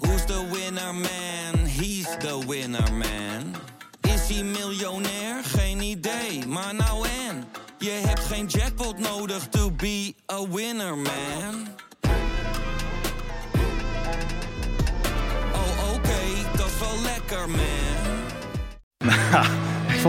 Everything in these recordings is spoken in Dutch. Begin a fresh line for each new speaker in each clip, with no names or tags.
Who's the winner man? He's the winner man. Is hij miljonair? Geen idee, maar nou en. Je hebt geen jackpot nodig to be a winner man. Oh oké, dat is wel lekker man.
Ik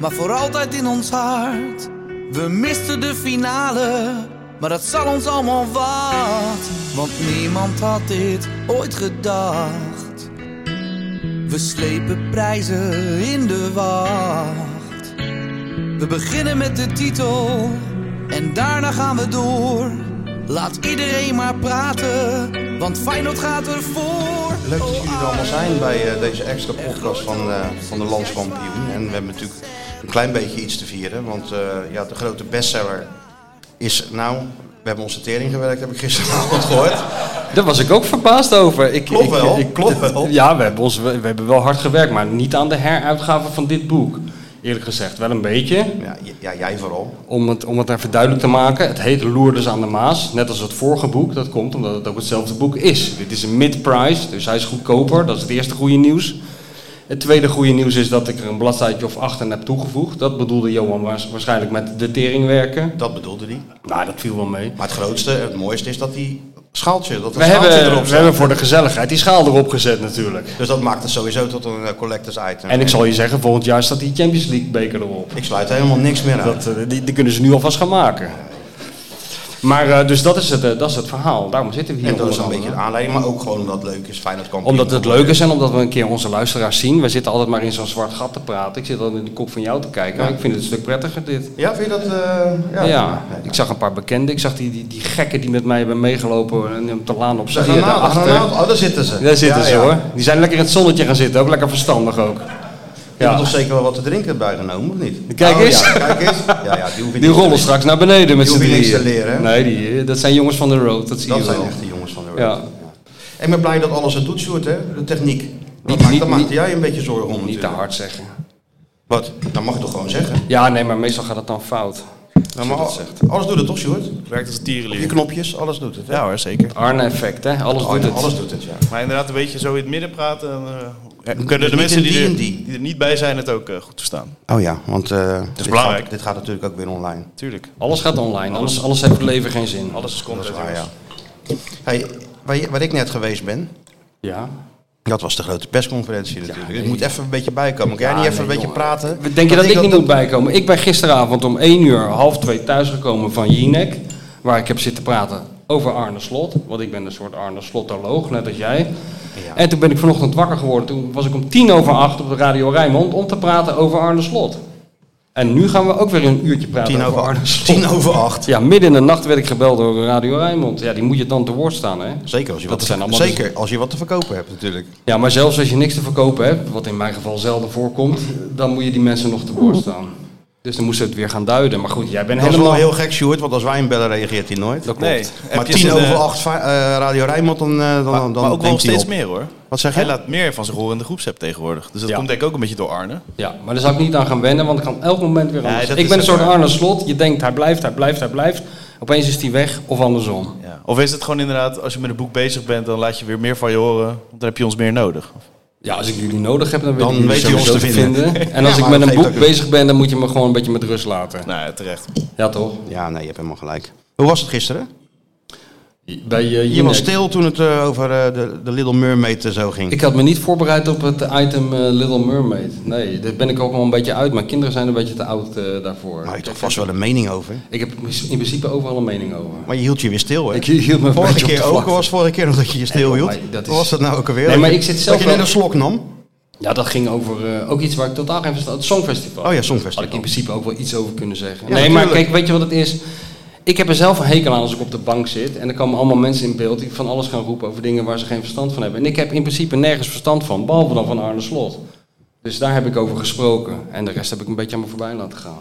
maar voor altijd in ons hart. We misten de finale, maar dat zal ons allemaal wat. Want niemand had dit ooit gedacht. We slepen prijzen in de wacht. We beginnen met de titel en daarna gaan we door. Laat iedereen maar praten, want Feyenoord gaat ervoor.
Leuk dat jullie er allemaal zijn bij eh, deze extra podcast van, eh, van de Landskampioen. En we hebben natuurlijk een klein beetje iets te vieren. Want eh, ja, de grote bestseller is nou... We hebben onze tering gewerkt, heb ik gisteravond gehoord.
Daar was ik ook verbaasd over. Ik,
Klopt
ik-
wel,
ik-
klopt wel.
Ja, we hebben, ons, we hebben wel hard gewerkt, maar niet aan de heruitgave van dit boek. Eerlijk gezegd, wel een beetje.
Ja, j- ja, jij vooral.
Om het, om het even duidelijk te maken, het heet Loerders aan de Maas. Net als het vorige boek, dat komt omdat het ook hetzelfde boek is. Dit is een mid-price, dus hij is goedkoper. Dat is het eerste goede nieuws. Het tweede goede nieuws is dat ik er een bladzijtje of acht aan heb toegevoegd. Dat bedoelde Johan waars- waarschijnlijk met de tering werken.
Dat bedoelde hij.
Nou, dat viel wel mee.
Maar het grootste, het mooiste is dat die schaaltje, dat
We
dat schaaltje
hebben,
erop
we
staat.
hebben voor de gezelligheid die schaal erop gezet natuurlijk.
Dus dat maakt het sowieso tot een eh, collectors item.
En ik zal je zeggen, volgend jaar staat die Champions League beker erop.
Ik sluit helemaal niks meer uit.
Dat, eh, die, die kunnen ze nu alvast gaan maken. Maar eh, dus dat is, het, eh, dat is het verhaal. Daarom zitten we hier.
en dat is een
onder
beetje de
andere.
aanleiding, maar ook gewoon omdat het leuk is. Feyenoord kampioen.
Omdat het leuk is en omdat we een keer onze luisteraars zien. We zitten altijd maar in zo'n zwart gat te praten. Ik zit altijd in de kop van jou te kijken. Maar ik vind het een stuk prettiger dit.
Ja, vind je dat? eh, ja.
Ja, ik zag een paar bekenden. Ik zag die, die, die gekken die met mij hebben meegelopen en op de laan op
De
zich.
granaat, de granaat. Oh, daar zitten ze.
Daar zitten
Ja,
ze
ja.
hoor. Die zijn lekker in het zonnetje gaan zitten. Ook lekker verstandig ook.
Je hebt
Ja.
toch zeker wel wat te drinken bijgenomen, of niet? Oh,
Kijk eens.
Ja, kijk eens. Ja, ja, die, hoef je
Die
niet-
rollen straks naar beneden met
Die
z'n
hoef je niks
drieën.
te leren, hè?
Nee, die, eh, dat zijn jongens van de road. Dat zie
Dat
je
zijn
wel.
echt de jongens van de road.
Ja.
En ik ben blij dat alles het doet, Sjoerd, hè? De techniek. Dat
Niet-
maakt,
niet-
daar maakte
niet-
jij een beetje zorgen om
Niet te
natuurlijk.
hard zeggen.
Wat? Dat mag je toch gewoon zeggen?
Ja, nee, maar meestal gaat het dan fout.
Ja, maar al- alles doet het toch, Sjoerd?
Werkt als een
Je
tierenlier.
knopjes, alles doet het. hè?
Ja hoor, zeker.
Arne-effect, hè? Alles
Oh,
doet
ja,
het.
alles doet het, ja.
Maar inderdaad, een beetje zo in het midden praten. En, eh,
Dus
kunnen de
niet
mensen
in
die er,
die en die.
die er niet bij zijn het ook eh, goed verstaan.
Oh ja, want eh, dit,
belangrijk.
Gaat, dit gaat natuurlijk ook weer online.
Tuurlijk.
Alles gaat online. Alles, alles heeft het leven geen zin.
Alles is
Dat is
content.
waar,
jongens.
ja. Hey, waar, je- waar ik net geweest ben,
Ja.
dat was de grote persconferentie natuurlijk.
nee.
Ik moet even een beetje bijkomen. Kan jij niet even een beetje praten?
Denk je dat, ik niet
doe?
moet bijkomen? Ik ben gisteravond om 1 uur, half 2 thuisgekomen van Jinek. Waar ik heb zitten praten over Arne Slot. Want ik ben een soort Arne Slotoloog, net als jij.
Ja.
En toen ben ik vanochtend wakker geworden. Toen was ik om tien over acht op de Radio Rijnmond om te praten over Arne Slot. En nu gaan we ook weer een uurtje praten
Tien over,
Arne
acht.
Slot.
Tien over acht.
Ja, midden in de nacht werd ik gebeld door Radio Rijnmond. Ja, die moet je dan te woord staan, hè?
Zeker als je,
Dat
wat,
zijn allemaal
zeker als je wat te verkopen hebt natuurlijk.
Ja, maar zelfs als je niks te verkopen hebt, wat in mijn geval zelden voorkomt, dan moet je die mensen nog te woord staan. Dus dan moest het weer gaan duiden. Maar goed, jij bent
Dat is
helemaal...
wel heel gek, Sjoerd, want als wij hem bellen reageert hij nooit.
Dat klopt.
Nee,
maar
heb je
tien
zijn, eh,
over acht va- eh, Radio Rijnmond, dan, eh, dan,
Maar,
dan
maar ook wel
neemt hij
steeds
op.
meer hoor.
Wat zeg
Hij
je?
laat meer van zich horen in de groepsapp tegenwoordig. Dus dat
Ja.
komt denk ik ook een beetje door Arne.
Ja, maar daar zou ik niet aan gaan wennen, want ik kan elk moment weer
Nee,
anders.
dat
ik
is
ben een
ook
soort
waar.
Arne Slot. Je denkt, hij blijft, hij blijft, hij blijft. Opeens is hij weg, of andersom.
Ja. Of is het gewoon inderdaad, als je met een boek bezig bent, dan laat je weer meer van je horen. Want dan heb je ons meer nodig.
Ja, als ik jullie nodig heb, dan, wil
Dan
ik jullie
weet hij
sowieso
ons te vinden.
En
Ja,
als
maar
ik met
dat
een
geeft
boek
ook weer-
bezig ben, dan moet je me gewoon een beetje met rust laten.
Nou ja, terecht.
Ja, toch?
Ja, nee, je hebt helemaal gelijk. Hoe was het gisteren?
Bij eh,
Je
Jinek.
was stil toen het eh, over eh, de, de Little Mermaid eh, zo ging.
Ik had me niet voorbereid op het item eh, Little Mermaid. Nee, daar ben ik ook wel een beetje uit. Mijn kinderen zijn een beetje te oud eh, daarvoor.
Maar je hebt toch vast wel een mening over.
Ik heb in principe overal een mening over.
Maar je hield je weer stil, hè?
Ik hield me een
vorige
beetje op de
keer ook.
vlakte.
was vorige keer nog dat je je stil
Nee,
hield.
maar dat is-
Hoe was dat nou ook alweer?
Nee, maar
Dat
ik
je-
zit zelf
Dat je net een
wel-
slok nam?
Ja, dat ging over eh, ook iets waar ik totaal geen verstand... Het Songfestival.
Oh ja, Songfestival.
Had ik in principe ook wel iets over kunnen zeggen.
Ja,
nee, maar
natuurlijk.
kijk, weet je wat het is? ik heb er zelf een hekel aan als ik op de bank zit. En er komen allemaal mensen in beeld die van alles gaan roepen over dingen waar ze geen verstand van hebben. En ik heb in principe nergens verstand van, behalve dan van Arne Slot. Dus daar heb ik over gesproken. En de rest heb ik een beetje aan me voorbij laten gaan.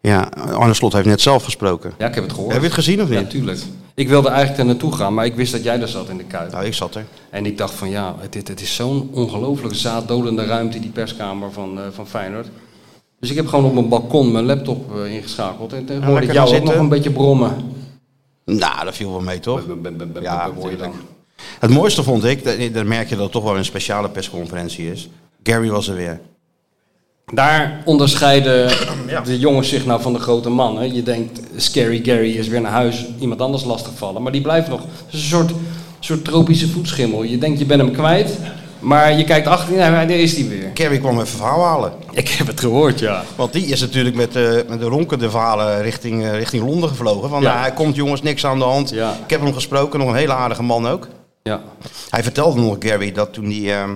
Ja, Arne Slot heeft net zelf gesproken.
Ja, ik heb het gehoord.
Heb je het gezien of
Ja,
niet?
tuurlijk. Ik wilde eigenlijk daar naartoe gaan, maar ik wist dat jij daar zat in de Kuip.
Nou, ik zat er.
En ik dacht van ja, het- dit, het is zo'n ongelooflijk zaaddodende ruimte, die perskamer van, eh, van Feyenoord. Dus ik heb gewoon op mijn balkon mijn laptop eh, ingeschakeld. En toen hoorde ik
lekker
jou
gaan
ook nog
zitten.
een beetje brommen.
Nou, dat viel wel mee, toch? Ja,
hoor je dan.
Het mooiste vond ik, dat- daar merk je dat het toch wel een speciale persconferentie is. Gary was er weer.
Daar onderscheiden de jongens zich nou van de grote mannen. Je denkt, Scary Gary is weer naar huis, iemand anders lastigvallen. Maar die blijft nog. Het is een soort, soort tropische voetschimmel. Je denkt, je bent hem kwijt. Maar je kijkt achter, nee, daar is hij weer.
Gary kwam even verhaal halen.
Ik heb het gehoord, ja.
Want die is natuurlijk met, eh, met de ronkende verhalen richting, eh, richting Londen gevlogen. Van,
Ja.
nou, hij komt jongens, niks aan de hand.
Ja.
Ik heb hem gesproken, nog een hele aardige man ook.
ja.
Hij vertelde nog, Gary, dat toen hij... ehm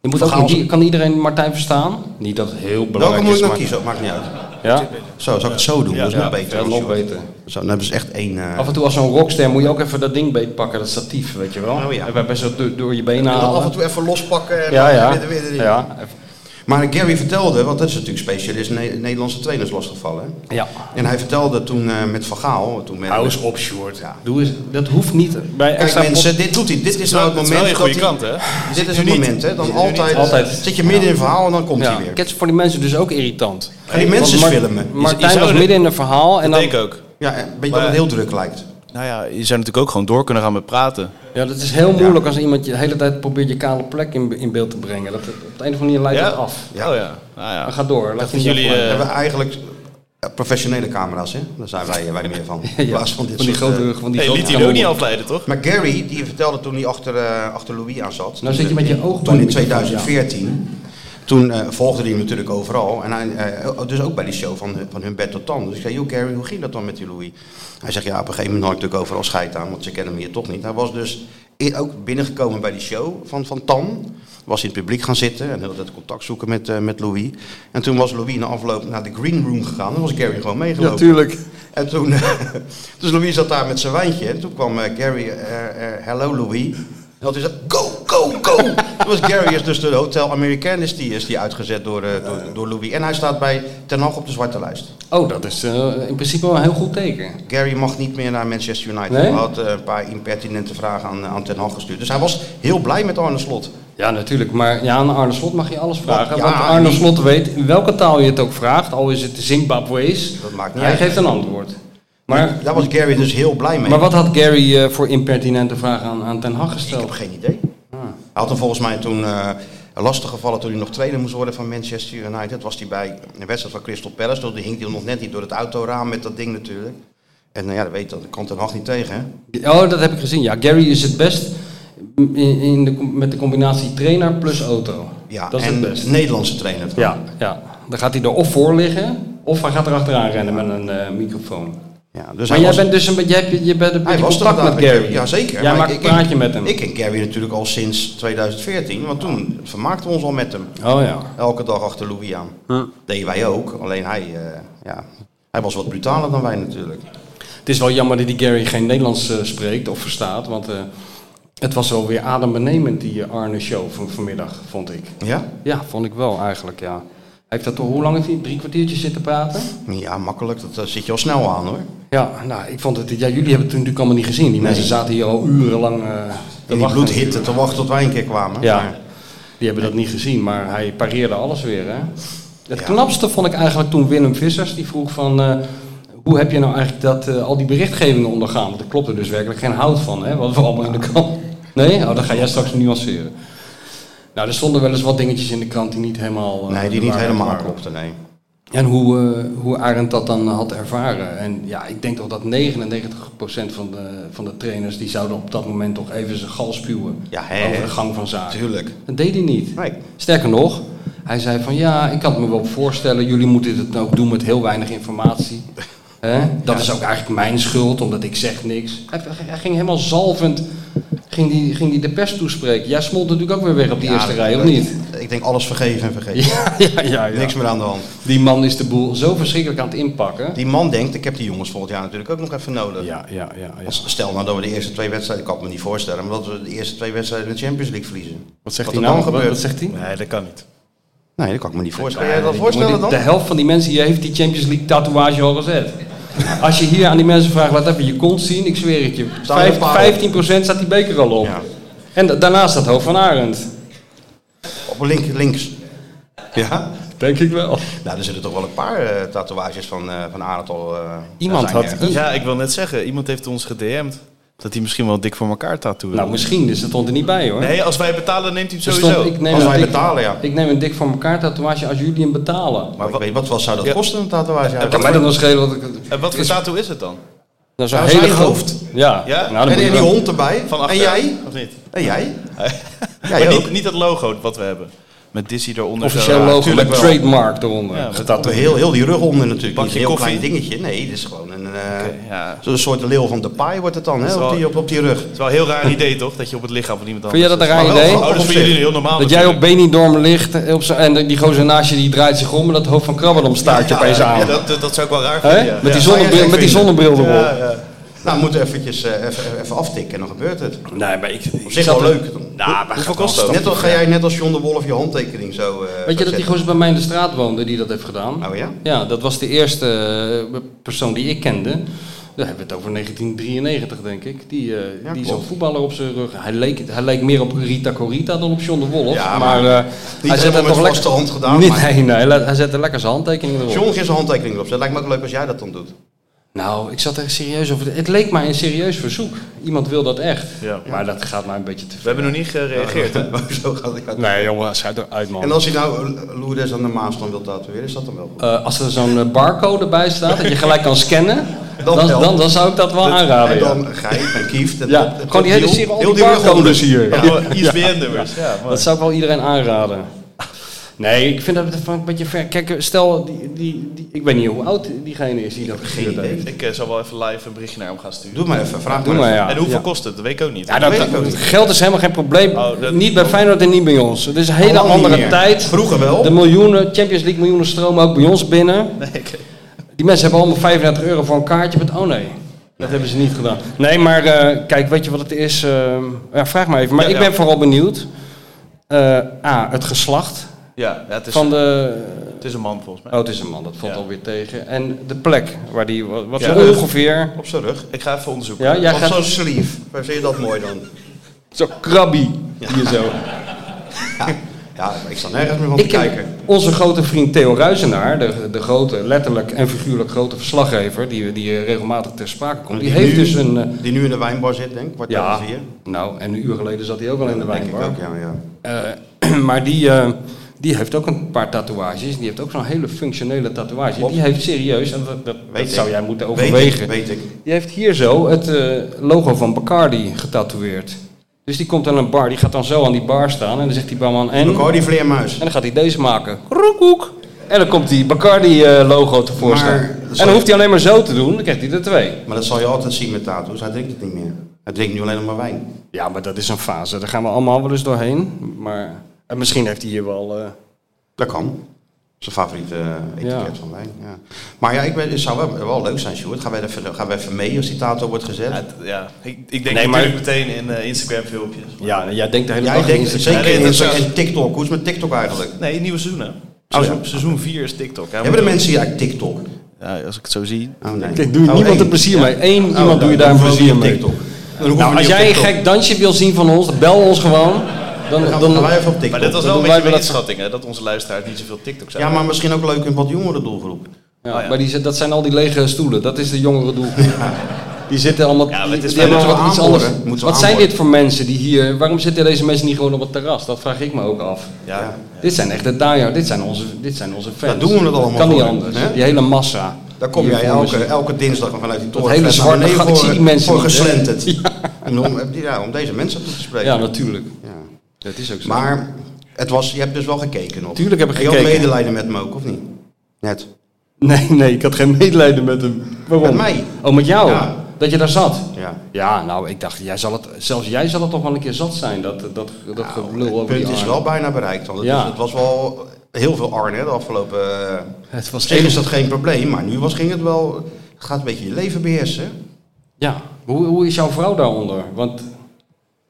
Je moet ook,
Vergaal-
niet- kan iedereen Martijn verstaan? Niet dat het heel
welke
belangrijk
moet ik
is,
nou
maar...
kiezen? Maakt niet uit.
Ja?
Zo, zou ik het zo doen? dat is nog beter.
Ja, nog beter.
Zo, dan hebben ze echt één... eh,
Af en toe als zo'n rockster moet je ook even dat ding beetpakken, dat statief, weet je wel.
Oh ja.
Waarbij ze dat door, door je benen
en dan
halen.
af en toe even lospakken en
Ja,
dan
ja.
weer- weer- weer-
Ja, even-
Maar Gary vertelde, want dat is natuurlijk specialist, Ne- Nederlandse trainers losgevallen. hè?
ja.
En hij vertelde toen eh, met Van Gaal... Toen met,
Hou eens op, Sjoerd.
Ja.
Doe eens, dat hoeft niet. Bij
Kijk
extra
mensen, dit doet hij. Dit is nou het
Het is
moment
wel een goede
dat
kant,
hij-
hè?
Dit is
nu
het
niet.
moment, hè? Dan
Zit nu niet.
altijd,
Altijd.
zit je midden in het verhaal en dan komt
Ja,
hij weer.
dat is voor die mensen dus ook irritant.
Ga die mensen
Want Mar-
filmen. Je- je
Martijn
zou
was
er-
midden in een verhaal en
Dat
dan...
denk ik ook.
Ja, een beetje dat het heel druk lijkt.
Nou ja, je zou natuurlijk ook gewoon door kunnen gaan met praten.
Ja, dat is heel moeilijk als iemand je de hele tijd probeert je kale plek in, be- in beeld te brengen. Dat, op de een of andere manier leidt
Ja?
dat af.
Ja.
Oh ja. Nou ja.
Maar ga door. Laat
Dat jullie,
We
eh,
hebben eigenlijk eh, professionele camera's, hè? Daar zijn wij, eh, wij meer van. In plaats van dit
van die
soort,
grote...
eh,
Van die
hey,
grote
liet hij je ook niet
kanonnen.
afleiden, toch?
Maar Gary, die vertelde toen hij achter, eh, achter Louis aan zat.
Nou zit je met je ogen bij
Toen
de
in
microfoon,
2014. Toen eh, volgde hij hem natuurlijk overal. En hij, eh, dus ook bij die show van, hun- van Humbert tot Tan. Dus ik zei, joh Gary, hoe ging dat dan met die Louis? Hij zegt, ja, op een gegeven moment had ik natuurlijk overal scheid aan. Want ze kennen hem hier toch niet. Hij was dus i- ook binnengekomen bij die show van, van Tan. Was in het publiek gaan zitten en heel de tijd contact zoeken met, eh, met Louis. En toen was Louis na afloop naar de green room gegaan. En was Gary gewoon meegelopen.
tuurlijk.
En toen, dus Louis zat daar met zijn wijntje. En toen kwam eh, Gary, eh, eh, hello Louis. En dat is go, go, go. Toen was Gary is dus de Hotel American is die, is die uitgezet door, eh, door, door Louis. En hij staat bij Ten Hag op de zwarte lijst.
Oh, dat is eh, in principe wel een heel goed teken.
Gary mag niet meer naar Manchester United.
Nee?
Hij had eh, een paar impertinente vragen aan, aan Ten Hag gestuurd. Dus hij was heel blij met Arne Slot.
Ja, natuurlijk. Maar ja, aan Arne Slot mag je alles vragen.
Ja,
want Arne
die-
Slot weet in welke taal je het ook vraagt. Al is het Zimbabwees.
Dat maakt niet
Hij
uit.
geeft een antwoord. Maar,
Daar was Gary dus heel blij mee.
maar wat had Gary eh, voor impertinente vragen aan, aan Ten Hag
Ik heb
gesteld?
geen idee.
Ah.
Hij had hem volgens mij toen eh lastig gevallen toen hij nog trainer moest worden van Manchester United. Was hij bij een wedstrijd van Crystal Palace. Toen hing hij nog net niet door het autoraam met dat ding natuurlijk. En nou ja, dat weet dat. Dat kan Ten Hag niet tegen. Hè?
Oh, dat heb ik gezien. Ja, Gary is het best in, in de, com- met de combinatie trainer plus auto.
Ja,
dat is
en
het best.
Nederlandse trainer.
Ja, ja, dan gaat hij er of voor liggen, of hij gaat er achteraan rennen met een eh, microfoon.
Ja, dus
maar
hij
jij
was,
bent dus een beetje, jij hebt- je bent een
hij
beetje
was er
contact
inderdaad
met Gary.
Ja, zeker.
Jij
Maar
maakt
ik-
een
ik-
praatje met hem.
Ik ken Gary natuurlijk al sinds 2014. Want toen vermaakten we ons al met hem.
Oh ja.
Elke dag achter Louis aan.
Hm.
Deden wij ook. Alleen hij, eh, ja, hij was wat brutaler dan wij natuurlijk.
Het is wel jammer dat die Gary geen Nederlands eh, spreekt of verstaat, want eh, het was wel weer adembenemend die eh, Arne show van vanmiddag, vond ik.
Ja?
Ja, vond ik wel eigenlijk, ja. Hij heeft dat toch, hoe lang heeft hij? Drie kwartiertjes zitten praten?
Ja, makkelijk. Dat eh, zit je al snel aan hoor.
Ja, nou, ik vond het, ja, jullie hebben het toen natuurlijk allemaal niet gezien. Die
Nee.
mensen zaten hier al urenlang eh te
In die
wachten.
bloedhitte te wachten tot wij een keer kwamen.
Ja,
Maar
die hebben dat niet gezien, maar hij pareerde alles weer. Hè? Het
Ja.
knapste vond ik eigenlijk toen Willem Vissers, die vroeg van... eh, hoe heb je nou eigenlijk dat, eh, al die berichtgevingen ondergaan? Want er klopt er dus werkelijk geen hout van, hè? Wat we allemaal in de krant... Nee? Oh, dan ga jij straks nuanceren. Nou, er stonden wel eens wat dingetjes in de krant die niet helemaal... eh,
nee, die
de
niet
waarheid
helemaal
waren.
klopte, nee.
En hoe, eh, hoe Arendt dat dan had ervaren. En ja, ik denk toch dat 99% van de, van de trainers... die zouden op dat moment toch even zijn gal spuwen
Ja, hè?
over de gang van zaken.
Tuurlijk.
Dat deed hij niet.
Nee.
Sterker nog, hij zei van ja, ik kan het me wel voorstellen, jullie moeten het ook doen met heel weinig informatie. Hè? Dat is ook eigenlijk mijn schuld, omdat ik zeg niks. Hij, hij ging helemaal zalvend, ging ging die, ging die de pers toespreken. Jij smolt natuurlijk ook weer weg op die
Ja,
eerste
dat-
rij, of
dat-
niet?
Ik denk alles vergeven en vergeten.
Ja, ja, ja. ja.
Niks meer aan de hand.
Die man is de boel zo verschrikkelijk aan het inpakken.
Die man denkt, ik heb die jongens volgend jaar natuurlijk ook nog even nodig.
Ja, ja, ja. ja.
Als- Stel nou dat we de eerste twee wedstrijden, ik kan het me niet voorstellen, maar dat we de eerste twee wedstrijden in de Champions League verliezen.
Wat zegt
Wat
hij
er
nou?
dan
Wat,
gebeurt?
wat zegt hij?
Nee, dat kan niet.
Nee, dat kan ik me niet voorstellen.
Kan jij dat
Jongen,
voorstellen
die-
dan?
De helft van die mensen hier heeft die Champions League tatoeage al gezet. Als je hier aan die mensen vraagt, laat even je kont zien, ik zweer het je.
Staan er een paar op?
15% staat die beker al op.
Ja.
En da- daarnaast staat Hoofd van Arend.
Op een link, links. Ja?
Denk ik wel.
Nou, er zitten toch wel een paar eh, tatoeages van, eh van Arend al. eh,
Iemand
zijn
had-
ergens.
Ja, ik wil net zeggen, iemand heeft ons gedm'd. Dat hij misschien wel dik voor elkaar tattoo wil.
Nou, misschien, dus dat stond er niet bij hoor.
Nee, als wij betalen neemt hij
Er
hem
stond,
sowieso.
ik neem
Als
een
wij
dik-
betalen, ja.
Ik neem een dik voor elkaar tatoeage als jullie hem betalen.
Maar ik weet, wat, wat zou dat kosten, een tatoeage?
Kan mij dat nog schelen? Wat ik,
En wat voor tattoo is het dan?
dat is een
Nou,
hele
zijn
grote-
hoofd.
Ja.
Ja?
Nou, dan
en,
moet je
en die
wel-
hond erbij.
Van
en
achter,
jij?
Of niet?
En jij?
Ja,
Jij
maar
ook.
niet, niet dat logo wat we hebben. Met Dizzy eronder.
Officieel
zo.
logo
tuurlijk
met
wel.
trademark eronder.
Ja, met-
Op heel, heel die rug onder natuurlijk.
Bakje
Niet een heel
koffie.
klein dingetje. Nee, dit is gewoon een, eh,
ja.
zo'n soort leeuw van de paai wordt het dan, hè,
is
op,
wel-
die, op, op die rug.
Het is wel een heel raar idee toch? Dat je op het lichaam van iemand
Vind jij
anders
dat een
zit.
raar
Maar wel
idee?
Oh, dat is voor jullie heel normaal.
Dat jij op
natuurlijk.
Benidorm ligt eh, op zo- en die gozer naast je die draait zich om en dat hoofd van Krabberdom staart je opeens aan.
Ja, dat, dat, dat zou ik wel raar
Hè?
vinden. ja.
Met, die
Ja.
zou je
zonnebril,
gek
met die
vinden.
zonnebril erop.
Nou, we moeten eventjes eh, even, even aftikken en dan gebeurt het.
Nee, maar ik,
Op zich wel leuk. Dan.
Nou, maar
Hoeveel kost dat?
Net als ga jij net als John de Wolf je handtekening zo. eh,
Weet je dat die
zetten.
gozer bij mij in de straat woonde die dat heeft gedaan?
Oh ja?
Ja, dat was de eerste eh, persoon die ik kende. Daar hebben we het over 1993, denk ik. Die, eh
Ja,
die
klopt.
zo'n voetballer op zijn rug. Hij leek, hij leek meer op Rita Corita dan op John de Wolf.
Ja,
maar
maar
eh, hij
helemaal
zette
met
toch lekker...
vaste hand gedaan,
Nee,
maar-
nee, nee, hij- hij zette lekker zijn handtekening erop.
John geen zijn handtekening erop. dus Dat lijkt me ook leuk als jij dat dan doet.
Nou, ik zat er serieus over. Het leek mij een serieus verzoek. Iemand wil dat echt.
Ja.
Maar dat gaat mij een beetje te
We hebben nog niet gereageerd. hè?
zo gaat het.
Nee, jongen, schijt uit, man.
En als hij nou eh, Lourdes aan de Maas dan wil tatoeëren, is dat dan wel goed?
Eh, als er zo'n eh, barcode bij staat, dat je gelijk kan scannen, dan,
Dan
dan,
wel.
dan, zou ik dat wel
en
aanraden. ja.
dan Gijp en Kieft. en
Ja,
dat- dat-
gewoon die hele
heel-
serie, al
heel
die
rug onder.
barcodes hier.
Ja, gewoon ISBN-nummers. Ja, mooi.
Dat zou ik wel iedereen aanraden. Nee, ik vind dat van een beetje ver. Kijk, eh, stel, die, die, die- ik weet niet hoe oud diegene is die dat gestuurd
idee.
heeft.
Ik eh, zal wel even live een berichtje naar hem gaan sturen.
Doe maar even, vraag
Doe
maar
maar
even.
Nou ja.
en hoeveel
ja.
kost het? Dat weet ik ook niet.
Ja, dat,
Weet ik ook niet.
geld is helemaal geen probleem.
Oh, dat-
niet bij Feyenoord en niet bij ons. Het is een hele
Allemaal niet
andere
meer.
tijd.
Vroeger wel.
De miljoenen, Champions League miljoenen stromen ook bij ons binnen.
Nee, oké.
Die mensen hebben allemaal 35 euro voor een kaartje. Met, oh nee, dat hebben ze niet gedaan. Nee, maar eh, kijk, weet je wat het is? Ehm, ja, vraag maar even. Maar
Ja,
ik
ja.
ben vooral benieuwd. Eh, A, het geslacht
Ja, ja, het, is,
van de...
het is een man volgens mij.
Oh, het is een man, dat valt
Ja.
alweer tegen. En de plek waar die... Wat, wat
Ja.
zo ongeveer...
Op zijn rug.
Ik ga even onderzoeken.
Ja, jij
Op
gaat
zo'n sleeve. Waar zie je dat mooi dan?
zo krabby hier zo.
Ja, maar ik sta nergens meer van te
Ik heb
kijken.
onze grote vriend Theo Ruizenaar, de, de grote, letterlijk en figuurlijk grote verslaggever, die, die eh, regelmatig ter sprake komt, die, heeft
nu,
dus een... eh,
Die nu in de wijnbar zit, denk ik. Kwartier
ja,
vier.
nou, en een uur geleden zat hij ook al in de
Denk ik
wijnbar.
ook, ja. ja.
Eh, maar die, eh, die heeft ook een paar tatoeages. Die heeft ook zo'n hele functionele tatoeage. Die heeft serieus, en dat, dat, dat
Weet ik.
zou jij moeten
Weet ik,
overwegen.
Weet ik.
Die heeft hier zo het eh, logo van Bacardi getatoeëerd. Dus die komt aan een bar, die gaat dan zo aan die bar staan en dan zegt die barman en...
Ik hoor die vleermuis.
En dan gaat hij deze maken. Roekhoek. En dan komt die Bacardi-logo tevoorschijn.
Maar-
en dan hoeft hij alleen maar zo te doen, dan krijgt hij er twee.
Maar dat zal je altijd zien met tattoos. Hij drinkt het niet meer. Hij drinkt nu alleen nog maar wijn.
Ja, maar dat is een fase. Daar gaan we allemaal wel eens doorheen. Maar en misschien heeft hij hier wel... eh,
Dat kan. Zijn favoriete eh, etiket
Ja.
van wijn. Ja. Maar ja, ik ben, het zou wel, wel leuk zijn, Sjoerd. Gaan wij, even, gaan wij even mee als die tattoo wordt gezet?
Ja, het- ja. Ik, ik denk
Nee, maar-
natuurlijk meteen in eh, Instagram-filmpjes.
ja, nou, jij denkt de hele
Ja,
dag
ik denk
in-
Ja, nee,
zeker in
dat
Insta-
zou-
en TikTok. Hoe is het met TikTok eigenlijk?
Nee, nieuwe
Oh,
seizoenen.
ja.
Seizoen- Seizoen 4 is TikTok. Ja,
Hebben de
maar-
mensen hier eigenlijk TikTok?
Ja, als ik het zo zie.
Oh, nee.
Kijk, doe je
Oh,
niemand
één.
een plezier mee. Eén
Oh,
iemand doe je
dan
daar een
hoeven we
plezier
niet op
mee.
TikTok. Dan hoeven
Nou,
we
als
niet op
jij een
TikTok.
gek dansje wil zien van ons, dan bel ons gewoon. Dan,
Dan
dan,
gaan wij even op TikTok.
Maar dat was
Dan
wel een
doen
beetje een
wij dat-
inschatting, hè? Dat onze luisteraars niet zoveel TikTok zijn.
Ja, maar misschien ook leuk in wat jongere doelgroep.
ja, maar die, dat zijn al die lege stoelen. Dat is de jongere doelgroep. Die zitten allemaal.
Ja, maar
die
het is
die hebben
wel-
wel iets
moeten we
anders.
aanboren. Moeten we
Wat zijn
aanboren.
dit voor mensen die hier. Waarom zitten deze mensen niet gewoon op het terras? Dat vraag ik me ook af.
Ja.
Ja.
Dit zijn echt de daaien. Dit zijn onze, dit zijn onze fans.
Daar doen we het allemaal
Kan niet
voor,
anders.
hè?
Die hele massa.
Daar kom
die
jij
hier voor
elke,
me zit.
elke dinsdag vanuit die toren.
hele
naar
zwarte
beneden
gat, ik zie die mensen
Voor
niet, hè?
geslenterd. En Om, ja, om deze mensen toe te spreken.
Ja, natuurlijk.
Ja.
Dat is ook zo.
Maar het was, je hebt dus wel gekeken nog.
Tuurlijk heb ik
En je
gekeken.
had medelijden met me ook, of niet? Net.
Nee, nee, ik had geen medelijden met hem. Waarom?
Met mij.
Oh, met jou?
Ja.
Dat je daar zat.
Ja.
Ja, nou, ik dacht, jij zal het, zelfs jij zal het toch wel een keer zat zijn, dat, dat, dat gelul
Nou, Het
over die
punt is
arm.
wel bijna bereikt. Want het,
Ja.
is- het was wel heel veel Arne hè, de afgelopen... eh,
Het
op
was
zich
echt...
is dat geen probleem, maar nu was, ging het wel... Het gaat een beetje je leven beheersen.
Ja, hoe, hoe is jouw vrouw daaronder? Want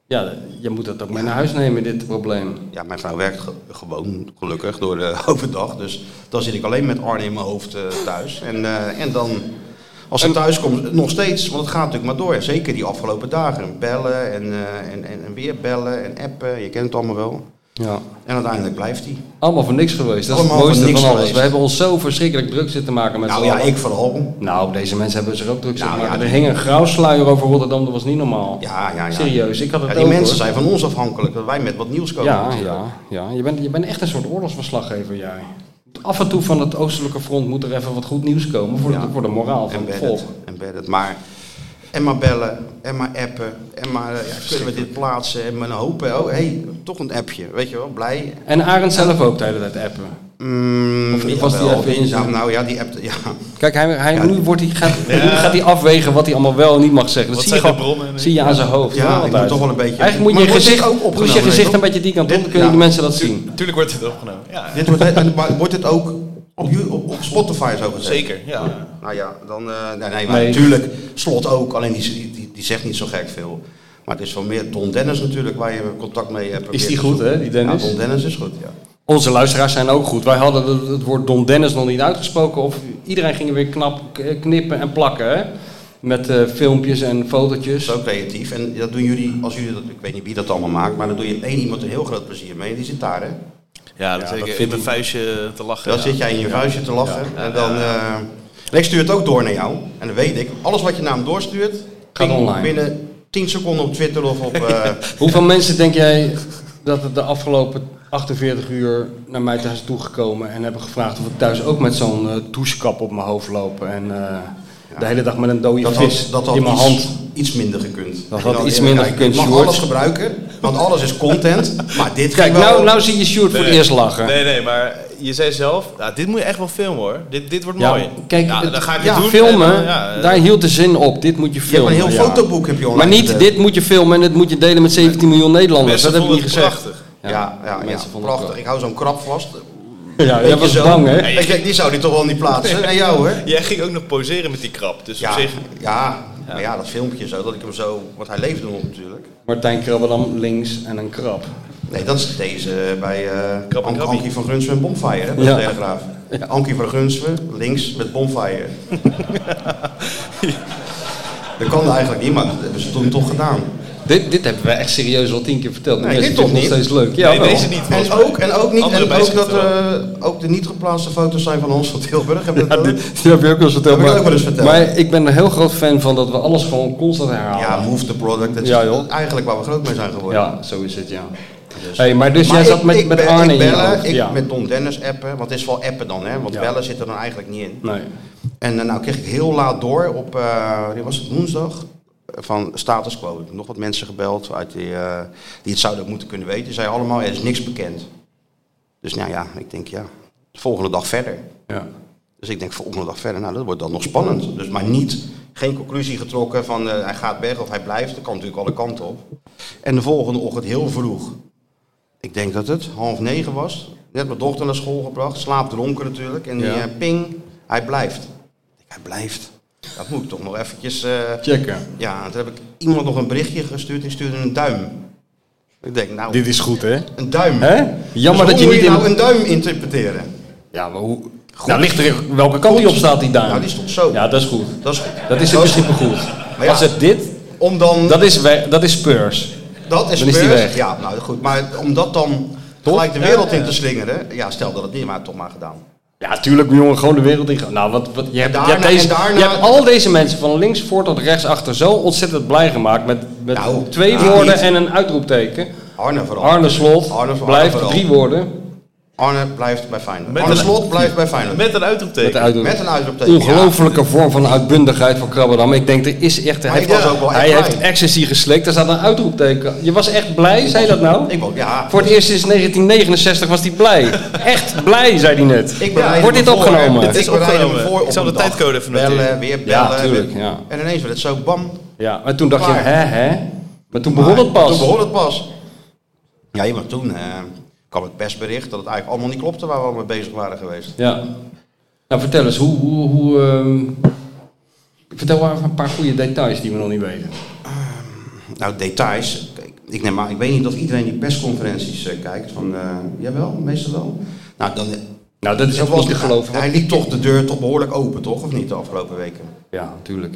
ja, je moet dat ook mee naar huis nemen, dit probleem.
Ja, mijn vrouw werkt ge- gewoon, gelukkig, door de overdag. Dus dan zit ik alleen met Arne in mijn hoofd eh, thuis. En, eh, en dan, als ze thuis komt, nog steeds. Want het gaat natuurlijk maar door. Zeker die afgelopen dagen. Bellen en, eh, en, en, en weer bellen en appen. Je kent het allemaal wel.
Ja.
En uiteindelijk blijft die.
Allemaal voor niks geweest. Dat
Allemaal
is
voor
het mooiste
niks
van alles.
geweest.
We hebben ons zo verschrikkelijk druk zitten maken met
Nou
z'n
ja,
allen.
ik vooral.
Nou, deze mensen hebben zich ook druk zitten
Nou,
maken.
ja,
er
die-
hing een grauwsluier over Rotterdam, dat was niet normaal.
Ja, ja, ja.
Serieus, ik had het
Ja, die
ook,
mensen
hoor.
zijn van ons afhankelijk. Dat wij met wat nieuws komen.
Ja, ja, ja. Je bent, je bent echt een soort oorlogsverslaggever, jij. Af en toe van het oostelijke front moet er even wat goed nieuws komen voor, de,
Ja.
voor de moraal van het volk.
Embedded, embedded. Maar, en maar bellen, en maar appen, en maar eh, ja, kunnen we dit plaatsen, en maar hopen. Oh, hé, hey, toch een appje, weet je wel, blij.
En Arend zelf ook de hele tijd appen.
Mm,
Of was die
jawel,
app in zijn-
nou, nou ja, die app, ja.
Kijk, hij, hij, nu, wordt hij, gaat, nu gaat hij afwegen wat hij allemaal wel en niet mag zeggen. Dat
Wat
zie je,
zijn de
gewoon-
bronnen?
zie je aan zijn hoofd.
Ja,
hoor,
ik
altijd.
moet toch wel een beetje-
Eigenlijk moet je
Maar wordt
gezicht,
dit ook
moet je
opgenomen,
gezicht
weet
een beetje die kant op,
Dit-
dan kunnen
ja.
de mensen dat zien.
Tuurlijk wordt het opgenomen. Ja, ja.
Dit wordt, en maar wordt dit ook op, you- op, op Spotify zo gezegd?
zeker. Ja.
Nou ja, dan, eh, nee, nee, maar
Nee.
natuurlijk, Slot ook, alleen die, die, die zegt niet zo gek veel. Maar het is wel meer Don Dennis natuurlijk, waar je contact mee eh, hebt.
Is die goed, hè, die Dennis?
Ja, Don Dennis is goed, ja.
Onze luisteraars zijn ook goed. Wij hadden het- het woord Don Dennis nog niet uitgesproken. Of iedereen ging er weer knap, k- knippen en plakken. Hè? Met eh, filmpjes en fotootjes.
Dat is ook creatief. En dat doen jullie, als jullie dat, ik weet niet wie dat allemaal maakt, maar dan doe je één iemand een heel groot plezier mee. En die zit daar, hè?
Ja, dat, ik in mijn vuistje te lachen.
Dan
ja.
zit jij in je vuistje te lachen. En dan. eh, en ik stuur het ook door naar jou. En dan weet ik, alles wat je naar hem doorstuurt,
Gaat
ping,
online.
binnen 10 seconden op Twitter of op. eh,
Hoeveel mensen denk jij dat het de afgelopen 48 uur naar mij thuis is toegekomen en hebben gevraagd of ik thuis ook met zo'n eh, douchekap op mijn hoofd loop en eh, de hele dag met een dode
dat
vis
had, dat had
in mijn
iets,
hand.
iets minder gekund.
Dat had
En dan
iets
even
minder
kijken,
gekund,
Je mag
Sjoerd.
alles gebruiken, want alles is content. maar dit
Kijk,
ging wel-
nou, nou zie je Sjoerd voor het eerst lachen.
Nee, nee, maar je zei zelf, nou, dit moet je echt wel filmen hoor. Dit, dit wordt
Ja,
mooi.
kijk,
ja,
het-
dan ga ik
ja,
het doen.
filmen,
en, eh, ja, eh,
daar hield de zin op. Dit moet je
je hebt
filmen.
een heel
ja.
fotoboek heb je online
Maar niet,
gezet.
dit moet je filmen en dit moet je delen met 17 miljoen Nederlanders.
mensen
Dat heb ik niet
vonden het
gezegd.
prachtig.
Ja, ja, ja,
mensen vonden het
prachtig. Ik hou zo'n krap vast.
wel. Ja, jij
Beetje
was
zo.
bang, hè?
Ik denk, die zou die toch wel niet plaatsen. En jou, hoor.
Jij ging ook nog poseren met die krap. Dus op
Ja,
zich,
ja, maar ja, dat filmpje zo, dat ik hem zo, want hij leefde nog natuurlijk.
Martijn Krabbelam links en een krab.
Nee, dat is deze bij eh
Krabbe
An-
Krabbe.
Ankie van Gunsven Bonfire, hè, bij
Ja.
de Telegraaf. Ankie van Gunsven, links met Bonfire. dat kan eigenlijk niet, maar dat hebben ze toen toch gedaan.
Dit, dit hebben we echt serieus al tien keer verteld.
Nee,
Mensen
dit toch
vinden het nog
niet?
steeds leuk. Ja,
nee,
wel.
deze niet. volgens
En
mij.
ook, en ook, niet,
Andere
en ook, dat,
bijschotten wel.
eh, ook de niet geplaatste foto's zijn van ons van Tilburg. Hebben we
Ja,
dat ook?
dit- die heb je ook wel eens verteld.
Heb ik
maar,
ook wel eens verteld.
maar ik ben een heel groot fan van dat we alles gewoon constant herhalen.
Ja, move the product. Dat is
Ja, joh.
eigenlijk waar we groot mee zijn geworden.
Ja, zo is het, ja. hey, maar dus jij
Maar
zat
ik-
met,
ik
met
be-
Arne
ik
in je
bellen,
hoofd.
ik
ja.
met Don Dennis appen, want het is wel appen dan, hè? Want
Ja.
bellen zit er dan eigenlijk niet in.
Nee.
En eh, nou kreeg ik heel laat door op, eh, die was het woensdag, van status quo. Ik heb nog wat mensen gebeld uit die, eh, die het zouden moeten kunnen weten. Die zeiden allemaal, er is niks bekend. Dus nou ja, ik denk ja, de volgende dag verder.
Ja.
Dus ik denk volgende dag verder, nou dat wordt dan nog spannend. Dus maar niet, geen conclusie getrokken van eh, hij gaat weg of hij blijft. Dat kan natuurlijk alle kanten op. En de volgende ochtend heel vroeg. Ik denk dat het half negen was. Net mijn dochter naar school gebracht, slaapdronken natuurlijk. En die,
Ja.
eh, ping, hij blijft. Ik denk, hij blijft. Dat moet ik toch nog eventjes... eh,
Checken.
ja, toen heb ik iemand nog een berichtje gestuurd. Die stuurde een duim. Ik denk, nou,
Dit is goed, hè?
een duim.
Hè? Jammer
Dus
dat je
hoe
niet
moet je
in...
nou een duim interpreteren?
Ja, maar hoe... Nou, ligt er welke kant die op staat, die duim?
Nou, die stond zo.
Ja, dat is goed.
Dat is goed.
Dat is in
Dat is-
principe goed.
ja.
Als het dit...
Om dan...
Dat is, we- dat is Spurs.
Dat is
Dan is die
beurs.
weg.
Ja, nou goed. Maar om dat dan gelijk de wereld in te slingeren. Ja, stel dat het niet, maar toch maar gedaan.
Ja, tuurlijk, jongen, gewoon de wereld in. Nou, wat, wat, je, hebt, je,
Daarna-
hebt
en
deze,
daarna-
je hebt al deze mensen van links voor tot rechts achter zo ontzettend blij gemaakt. Met, met
Nou,
twee
ik
woorden
niet.
en een uitroepteken.
Arne vooral.
Arne Slot
Arne- Arne
blijft
vooral.
drie woorden.
Arne blijft bij Feyenoord.
Met
Arne
een-
Slot blijft bij Feyenoord. Met,
Met een uitroepteken.
Met de uitroep.
een uitroepteken.
Ongelofelijke vorm van uitbundigheid van Krabberdam. Ik denk, er is echt... Hij,
Maar ik
heeft,
was ook wel echt
hij
blij.
heeft ecstasy geslikt, daar staat een uitroepteken. Je was echt blij, zei je dat nou?
Ja, ik, wou- ja,
Voor het eerst sinds 1969 was hij blij. Echt blij, zei hij net.
ik bereid
Wordt
me
dit
voor, hè.
opgenomen?
Het is
Ik bereid me
opgenomen.
voor
Ik
op
zal de
een dag.
tijdcode even
bellen.
noteren.
Weer
Ja,
bellen.
tuurlijk,
weer-
ja.
En ineens werd het zo bam.
Ja, maar toen dacht je,
Klaar.
hè, hè? Maar toen begon het
Toen
pas.
begon het pas. Ja, maar toen eh, kwam het persbericht dat het eigenlijk allemaal niet klopte waar we mee bezig waren geweest.
Ja. Nou, vertel eens, hoe... hoe, hoe ehm, Vertel maar even een paar goede details die we nog niet weten.
Nou, details. Kijk, Ik, neem aan, ik weet niet of iedereen die persconferenties eh, kijkt. Van, eh jawel, meestal wel. Nou, dan,
Nou, dat is
het
ook niet te geloven.
Hij liet toch de deur toch behoorlijk open, toch? Of niet, de afgelopen weken?
Ja, natuurlijk.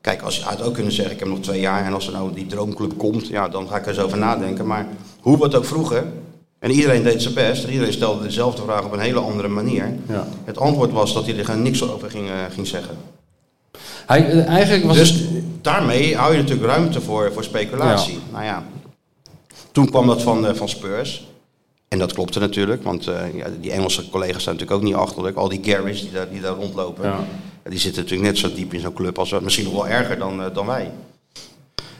Kijk, als je uit ook kunnen zeggen, ik heb nog twee jaar. En als er nou die droomclub komt, ja, dan ga ik er eens over nadenken. Maar hoe we het ook vroegen. En iedereen deed zijn best. En iedereen stelde dezelfde vraag op een hele andere manier.
Ja.
Het antwoord was dat hij er gewoon niks over ging, eh, ging zeggen.
Hij, eh, eigenlijk was
Dus
het...
daarmee hou je natuurlijk ruimte voor, voor speculatie. Nou ja, toen kwam dat van, eh, van Spurs. En dat klopte natuurlijk, want eh, ja, die Engelse collega's zijn natuurlijk ook niet achterlijk. Al die Garys die daar, die daar rondlopen,
Ja.
ja, die zitten natuurlijk net zo diep in zo'n club. Als, we- misschien nog wel erger dan, eh, dan wij.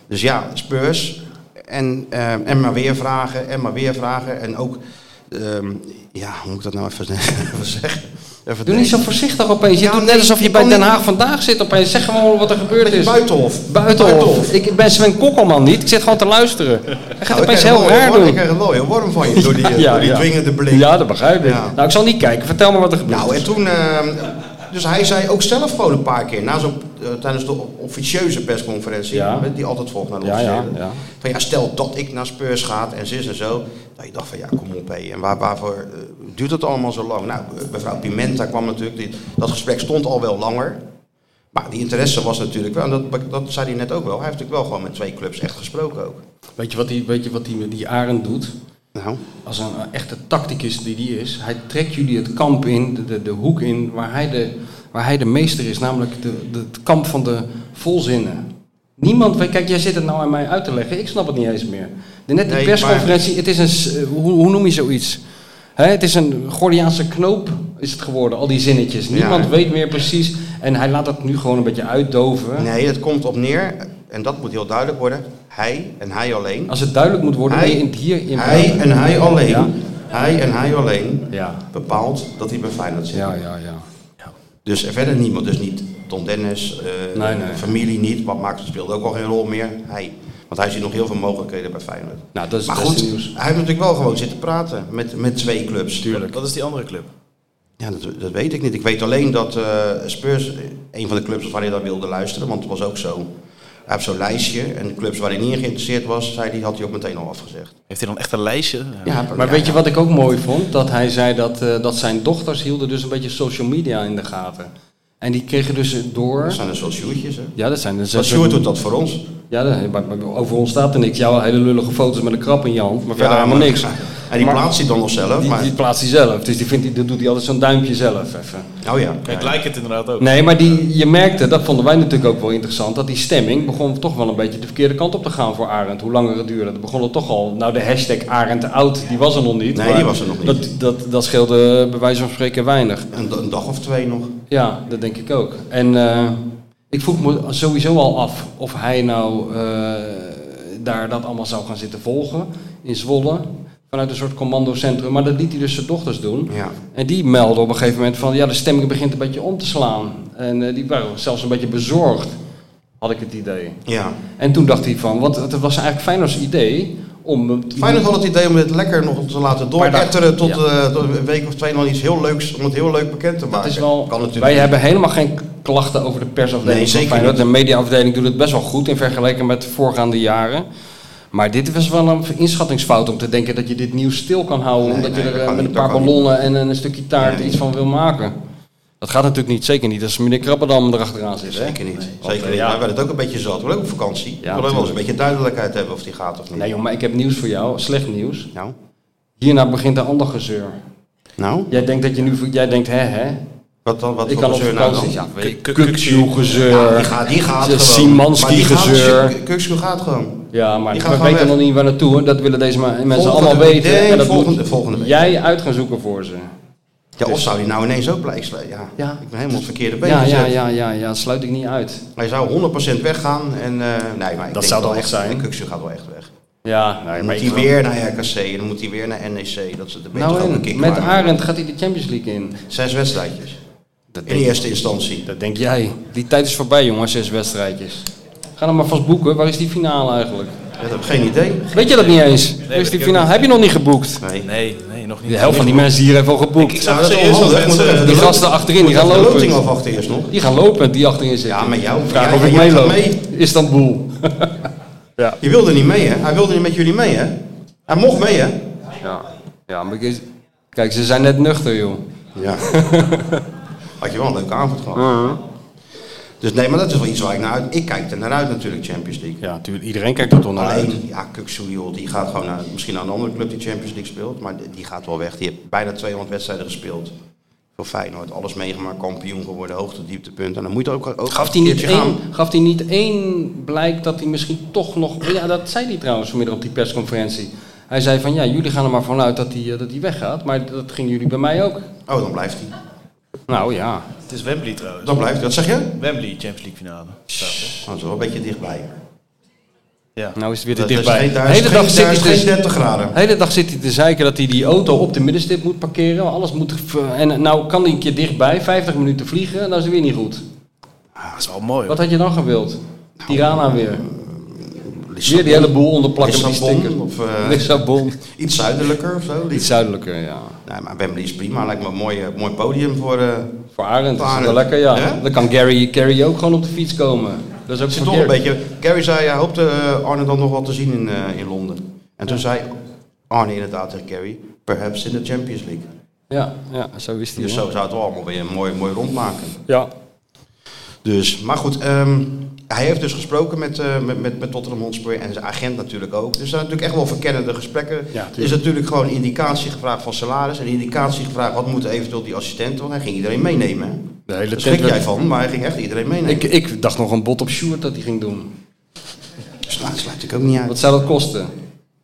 Dus ja, Spurs. En, eh, en maar weer vragen, en maar weer vragen. En ook, ehm, ja, hoe moet ik dat nou even, even zeggen? Even
Doe niet zo voorzichtig opeens. Je
Ja,
doet
nee,
net alsof je
ik
bij
kan
Den
niet-
Haag vandaag zit opeens. Zeg gewoon wat er gebeurd is.
Buitenhof.
Buitenhof. Ik ben Sven Kokkelman niet. Ik zit gewoon te luisteren. Hij gaat
Nou, ik
opeens
krijg
heel
een mooie
raar
warm-
doen.
Ik krijg een mooie warm van je door die, door die dwingende blik.
Ja, dat begrijp ik.
Ja.
Nou, ik zal niet kijken. Vertel me wat er gebeurt.
Nou, en toen... ehm, dus hij zei ook zelf gewoon een paar keer, na zo'n, eh, tijdens de officieuze persconferentie,
Ja.
die altijd volgt naar de
Ja,
officiële,
ja, ja.
van ja, stel dat ik naar Spurs ga en zus en zo. Dat je dacht van ja, kom op hé, en waar, waarvoor eh, duurt het allemaal zo lang? Nou, eh, mevrouw Pimenta kwam natuurlijk, die, dat gesprek stond al wel langer. Maar die interesse was natuurlijk wel, en dat, dat zei hij net ook wel, hij heeft natuurlijk wel gewoon met twee clubs echt gesproken ook.
Weet je wat die, weet je wat die, die Arend doet?
Nou,
Als een eh, echte tacticus die die is. Hij trekt jullie het kamp in, de, de, de hoek in, waar hij de, waar hij de meester is. Namelijk de, de, het kamp van de volzinnen. Niemand weet, kijk, jij zit het nou aan mij uit te leggen. Ik snap het niet eens meer. De, net die
Nee,
persconferentie, het is een, s- eh, hoe, hoe noem je zoiets? Hè, het is een Gordiaanse knoop is het geworden, al die zinnetjes. Niemand
Ja.
weet meer precies. En hij laat dat nu gewoon een beetje uitdoven.
Nee, het komt op neer, en dat moet heel duidelijk worden. Hij en hij alleen.
Als het duidelijk moet worden,
Hij-
ben je in het hier in
Hij en hij alleen.
Ja.
Hij en hij alleen
Ja.
bepaalt dat hij bij Feyenoord zit.
Ja, ja, ja.
Dus er verder niemand. Dus niet Tom Dennis, eh,
Nee, nee.
familie niet. Wat maakt speelde ook al geen rol meer. Hij. Want hij ziet nog heel veel mogelijkheden bij Feyenoord.
Nou, dat is
maar
het beste
goed,
nieuws.
hij heeft natuurlijk wel gewoon zitten praten met, met twee clubs.
Wat is die andere club?
Ja, dat, dat weet ik niet. Ik weet alleen dat eh, Spurs eh, een van de clubs was waar hij naar wilde luisteren, want het was ook zo. Hij heeft zo'n lijstje en de clubs waar hij niet in geïnteresseerd was, zei die had hij ook meteen al afgezegd.
Heeft hij dan echt een lijstje? Ja.
Maar weet je wat ik ook mooi vond? Dat hij zei dat, eh, dat zijn dochters hielden dus een beetje social media in de gaten. En die kregen dus door...
Dat zijn dus wel sjoertjes, hè?
Ja, dat zijn dus...
Dat Sjoerd doet dat voor ons.
Ja, dat- maar- maar over ons staat er niks. Jouw hele lullige foto's met een krap in je hand, maar
Ja,
verder helemaal
maar-
niks.
En die
Maar-
plaatst hij dan nog zelf,
Die,
maar...
die plaatst hij zelf. Dus die vindt, die, dat doet hij altijd zo'n duimpje zelf even.
Oh ja.
Ik lijk het inderdaad ook.
Nee, maar die, je merkte, dat vonden wij natuurlijk ook wel interessant, dat die stemming begon toch wel een beetje de verkeerde kant op te gaan voor Arend. Hoe langer het duurde, dat begon het toch al. Nou, de hashtag Arend oud, die was er nog niet.
Nee,
maar
die was er nog niet.
Dat, dat, dat scheelde eh, bij wijze van spreken weinig.
Een, een dag of twee nog.
Ja, dat denk ik ook. En eh, ik vroeg me sowieso al af of hij nou eh, daar dat allemaal zou gaan zitten volgen in Zwolle. Vanuit een soort commandocentrum. Maar dat liet hij dus zijn dochters doen.
Ja.
En die melden op een gegeven moment van ja, de stemming begint een beetje om te slaan. En eh, die waren zelfs een beetje bezorgd, had ik het idee.
Ja.
En toen dacht hij van, want het was eigenlijk Feyenoord's idee om...
Feyenoord had het idee om het lekker nog te laten doorketteren tot,
Ja.
eh, tot een week of twee nog iets heel leuks, om het heel leuk bekend te maken.
Dat is wel,
Ah, Kan natuurlijk
wij
niet.
hebben helemaal geen klachten over de persafdeling
Nee,
van
zeker
Feyenoord.
niet.
De mediaafdeling doet het best wel goed in vergelijking met de voorgaande jaren. Maar dit was wel een inschattingsfout om te denken dat je dit nieuws stil kan houden.
Nee,
omdat
nee,
je er
dat
eh,
kan
met een
niet,
paar
dat kan niet.
ballonnen en een stukje taart
Nee.
iets van wil maken. Dat gaat natuurlijk niet. Zeker niet als meneer Krabberdam erachteraan zit. Hè?
Zeker niet. Zeker
Want, eh,
niet.
ja.
Wij werden het ook een beetje zat. We willen ook op vakantie. we willen wel eens
tuurlijk.
een beetje duidelijkheid hebben of die gaat of niet.
Nee joh, maar ik heb nieuws voor jou. Slecht nieuws.
Nou?
Hierna begint een ander gezeur.
Nou?
Jij denkt dat je nu... Jij denkt hè hè.
Wat dan? Wat
Ik
voor
kan op
gezeur nou
vakantie.
dan?
Ja, Kuksjoe-gezeur.
Ja, die gaat, die gaat gewoon. Maar die gaat-
Simanski-gezeur.
Kukshoe gaat gewoon.
Ja, maar
Die
ik
gaan gewoon
weet dan
weg.
nog niet waar naartoe. hoor. Dat willen deze ma- mensen
Volgende
allemaal
week.
weten.
Nee,
en dat
volgende-
moet
volgende week.
jij uit gaan zoeken voor ze.
Ja, of zou hij nou ineens ook blijven slaan? Ja,
Dus- Ja.
ik ben helemaal op het verkeerde been
Ja, ja,
gezet.
ja, ja, ja, sluit ik niet uit.
Hij zou 100% weggaan en... eh, nee, maar ik denk
zou
wel
dan
echt
zijn.
Kukshoe gaat wel echt weg.
Ja,
Dan
nee, maar
moet
ik
hij
geloof-
weer naar RKC en dan moet hij weer naar NEC. Dat is de beter ook een
Nou,
kick
en, met
maken.
Arend gaat hij de Champions League in.
Zes wedstrijdjes.
Dat
In
denk,
eerste instantie.
dat denk jij. Die tijd is voorbij, jongen, zes wedstrijdjes. Ga dan maar vast boeken. Waar is die finale eigenlijk?
Dat heb ik geen idee.
Weet je dat niet eens? Waar is die finale? Heb je nog niet geboekt?
Nee.
Nee, nee, nog niet.
De helft van die mensen hier heeft al geboekt.
Nou, dat is
Serieus,
onhandig.
dat
Moet
mensen-
even
Die
de lo-
gasten achterin, die
moet
gaan
even De loting
lopen.
afwachten eerst nog.
Die gaan lopen, die achterin zitten.
Ja, maar jou-
Vraag
jij-
of ik
jij gaat
meeloop.
mee.
Istanbul.
Je wilde niet mee, hè? Hij wilde niet met jullie mee, hè? Hij mocht mee, hè?
Ja, ja maar ik- kijk, ze zijn net nuchter, joh.
Ja. Had je wel een leuke avond gehad. Dus nee, maar dat is wel iets waar ik naar uit... Ik kijk er naar uit natuurlijk, Champions League.
Ja, natuurlijk. Iedereen kijkt er toch naar uit.
Alleen, ja, Kuksu, joh, die gaat gewoon naar, misschien naar een andere club die Champions League speelt. Maar die- die gaat wel weg. Die heeft bijna 200 wedstrijden gespeeld. Voor Feyenoord, alles meegemaakt, kampioen geworden, hoogte, dieptepunt. En dan moet je ook, ook
Gaf hij,
een
niet
keertje gaan.
één, gaf hij niet één blijk dat hij misschien toch nog... Ja, dat zei hij trouwens vanmiddag op die persconferentie. Hij zei van, ja, jullie gaan er maar vanuit dat hij, eh, dat hij weggaat. Maar dat gingen jullie bij mij ook.
Oh, dan blijft hij.
Nou ja.
Het is Wembley trouwens.
Dan blijft hij. Wat zeg je? Oh,
Wembley, Champions League finale.
dat is wel een beetje dichtbij.
Ja.
Nou is het weer
Dat
er
is
dichtbij.
geen-
De
daar is
hele
geen-
dag zit
daar
hij
is geen
te-
30 graden.
de hele dag zit hij te zeiken dat hij die auto op de middenstip moet parkeren. Alles moet... ver- En nou kan hij een keer dichtbij, 50 minuten vliegen. Nou is het weer niet goed.
Ah, dat is wel mooi.
Wat had je dan gewild? Tirana weer. Weer
Nou, eh, Lissabon.
die hele boel onderplakken met die
Lissabon
sticker.
of, eh,
Lissabon.
Iets zuidelijker of zo.
Iets zuidelijker, ja.
Nee, maar Wembley is prima. Lijkt me een mooi, eh, mooi podium voor... eh,
Voor Arend is het
Arend.
wel lekker, ja.
Ja?
Dan kan Gary, Gary ook gewoon op de fiets komen. Dat is ook
Het
voor
zit toch een
Gary.
beetje... Gary zei, hij hoopte eh, Arne dan nog wel te zien in, eh, in Londen. En toen zei Arne inderdaad tegen Gary... Perhaps in de Champions League.
Ja, ja, zo is hij.
Dus
hè.
zo zou het wel allemaal weer mooi, mooi rondmaken.
Ja.
Dus, maar goed, ehm, hij heeft dus gesproken met, eh, met, met, met Tottenham Hotspur en zijn agent natuurlijk ook. Dus er zijn natuurlijk echt wel verkennende gesprekken.
Ja,
er is natuurlijk gewoon indicatie gevraagd van salaris en indicatie gevraagd wat moeten eventueel die assistenten, want hij ging iedereen meenemen. hè.
De hele
Daar
tent
schrik jij
werd-
van, maar hij ging echt iedereen meenemen.
Ik, ik dacht nog een bot op Sjoerd dat hij ging doen.
Sluit, sluit ik ook niet uit.
Wat zou dat kosten?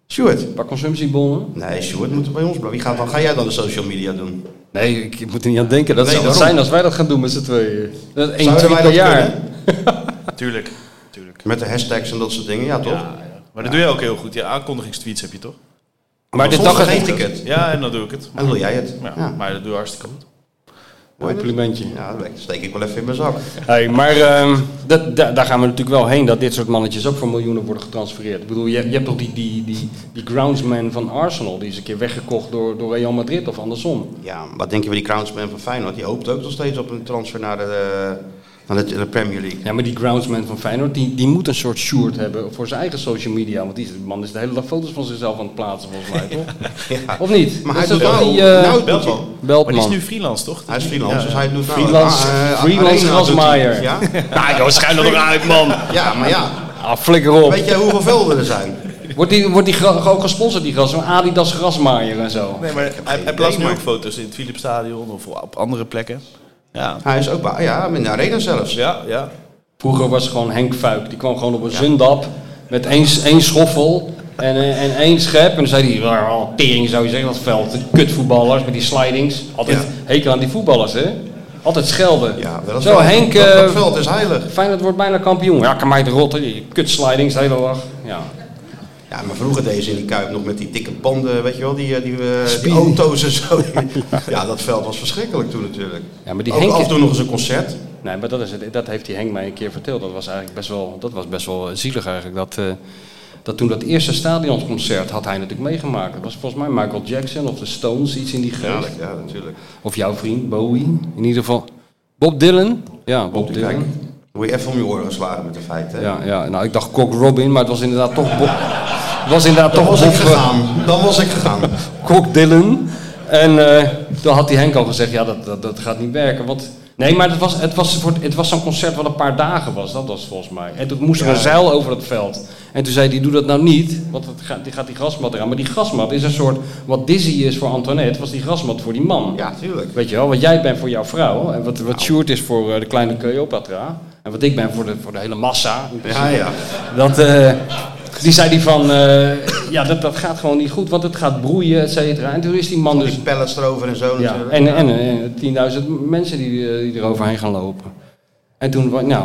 Stuart.
Een paar consumptiebonnen?
Nee, Stuart moet er bij ons blijven. Wie gaat dan, ga jij dan de social media doen?
Nee, ik, ik moet er niet aan denken. Dat
Nee,
zou wat
daarom.
zijn als wij dat gaan doen met z'n tweeën. Dat één
Zouden
tweet
wij
per
dat
jaar.
kunnen?
Tuurlijk. Tuurlijk.
Met de hashtags en dat soort dingen, ja toch?
Ja, ja. Maar dat doe je ook heel goed. Ja, aankondigingstweets heb je toch?
Maar dit
Soms
dag
vergeet
is
ik het.
Ja, en dan doe ik het.
En wil jij het?
Ja,
Ja.
Maar dat doe je hartstikke goed.
een complimentje.
Ja, dat steek ik wel even in mijn zak.
Hey, maar ehm, dat, da- daar gaan we natuurlijk wel heen, dat dit soort mannetjes ook voor miljoenen worden getransfereerd. Ik bedoel, je, je hebt toch die, die, die, die groundsman van Arsenal, die is een keer weggekocht door, door Real Madrid of andersom.
Ja, wat denk je van die crownsman van Feyenoord? Die hoopt ook nog steeds op een transfer naar de, naar de, naar de Premier League.
Ja, maar die groundsman van Feyenoord, die, die moet een soort short hebben voor zijn eigen social media. Want die is- die man is de hele dag foto's van zichzelf aan het plaatsen, volgens mij, toch? Of niet?
Maar
Dat
hij
is
doet
toch
wel.
die, eh,
nou, doet hij.
Beltman. Maar die is
Beltman.
nu freelance, toch?
Hij is freelance, dus hij doet nou...
Freelance-
Ah, eh,
freelance
Arena doet hij.
grasmaaier.
Ja?
Nou joh, schijn er nog uit, man.
ja, maar ja.
Ah, flikker op.
Weet jij hoeveel velden er zijn?
Wordt die, wordt die gra- ook gesponsord, die gras? Zo'n Adidas grasmaaier en zo.
Nee, maar hij, hij
idee,
plaatst nu
maar-
ook foto's in het Philipsstadion of op andere plekken. Ja.
Hij is ook... bij- Ja, in de arena zelfs.
Ja, ja.
Vroeger was het gewoon Henk Fuik. Die kwam gewoon op een zundap met één, één schoffel en, eh, en één schep. En dan zei hij, "Oh, tering zou je zeggen, dat veld. De Kutvoetballers met die slidings. Altijd
Ja.
hekel aan die voetballers, hè? Altijd schelden.
Ja, dat is
Zo,
wel-
Henk,
Dat, dat
eh,
veld is heilig.
Feyenoord wordt bijna kampioen. Ja, kan mij de rotten. Die kutslidings de hele dag. Ja.
Ja, maar vroeger deden ze in die Kuip nog met die dikke banden, weet je wel, die, eh, die, eh, die auto's en zo. Ja, dat veld was verschrikkelijk toen natuurlijk.
Ja, maar die
Ook
Henk-
af en toe nog eens een concert.
Nee, maar dat, is het, dat heeft die Henk mij een keer verteld. Dat was eigenlijk best wel, dat was best wel eh, zielig eigenlijk. Dat, eh, dat toen dat eerste stadionconcert had hij natuurlijk meegemaakt. Dat was volgens mij Michael Jackson of de Stones, iets in die
Ja,
geest.
ja natuurlijk.
Of jouw vriend Bowie, in ieder geval. Bob Dylan? Ja, Bob
Kijk,
Dylan.
word je even om je oren geslagen met de feiten. hè?
Ja, ja, nou ik dacht Cock Robin, maar het was inderdaad toch Bob. Het was inderdaad
Dan
toch
was ik
Bob eh,
gegaan. Dan was ik gegaan.
Cock Dylan. En eh, toen had die Henk al gezegd, ja dat, dat, dat gaat niet werken, want Nee, maar het was, het was, voor, het was zo'n concert wat een paar dagen was. Dat was volgens mij. En toen moest er een zeil over het veld. En toen zei hij, doe dat nou niet, want het gaat, die gaat die grasmat eraan. Maar die grasmat is een soort, wat Dizzy is voor Antoinette, was die grasmat voor die man.
Ja, Nou. tuurlijk.
Weet je wel, wat jij bent voor jouw vrouw. En wat, wat Sjoerd is voor eh, de kleine Cleopatra. En wat ik ben voor de, voor de hele massa. in principe.
Ja, ja.
Dat, eh, die zei die van, eh, ja, dat, dat gaat gewoon niet goed, want het gaat broeien, et cetera. En toen is die man dus...
Die pallets erover en zo.
Ja,
natuurlijk.
en, en, en 10.000 mensen die, eh, die er overheen gaan lopen. En toen, wa- nou,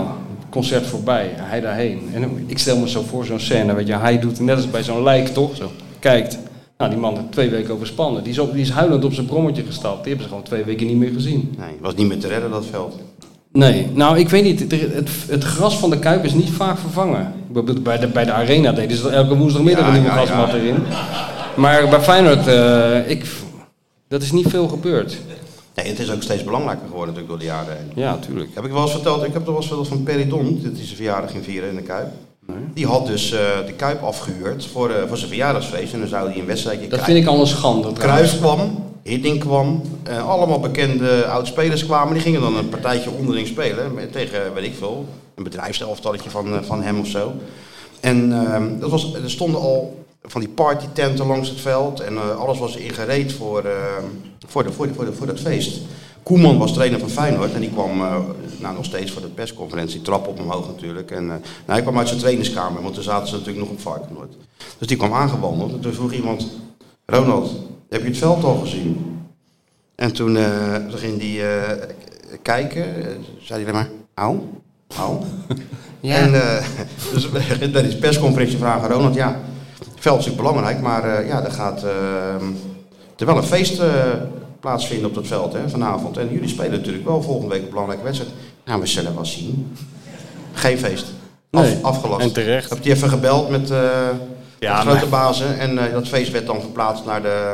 concert voorbij, hij daarheen. En ik stel me zo voor zo'n scène, weet je, hij doet net als bij zo'n lijk, toch? Zo, kijkt. Nou, die man heeft twee weken overspannen. Die is, op, die is huilend op zijn brommetje gestapt. Die hebben ze gewoon twee weken niet meer gezien.
Nee, was niet meer te redden dat veld.
Nee, nou, ik weet niet. Het, het, het gras van de Kuip is niet vaak vervangen. Ik bedoel, Bij de, bij de Arena deden ze elke woensdagmiddag een
Ja,
nieuwe
ja,
grasmat
ja.
erin. Maar bij Feyenoord, eh, ik, dat is niet veel gebeurd.
Nee, het is ook steeds belangrijker geworden natuurlijk door de jaren heen.
Ja, tuurlijk.
Heb ik wel eens verteld, ik heb er wel eens verteld van Peridon, dat is zijn verjaardag ging vieren in de Kuip. Die had dus eh, de Kuip afgehuurd voor, eh, voor zijn verjaardagsfeest en dan zou hij een wedstrijdje
Dat vind ik al een schande. trouwens.
Kruis kwam, Hiddink kwam, eh, allemaal bekende oudspelers kwamen. Die gingen dan een partijtje onderling spelen met- tegen, weet ik veel, een bedrijfselftalletje van, eh, van hem of zo. En ehm, dat was, er stonden al van die partytenten langs het veld en eh, alles was ingereed voor, ehm, voor, de, voor, de, voor, de, voor dat feest. Koeman was trainer van Feyenoord en die kwam eh, nou, nog steeds voor de persconferentie, trap op omhoog natuurlijk. En, eh, nou, hij kwam uit zijn trainingskamer, want toen zaten ze natuurlijk nog op Varkenoord. Dus die kwam aangewandeld en toen vroeg iemand, Ronald, heb je het veld al gezien? En toen, eh, toen ging hij kijken, eh, zei hij alleen maar, auw, auw.
Ja.
En eh dus bij die persconferentie vragen aan Ronald, ja, het veld is natuurlijk belangrijk, maar eh, ja, er gaat eh, er wel een feest eh, plaatsvinden op dat veld hè, vanavond. En jullie spelen natuurlijk wel volgende week een belangrijke wedstrijd. Nou, we zullen wel zien. Geen feest. Af,
Nee,
afgelast.
en terecht.
Heb je even gebeld met eh,
Ja,
de grote
maar-
bazen en eh, dat feest werd dan verplaatst naar de,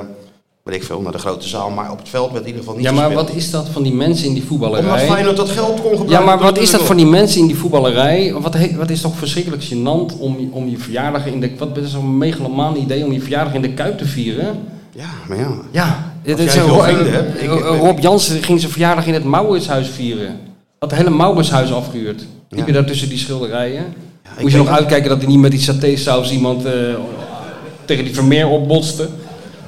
weet ik veel, naar de grote zaal. Maar op het veld werd in ieder geval niet
Ja, maar
gespeeld.
wat is dat van die mensen in die
Omdat
voetballerij?
Feyenoord dat geld kon gebruiken.
Ja, maar wat
natuurlijk
is dat
wel.
van die mensen in die voetballerij? Wat, he- wat is toch verschrikkelijk gênant om, je- om je verjaardag in de... Wat is zo'n megalomaan idee om je verjaardag in de Kuip te vieren?
Ja, maar ja.
Ja, dit
jij
is
veel
Ro-
vrienden hebt, ik-
Ro-
ik-
Rob Jansen ging zijn verjaardag in het Mauritshuis vieren. Had het hele Mauritshuis afgehuurd. Liep je daar tussen die schilderijen? Moest je
weet
nog
het.
uitkijken dat hij niet met die satésaus iemand eh, tegen die Vermeer opbotste?
ik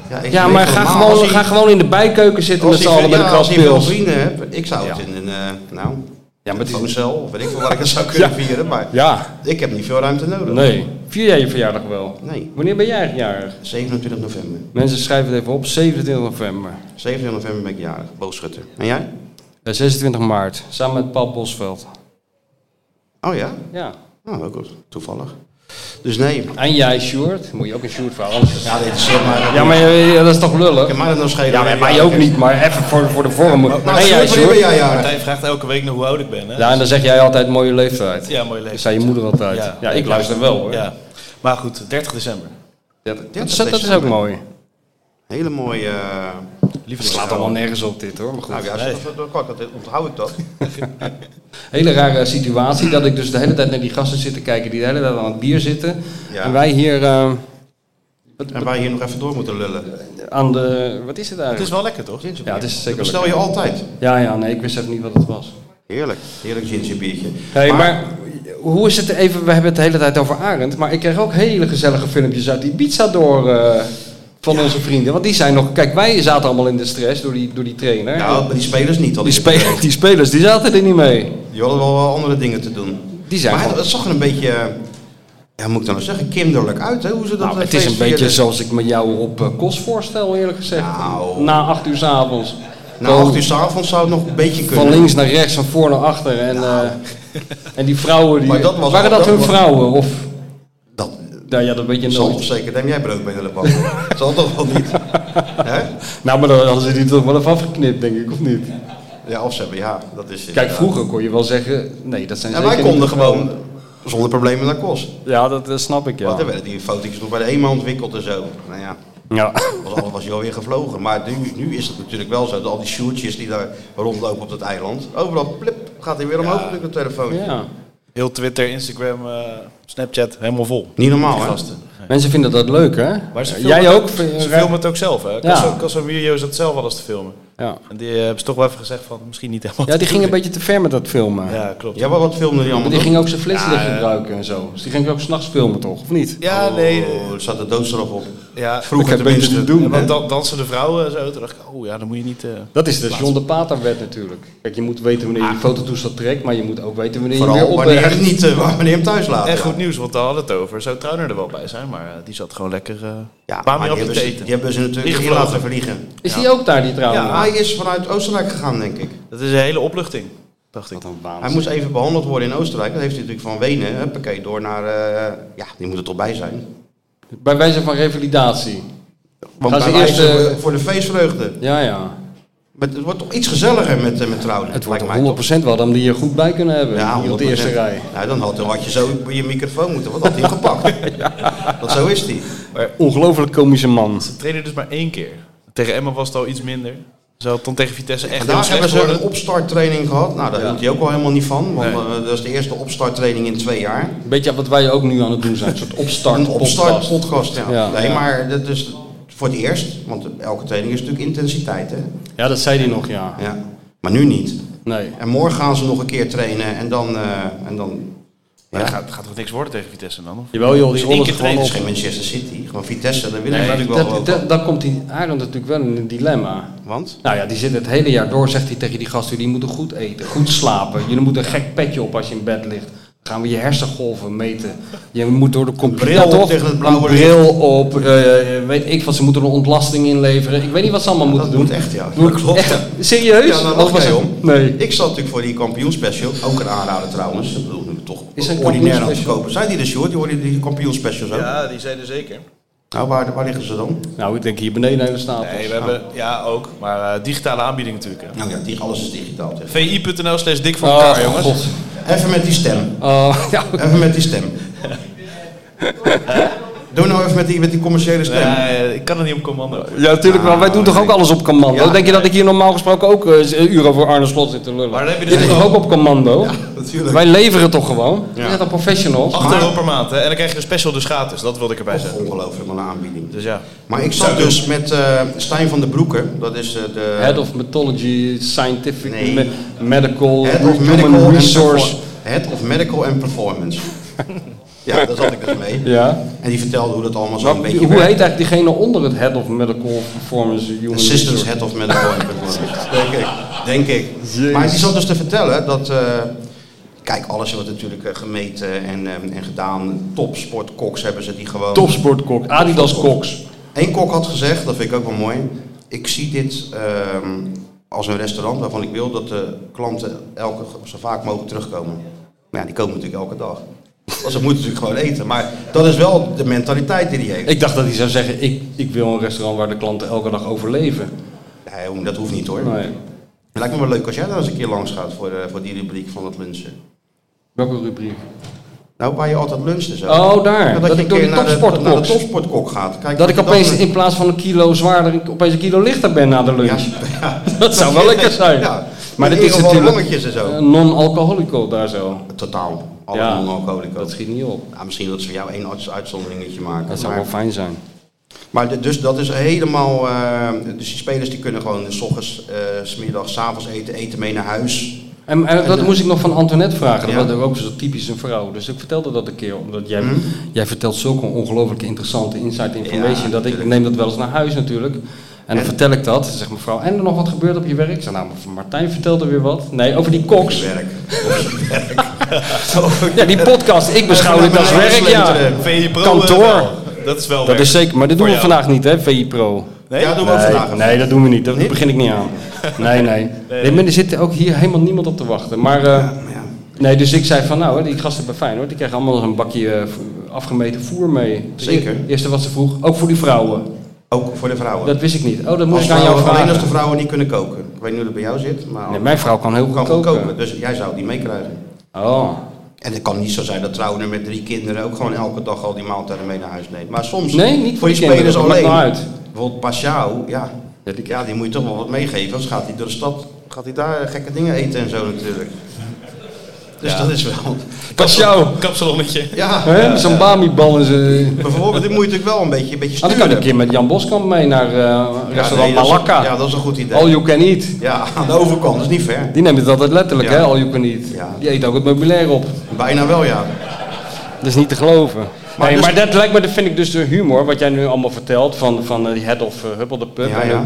Ja,
weet
maar
wel,
ga
als
gewoon,
hij-
ga gewoon in de bijkeuken zitten
Als
met
ik
z'n allen bij de
ja, als ik veel
kraspils.
vrienden heb, ik zou het in een, eh, nou, ja,
Ja,
met
maar het is-
een cel of weet ik veel waar ik het zou kunnen vieren, maar
Ja,
ik heb niet veel ruimte nodig.
nee. Vier jij je verjaardag wel?
Nee.
Wanneer ben jij eigenlijk jarig?
27 november.
Mensen schrijven het even op, 27 november.
27 november ben ik jarig, boogschutter. En jij?
Eh, 26 maart, samen met Paul Bosveld.
Oh ja?
Ja.
Nou, ook goed. Toevallig. Dus nee.
En jij, Sjoerd? Moet je ook een Sjoerd verhaal anders.
Ja, dit is zeg maar...
Ja, maar je- ja, dat is toch lullig?
Kan mij dat nou schelen?
Ja, maar mij ook niet, maar even voor, voor de vorm.
Maar
en
Sjoerd, wanneer
jij,
Nou, ben
Sjoerd?
jij jarig?
Martijn vraagt elke week nog hoe oud ik ben. Hè?
Ja, en dan zeg jij altijd mooie leeftijd.
Ja, mooie leeftijd.
Dat zei je moeder altijd. Ja, ik luister wel hoor.
Ja. Maar goed, 30 december.
Dat, dat,
dat
is- dat is ook
decemmer.
mooi.
Hele mooie... eh
Het slaat allemaal nergens op dit hoor, maar goed.
nou ja,
Nee.
dat, dat, dat, dat- dat- onthoud ik dat.
Hele rare situatie dat ik dus de hele tijd naar die gasten zit te kijken die de hele tijd aan het bier zitten.
Ja.
En wij hier eh, wat-
En wij hier nog even door moeten lullen.
aan de. Wat is het
Het is
eigenlijk?
wel lekker, toch?
Ja, het is zeker.
Bestel je
lekker.
altijd.
Ja, ja, nee, ik wist even niet wat het was.
Heerlijk. Heerlijk gingerbiertje.
Hey, maar hoe is het even? We hebben het de hele tijd over Arend, maar ik kreeg ook hele gezellige filmpjes uit Ibiza door eh, van onze vrienden. Want die zijn nog. Kijk, wij zaten allemaal in de stress door die, door die trainer.
Nou, maar die spelers niet. al
die, spe- die spelers die zaten er niet mee.
Die hadden wel eh, andere dingen te doen.
Die zijn
maar
gewoon-
het zag er een beetje, eh, ja, hoe moet ik dan nou zeggen, kinderlijk uit. Hè? Hoe ze dat
Nou,
eh,
het is een
feest
beetje
vierden.
zoals ik me jou op eh, kost voorstel, eerlijk gezegd.
Nou.
Na acht uur s'avonds.
Na acht uur s'avonds zou het nog een beetje kunnen.
Van links naar rechts, van voor naar achter. En, eh, en die vrouwen, die,
Nou. Maar dat was-
waren dat,
dat
hun
was-
vrouwen? Of,
Dat eh,
nou ja, dat weet je
zal
nooit.
toch zeker. Neem jij brood bij de bak? zal toch wel niet? Hè?
Nou, maar dan hadden ze die toch wel even afgeknipt, denk ik, of niet?
Ja, of ze hebben, ja, dat is...
Kijk, vroeger kon je wel zeggen, nee, dat zijn
En
zeker
wij konden
niet de vrouwen.
gewoon zonder problemen naar Kos.
Ja, dat, eh, snap ik, ja.
Want dan werden die fotootjes nog bij de EMA ontwikkeld en zo. Nou ja,
Ja,
was, alles was je alweer gevlogen. Maar nu, nu is het natuurlijk wel zo. dat Al die sjoertjes die daar rondlopen op dat eiland. Overal, plip, gaat hij weer omhoog natuurlijk dat telefoontje.
ja.
Heel Twitter, Instagram, eh, Snapchat, helemaal vol.
Niet normaal,
Die
hè?
gasten.
Mensen vinden dat leuk, hè?
Maar ze
Jij
filmen
ook? eh,
het- Ze filmen het ook zelf, hè?
Ja.
Casso Casso Mirios dat zelf alles te filmen.
Ja.
En die eh, hebben ze toch wel even gezegd van misschien niet helemaal.
ja, die ging een beetje te ver met dat filmen.
Ja, klopt.
Ja, maar wat filmden die
Maar
allemaal?
die
op?
ging ook zijn flitslicht gebruiken en zo. Dus die ging ook s'nachts filmen toch, of niet?
Ja, nee. eh,
Oh, er zat de doodstraf op.
Ja,
Vroeger dat kan je beter tenminste. niet doen,
Ja, want
hè?
dan dansen de vrouwen en zo. Toen dacht ik, oh ja, dan moet je niet... eh,
Dat is de John de Pater-wet natuurlijk. Kijk, je moet weten wanneer je de fototoestel trekt, maar je moet ook weten wanneer je
Ah. Vooral
weer
wanneer
opbergt.
hem niet, eh, wanneer hem thuis laten.
En goed nieuws, want daar hadden we het over. Zou Trouwner er wel bij zijn, maar eh, die zat gewoon lekker... eh
Ja,
baan
maar
meer
die
op je
hebben, ze,
teten.
die hebben ze natuurlijk niet
Ingevlogen.
laten vliegen.
Is die ook daar, die trouwens?
Ja, hij is vanuit Oostenrijk gegaan, denk ik.
Dat is een hele opluchting, dacht ik.
Wat een
Hij
waanzin.
moest even behandeld worden in Oostenrijk. Dat heeft hij natuurlijk van Wenen, huppakee, door naar... eh, ja, die moet er toch bij zijn.
Bij wijze van revalidatie.
Want
Gaan ze
bij
eerst,
wijze
eh,
voor de feestvreugde.
Ja, ja.
Maar het wordt toch iets gezelliger met, eh, met trouwen.
Het wordt
lijkt mij
100% wel dat we die er goed bij kunnen hebben.
Ja,
Hier op de
100%.
eerste rij.
Nou, dan had, had je zo je microfoon moeten, want had hij hem gepakt. Want zo is die.
Eh, Ongelooflijk komische man.
Ze trainen dus maar één keer. Tegen Emma was het al iets minder. Ze had dan tegen Vitesse echt heel
Vandaag hebben
slecht
ze een
worden.
opstarttraining gehad. Nou, daar hield hij ook al helemaal niet van. Want
Nee.
eh, dat is de eerste opstarttraining in twee jaar.
Beetje wat wij ook nu aan het doen zijn. Een soort
Een
opstart
opstart
podcast.
podcast, ja.
Ja.
nee,
Ja.
maar dat is voor het eerst. Want elke training is natuurlijk intensiteit, hè.
Ja, dat zei hij nog, ja.
Ja. Maar nu niet.
Nee.
En morgen gaan ze nog een keer trainen en dan... eh, en dan
Ja, dat gaat, gaat toch niks worden tegen Vitesse dan? Of?
Jawel joh, die
één
rollen
keer
het gewoon
het
op.
is geen Manchester City, gewoon Vitesse. Daar willen ze
Nee,
natuurlijk wel
dat,
over.
dat, dan komt die Arend natuurlijk wel in een dilemma.
Want?
Nou ja, die zit het hele jaar door, zegt hij tegen die gasten, jullie moeten goed eten, goed slapen. Jullie moeten een gek petje op als je in bed ligt. Dan gaan we je hersengolven meten. Je moet door de computer...
bril op
toch?
tegen het blauwe
Een bril op, eh, weet ik wat, ze moeten een ontlasting inleveren. Ik weet niet wat ze allemaal
Ja,
moeten
dat
doen.
moet echt, ja.
Doe
Dat
ik
klopt,
echt-
ja.
Serieus?
Ja, nou, lach
Of was
jij
het-
om.
Nee.
Ik zat natuurlijk voor die kampioenspecial, ook een aanrader trouwens. Ik bedoel, nu toch
Is er een
ordinair aan te
kampioenspecial?
kopen. Zijn die er, Sjoerd? Die hoorden die kampioenspecials ook?
Ja, die zijn er zeker.
Nou, waar, waar liggen ze dan?
Nou, ik denk hier beneden hele staat. Ah.
Nee, we hebben... Ja, ook. Maar eh, digitale aanbieding natuurlijk. hè.
Nou ja, die, alles is digitaal. zeg.
VI.nl slash dik van
Oh,
elkaar, jongens.
god.
Even met die stem.
Oh, ja.
Even met die stem. Doe nou even met die, met die commerciële stem.
Nee, ik kan er niet op commando.
Ja, natuurlijk wel. Wij doen toch ook alles op commando?
Ja.
Denk je dat ik hier normaal gesproken ook eh, uren voor Arne Slot zit te lullen?
Maar dan heb je
Dit
dus
is toch ook op commando?
natuurlijk.
Wij leveren toch gewoon? Oh. Je bent al professionals.
8 euro per maand, hè. En dan krijg je een special dus gratis. Dat wilde ik erbij zeggen.
Ongelooflijk, wat een aanbieding.
Dus ja.
Maar ik zat dus met eh, Stijn van den Broeken. Dat is eh, de...
Head of Mythology, Scientific,
Nee.
me- Medical,
Head of
Human
Medical and
Resource.
Perfor- Head of Medical and Performance. ja, daar zat ik dus mee.
Ja.
En die vertelde hoe dat allemaal
Maar
zo'n
hoe
beetje
heet
werkt.
eigenlijk diegene onder het Head of Medical Performance Human
Assistance
Resource?
Head of Medical and Performance. Denk ik. Denk ik. Maar die zat dus te vertellen dat... eh, kijk, alles wordt natuurlijk eh, gemeten en, eh, en gedaan. Topsportkoks hebben ze die gewoon...
Topsportkok, Adidas Koks.
Eén kok had gezegd, dat vind ik ook wel mooi. Ik zie dit ehm, als een restaurant waarvan ik wil dat de klanten elke, zo vaak mogelijk terugkomen. Maar ja, die komen natuurlijk elke dag. Want ze moeten natuurlijk gewoon eten. Maar dat is wel de mentaliteit die hij heeft.
Ik dacht dat hij zou zeggen, ik, ik wil een restaurant waar de klanten elke dag overleven.
Nee, jongen, dat hoeft niet hoor.
Nee.
Het lijkt me wel leuk als jij daar eens een keer langs gaat voor, eh, voor die rubriek van het lunchen.
Welke rubriek?
Nou, waar je altijd luncht zo.
Oh, daar.
Ja,
Dat
je
ik
een
door
keer
die
naar de-
topsportkoks-
naar de topsportkok gaat. Kijk,
Dat ik opeens
dat-
in plaats van een kilo zwaarder, ik opeens een kilo lichter ben na de lunch. Dat zou wel lekker zijn.
Ja.
Maar
In
dit
ieder
is
geval
natuurlijk
lammetjes en zo.
eh, non-alcoholico daar zo.
Totaal. Alle
Ja,
non-alcoholico.
Dat schiet niet op.
Ja, misschien dat ze voor jou één uitz- uitzonderingetje maken.
Dat zou
maar
wel fijn zijn.
maar de- dus dat is helemaal. eh, dus die spelers die kunnen gewoon s ochtends, eh, s smiddags, s avonds eten, eten mee naar huis.
En, en dat
de-
moest ik nog van Antoinette vragen.
eh, Ja. Mhm.
Dat was ook zo typisch een vrouw. Dus ik vertelde dat een keer. Omdat jij, jij vertelt zulke ongelooflijk interessante insight information.
Ja,
dat ik
natuurlijk.
neem dat wel eens naar huis natuurlijk. En dan
En-
vertel ik dat. Dan zegt mevrouw, en er nog wat gebeurd op je werk? Ik zei, nou, Martijn vertelde weer wat. Nee, over die koks.
Werk.
Ja, die podcast. Ik beschouw dit als werk, ja.
VI Pro, eh,
Kantoor.
wel. Dat is wel
Dat
werk.
is zeker, maar dit doen we
Voor jou.
vandaag niet, hè, VI Pro.
Nee?
Ja, doen we ook vandaag.
Nee, nee, dat doen we niet. Daar begin ik niet aan. Nee, nee. nee. maar er zit ook hier helemaal niemand op te wachten. Maar, eh, Nee, dus ik zei van nou, hè, die gasten bij Feyenoord, die krijgen allemaal een bakje eh, v- afgemeten voer mee. Dus
Zeker.
e- Eerste wat ze vroeg, ook voor die vrouwen.
Ook voor de vrouwen.
Dat wist ik niet. Oh, dat
Als
moest ik aan jou
vrouwen- alleen als de
vragen.
vrouwen niet kunnen koken. Ik weet niet hoe dat bij jou zit, maar
Nee, mijn vrouw kan heel
kan
goed
goed
koken.
koken. Dus jij zou die meekrijgen.
Oh,
En het kan niet zo zijn dat trouwen met drie kinderen ook gewoon elke dag al die maaltijden mee naar huis neemt. Maar soms
Nee, niet voor
voor die
die kinderen,
spelers
dat maakt
alleen.
nou uit.
Bijvoorbeeld Pashao, ja.
Ja,
Ja,
die-
die, moet je toch wel wat meegeven. Anders gaat hij door de stad, gaat hij daar gekke dingen eten en zo natuurlijk. Dus dat is wel.
Pasjouw.
Kapsalonnetje.
Ja,
Hè? Zo'n Bami-bal eh. in zijn...
bijvoorbeeld, dit moet je natuurlijk wel een beetje, een beetje
Ah, dan
sturen.
kan ik een keer met Jan Boskamp mee naar eh restaurant
nee, dat is-
Malakka.
ja, dat is een goed idee.
All you can eat.
Ja, aan de overkant, dat is niet ver.
Die neemt het altijd letterlijk,
Ja.
hè? All you can eat.
Ja.
Die eet ook het meubilair op.
Bijna wel, ja.
Dat is niet te geloven. Maar,
dus-
maar dat lijkt me, dat vind ik dus de humor, wat jij nu allemaal vertelt van, van eh, die head of eh, Huppel de Pub.
Ja,
en,
ja.
eh,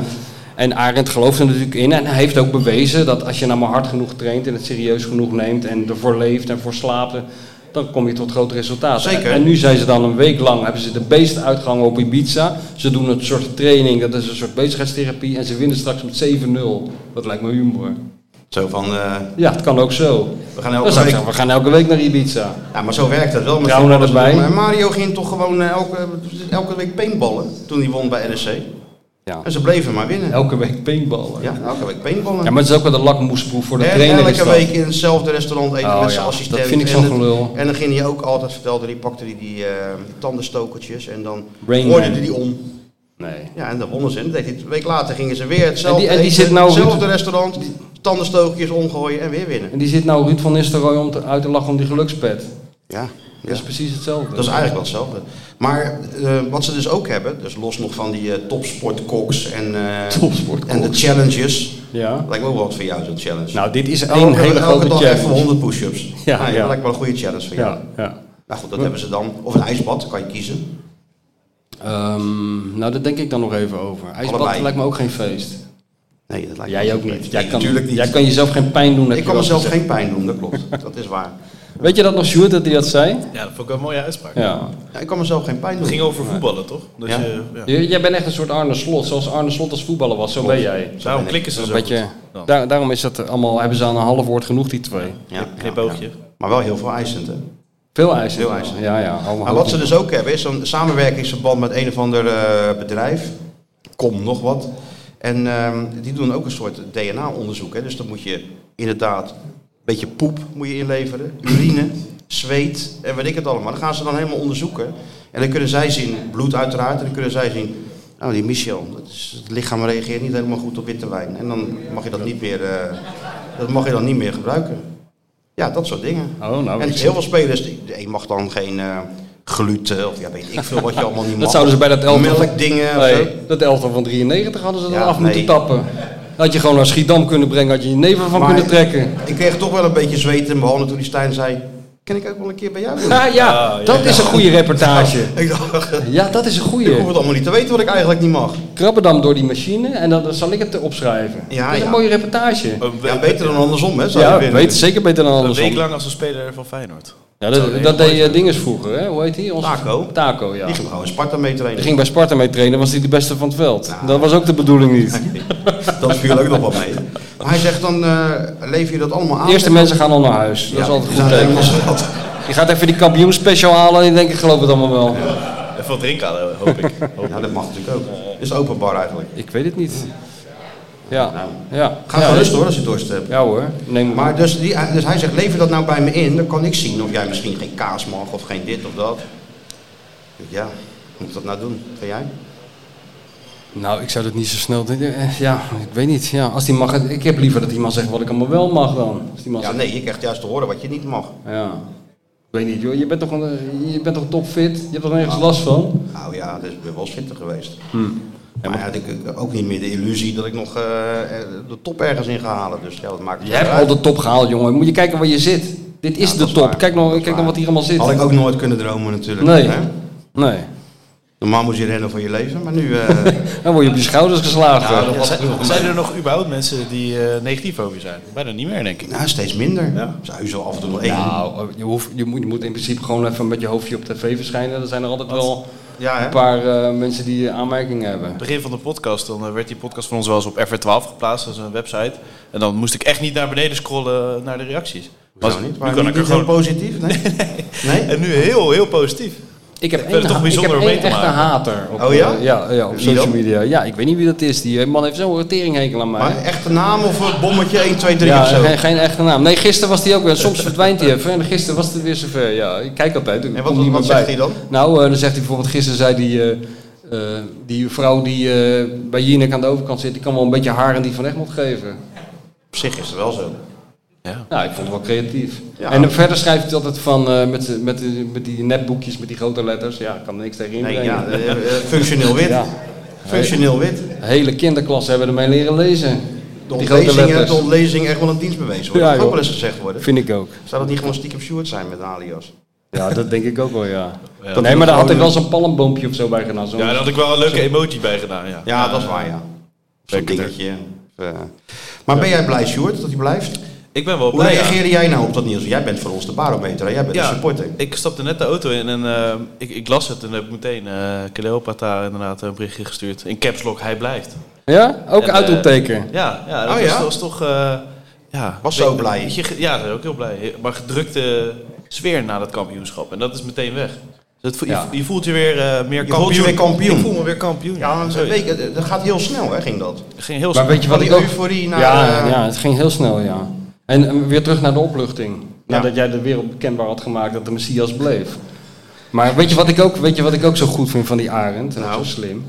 en Arend gelooft er natuurlijk in en hij heeft ook bewezen dat als je nou maar hard genoeg traint en het serieus genoeg neemt en ervoor leeft en voor slaapt, eh, dan kom je tot grote resultaten.
Zeker.
En nu zijn ze dan een week lang, hebben ze de beestuitgang op Ibiza. Ze doen een soort training, dat is een soort bezigheidstherapie en ze winnen straks met 7-0. Dat lijkt me humor.
Zo van, eh,
Ja, het kan ook zo.
we gaan elke
Dan zou ik
week...
zeggen, we gaan elke week naar Ibiza.
Ja, maar zo werkt dat wel. Met
Trouwen
voetballers.
erbij.
Maar Mario ging toch gewoon eh, elke, elke week paintballen toen hij won bij NEC.
Ja.
En ze bleven maar winnen.
Elke week paintballen.
Ja, elke week paintballen.
Ja, maar het is ook wel de lakmoesproef voor de
En
trainer. is
elke
dat.
week in hetzelfde restaurant eten
Oh
met
ja,
zijn
dat
assistent.
vind ik
En
zo'n
het-
gelul.
En dan ging hij ook altijd, vertelde hij, pakte hij die eh, tandenstokertjes en dan
Rain
gooide
Man.
hij die om.
Nee.
Ja, en dan wonnen ze. En dat deed hij- een week later gingen ze weer hetzelfde
En die- en die
eten,
zit nou-
hetzelfde restaurant, tandenstokertjes omgooien en weer winnen.
En die zit nou Ruud van Nistelrooy om te, uit te lachen om die gelukspet.
Ja, ja.
Dat is precies hetzelfde.
Dat is eigenlijk wel hetzelfde. Maar eh, wat ze dus ook hebben, dus los nog van die eh topsportkoks en, eh, en de challenges.
Ja.
Lijkt me ook wel wat voor jou zo'n challenge.
Nou, dit is
elke,
één hele
elke
grote
dag even
challenge.
100 push-ups.
Ja,
Nee,
ja.
Dat lijkt me wel een goede challenge voor jou.
Ja, ja.
Nou goed, dat hebben ze dan. Of een ijsbad, kan je kiezen.
Ehm, nou, daar denk ik dan nog even over. IJsbad
Allebei.
lijkt me ook geen feest.
Nee, dat lijkt me
Jij ook
geen
niet.
feest.
Jij
Nee,
kan,
natuurlijk niet.
jij kan jezelf geen pijn doen. heb
ik
je
kan
wel
mezelf
gezegd.
geen pijn doen, dat klopt. dat is waar.
Weet je dat nog, Sjoerd, dat hij dat zei?
Ja, dat vond ik wel een mooie uitspraak.
Ja.
Ja, ik kan mezelf geen pijn
Het
doen.
ging over voetballen, toch? Dat
Ja.
je, ja.
J- Jij bent echt een soort Arne Slot. Zoals Arne Slot als voetballer was, zo ben jij.
Daarom klikken ze
Een
zo
beetje,
goed. Dan.
daar- daarom is dat allemaal, hebben ze aan een half woord genoeg, die twee.
Ja,
Knipoogje.
Maar wel heel veel eisend, hè.
Veel eisen.
Veel eisen.
Ja, ja. Allemaal
Maar wat ze dus ook hebben is zo'n samenwerkingsverband met een of ander eh, bedrijf. Kom, nog wat. En ehm, die doen ook een soort DNA-onderzoek. Hè? Dus dan moet je inderdaad een beetje poep moet je inleveren, urine, zweet en weet ik het allemaal. Dan gaan ze dan helemaal onderzoeken. En dan kunnen zij zien, bloed uiteraard, en dan kunnen zij zien... Nou, die Michel, dat is, het lichaam reageert niet helemaal goed op witte wijn. En dan mag je dat niet meer, eh, dat mag je dan niet meer gebruiken. Ja, dat soort dingen.
Oh, nou,
en dus
ik-
heel veel spelers, die- de een mag dan geen eh, gluten of ja, weet ik veel wat je allemaal niet mag.
Dat zouden ze bij dat elftal...
Melkdingen of zo.
Nee, dat elftal van 93 hadden ze dan
Ja,
af moeten
nee.
tappen. Had je gewoon naar Schiedam kunnen brengen, had je je neven van
Maar-
kunnen trekken.
Ik kreeg toch wel een beetje zweet in mijn handen toen die Stijn zei, kan ik ook wel een keer bij jou doen?
Ah, ja, dat is een goede reportage.
Ik dacht, ik
Ja, dat is een
hoef
goede.
het allemaal niet te weten wat ik eigenlijk niet mag.
Krabben dan door die machine en dan, dan zal ik het opschrijven.
Ja,
dat is
ja.
een mooie reportage.
Oh, we-
Ja, beter dan andersom, hè? zou je
Ja,
willen.
weet zeker beter dan
Een week
andersom.
lang als een speler van Feyenoord.
Ja, dat, dat deed eh, Dinges vroeger, hè? hoe heet hij?
Taco.
Taco, ja.
Die ging gewoon Sparta mee trainen.
Die ging bij Sparta mee trainen, was hij de beste van het veld. Dat was ook de bedoeling niet.
Dat viel ook nog wel mee. Maar hij zegt dan, eh, lever je dat allemaal aan?
De eerste mensen gaan al naar huis. Dat
Ja,
is altijd
ja,
goed teken.
dat was wat.
Je gaat even die kampioenspecial halen en ik denk, ik geloof het allemaal wel.
En van drinken hadden, hoop ik. Hoop
Ja,
ik.
dat mag natuurlijk ook. Is openbaar eigenlijk.
Ik weet het niet. Ja, ja.
Nou, Ga
ja,
gewoon rustig hoor, als je dorst hebt.
Ja hoor, neem maar.
Maar dus, die, dus hij zegt, lever dat nou bij me in, dan kan ik zien of jij misschien geen kaas mag of geen dit of dat. Ik, Ja, moet ik dat nou doen? Vind jij?
Nou, ik zou dat niet zo snel doen. Eh, Ja, ik weet niet. Ja, als die mag, ik heb liever dat die man zegt wat ik allemaal wel mag dan. Als die man
Ja,
zegt-
nee, je krijgt juist te horen wat je niet mag.
Ja. Ik weet niet joh, je bent toch, een, je bent toch topfit? Je hebt er nergens last van?
Nou ja, dat is ik ben wel fitter geweest.
Hmm.
maar ja, ik heb ook niet meer de illusie dat ik nog eh, eh, de top ergens in ga halen. Dus ja, dat maakt
Je hebt al de top gehaald jongen. Moet je kijken waar je zit. Dit is
Ja, dat
de
is
top.
waar.
Kijk nou,
Dat is
kijk nou
waar.
wat hier allemaal zit.
Had ik ook nooit kunnen dromen natuurlijk.
Nee.
Hè?
Nee.
Normaal moest je rennen voor je leven, maar nu... eh,
Dan word je op je schouders geslagen.
Ja, dat
Ja,
was
zijn-
toen nog een
zijn er nog überhaupt mensen die eh, negatief over je zijn? Bijna niet meer, denk ik.
Nou, steeds minder. Zou zo af en toe nog één.
Nou, je, hoeft, je, moet, je moet in principe gewoon even met je hoofdje op tv verschijnen. Er zijn er altijd wel
Ja, hè?
een paar eh, mensen die eh, aanmerkingen hebben.
begin van de podcast, dan eh, werd die podcast van ons wel eens op FR12 geplaatst, dat is een website. En dan moest ik echt niet naar beneden scrollen eh, naar de reacties.
Hoezo
Was-
niet?
Nu
Waarom
kan
niet,
ik er
niet heel
gewoon...
positief? Nee? nee?
En nu heel, heel positief.
Ik heb
vind het
één,
toch
ha- ik
bijzonder
heb
om mee
één
te
echte
maken.
hater op,
Oh ja?
eh, ja, ja, op
Wie dan?
social media. Ja, ik weet niet wie dat is. Die eh, man heeft zo'n teringhekel aan mij.
Maar echte naam of een bommetje 1, 2, 3
ja,
of zo?
geen, geen echte naam. Nee, gisteren was hij ook weer. Soms verdwijnt hij even. En gisteren was het weer zover. Ja, ik kijk altijd. ik
En
kom
wat,
niet
wat
meer
zegt
bij.
hij dan?
Nou, eh, dan zegt hij bijvoorbeeld, gisteren zei die, eh, eh, die vrouw die eh, bij Jinek aan de overkant zit, die kan wel een beetje haar en die van Egmond geven.
Op zich is het wel zo.
Ja.
Nou, ik vond het wel creatief.
Ja.
En verder schrijft hij altijd van, eh, met, de- met, de- met die nepboekjes, met die grote letters. Ja, ik kan er niks tegen
Nee,
inbrengen.
ja, eh, eh, functioneel wit.
Ja.
Functioneel wit.
Hele kinderklassen hebben ermee leren lezen.
De
Die grote
ontlezing,
letters.
de ontlezing echt wel een dienst bewezen wordt.
Ja,
dat kan ook
joh.
wel eens gezegd worden.
Vind ik ook.
Zou dat niet gewoon stiekem Sjoerd zijn met een alias?
Ja, dat denk ik ook wel, ja. nee, maar daar had ik wel zo'n palmboompje of zo bij gedaan. Zo'n
Ja, daar had ik wel een leuke emoji bij gedaan. Ja,
Ja, dat is waar, ja. Zo'n
Zeker.
dingetje. Eh, Maar ben jij blij, Sjoerd, dat hij blijft?
Ik ben wel
Hoe
blij. ja.
reageerde jij nou op dat nieuws? Jij bent voor ons de barometer, hè? jij bent
Ja,
de supporter.
Ik stapte net de auto in en eh, ik, ik las het en heb meteen eh Cleopatra inderdaad een berichtje gestuurd. In caps lock, hij blijft.
Ja? Ook
En, eh,
uitroepteken.
Ja, ja dat
Oh,
was,
ja?
was toch... eh, ja,
Was zo
weet-
blij.
weet je, ge- ja, dat was ook heel blij. Maar gedrukte sfeer na dat kampioenschap. En dat is meteen weg. Dus het vo- je,
Ja.
je voelt je weer eh, meer
Je
kampioen.
voelt je weer kampioen.
Ik voel me weer kampioen.
Ja, maar
Zoiets.
weet je, eh, dat gaat heel snel, hè, ging dat?
Het ging heel
Maar
snel.
weet je wat
Van
ik
die
ook...
euforie naar,
ja,
eh,
ja, het ging heel snel, ja. En eh, weer terug naar de opluchting. Nadat jij de wereld bekendbaar had gemaakt dat de Messias bleef. Maar weet je wat ik ook, weet je wat ik ook zo goed vind van die Arend? En
Nou?
nou. zo slim.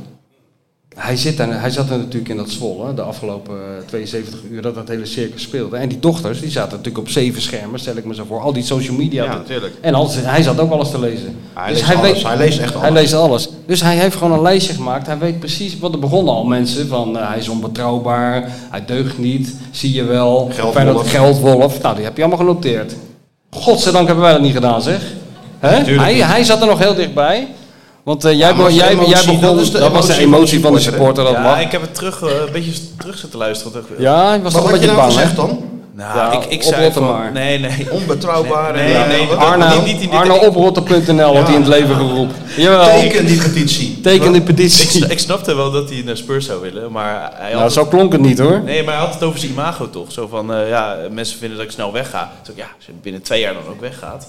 Hij, zit daar, hij zat er natuurlijk in dat Zwolle de afgelopen eh, 72 uur dat dat hele circus speelde. En die dochters die zaten natuurlijk op zeven schermen, stel ik me zo voor. Al die social media.
Ja, natuurlijk.
En alles, hij zat ook alles te lezen. Dus
Hij leest alles. Hij leest echt
Hij
alles.
leest alles. Dus hij heeft gewoon een lijstje gemaakt. Hij weet precies wat er begonnen al mensen. Van eh, hij is onbetrouwbaar, hij deugt niet, zie je wel.
Geldwolf.
Feyenoord, Geldwolf. Nou, die heb je allemaal genoteerd. Godzijdank hebben wij dat niet gedaan, zeg. Hè? Hij, hij zat er nog heel dichtbij. Want eh, jij,
maar
be-
dat is de
jij, jij
emotie,
begon,
dat
dat,
is de
was
emotie
de
van de
emotie van de
supporter,
supporter, dat
ja,
mag.
ik heb het terug, eh, een beetje terug zitten luisteren. want echt-
Ja, ik was
Wat
toch een
had je
beetje
nou
bang, hè?
gezegd dan?
Nou,
Ja,
ik, ik zei
oprotten
van...
maar.
Nee, nee.
Onbetrouwbaar.
Nee,
en,
nee,
eh, wat-
Arna-
Arno,
niet- niet- niet-
Arno-oprotten.nl had hij in het leven geroepen. Jawel,
Teken die petitie.
teken de
Ik,
petitie.
sna- ik snapte wel dat hij naar Spurs zou willen, maar hij had
Nou, zo klonk het niet hoor.
Nee, maar hij had het over zijn imago toch? Zo van, eh, ja, mensen vinden dat ik snel wegga. Dus ik, ja, als je binnen twee jaar dan ook weggaat.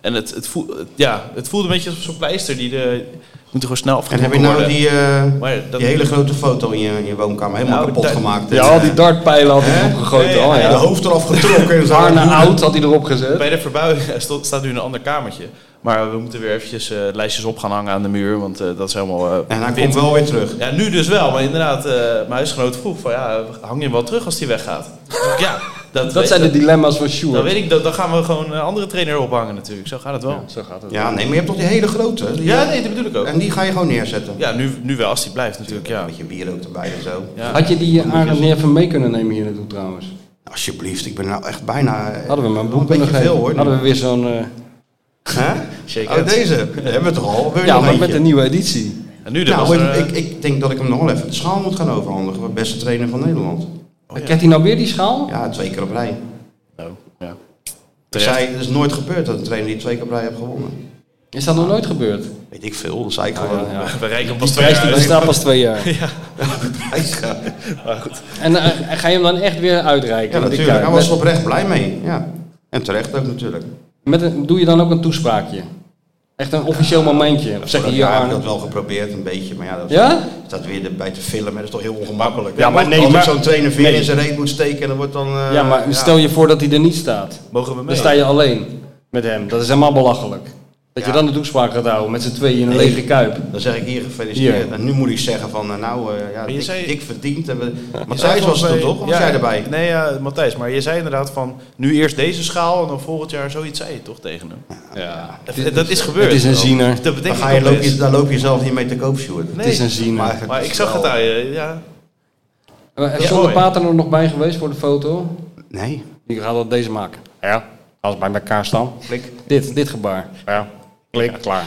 En het, het, voel, het- ja, het voelde een beetje als zo'n pleister. Die de, moet er gewoon snel
En
afgetrokken
heb je nou
worden.
die, eh,
Maar dat-
die hele grote foto in je, in je woonkamer helemaal
Nou,
kapot
daar-
gemaakt?
Ja, al die dartpijlen had hij
Hè?
erop gegooid
Nee,
al.
nee,
En de
Ja.
hoofd eraf getrokken en zo.
Arne Oud had hij erop gezet.
Bij de verbouwing stond- staat nu een ander kamertje. Maar we moeten weer eventjes eh, lijstjes op gaan hangen aan de muur. Want eh, dat is helemaal... eh,
En hij
wit.
komt wel weer terug.
Ja, nu dus wel. Maar inderdaad, eh, mijn huisgenoot vroeg van, ja, hang je hem wel terug als hij weggaat? Dus ik, ja, dat,
Dat zijn de dilemma's van
Dan
Sjoerd.
weet ik, dat, dan gaan we gewoon een andere trainer ophangen natuurlijk. Zo gaat het wel.
Ja, Zo gaat het.
Ja, nee, maar je hebt toch die hele grote? Die,
Ja,
eh,
nee, dat bedoel ik ook.
En die ga je gewoon neerzetten.
Ja, nu, nu wel, als hij blijft natuurlijk, ja.
Met je bier ook erbij en zo. Nou,
Ja.
Had je die eh, Arend niet even mee kunnen nemen hier naartoe trouwens?
Alsjeblieft, ik ben nou echt bijna... eh,
Hadden we maar een boek
Een beetje
kunnen geven.
veel hoor.
Hadden we weer zo'n... eh,
Hè?
Shake
Oh,
hands.
deze hebben we toch al? Wil je
ja,
nog
maar
eentje?
met een nieuwe editie.
En nu dan
Nou,
was er, eh,
ik, ik denk dat ik hem nog wel even de schaal moet gaan overhandigen. Beste trainer van Nederland.
Krijgt hij nou weer die schaal?
Ja, twee keer op rij.
nou, ja.
Ik
Terecht.
zei, het is nooit gebeurd dat een trainer die twee keer op rij heeft gewonnen.
Is dat nog nooit gebeurd?
Weet ik veel, dat zei ik gewoon.
Ja, ja.
We rijken pas
Die
twee
prijs
jaar.
die bestaat pas twee jaar.
Hij zei-
En eh, ga je hem dan echt weer uitreiken?
Ja,
in de
natuurlijk. Hij
kuip?
was er oprecht blij mee. Ja. En terecht ook natuurlijk.
Met een, doe je dan ook een toespraakje? Echt een officieel momentje? Of zeg je
Vorig
hier
jaar heb ik
Arne?
dat wel geprobeerd, een beetje. Maar ja, dat
Ja?
staat weer erbij te filmen. Dat is toch heel ongemakkelijk.
Ja, maar nee,
Als ik
maar-
zo'n trainer weer
nee.
in zijn reet moet steken, dan wordt dan... eh,
Ja, maar stel je voor dat hij er niet staat.
Mogen we
Dan
mee?
sta je alleen met hem. Dat is helemaal belachelijk. Dat je dan de toespraak gaat houden met z'n tweeën in een
Nee.
lege kuip.
Dan zeg ik hier gefeliciteerd.
Hier.
En nu moet ik zeggen van, eh, nou, eh, ja,
je
ik,
zei-
ik verdiend. En we,
Je zei
Matthijs was
volgens
er
mij-
toch? Of was
Ja,
jij erbij?
Nee, ja, Matthijs, maar je zei inderdaad van nu eerst deze schaal en dan volgend jaar zoiets zei je toch tegen hem.
Ja.
Dat- dat is gebeurd.
het is een ziener.
Dat
Daar,
betekent
ga je,
ook
loop je,
eens.
daar loop je zelf niet mee te koop, Sjoerd.
Nee,
Het is een ziener.
maar ik zag het
wel-
daar, eh, ja.
Er
Ja,
is zonder
mooi.
Pater er nog bij geweest voor de foto.
Nee,
Die gaat dat deze maken. Ja, als we bij elkaar staan.
klik.
Dit, dit gebaar. Ja, klik, klaar.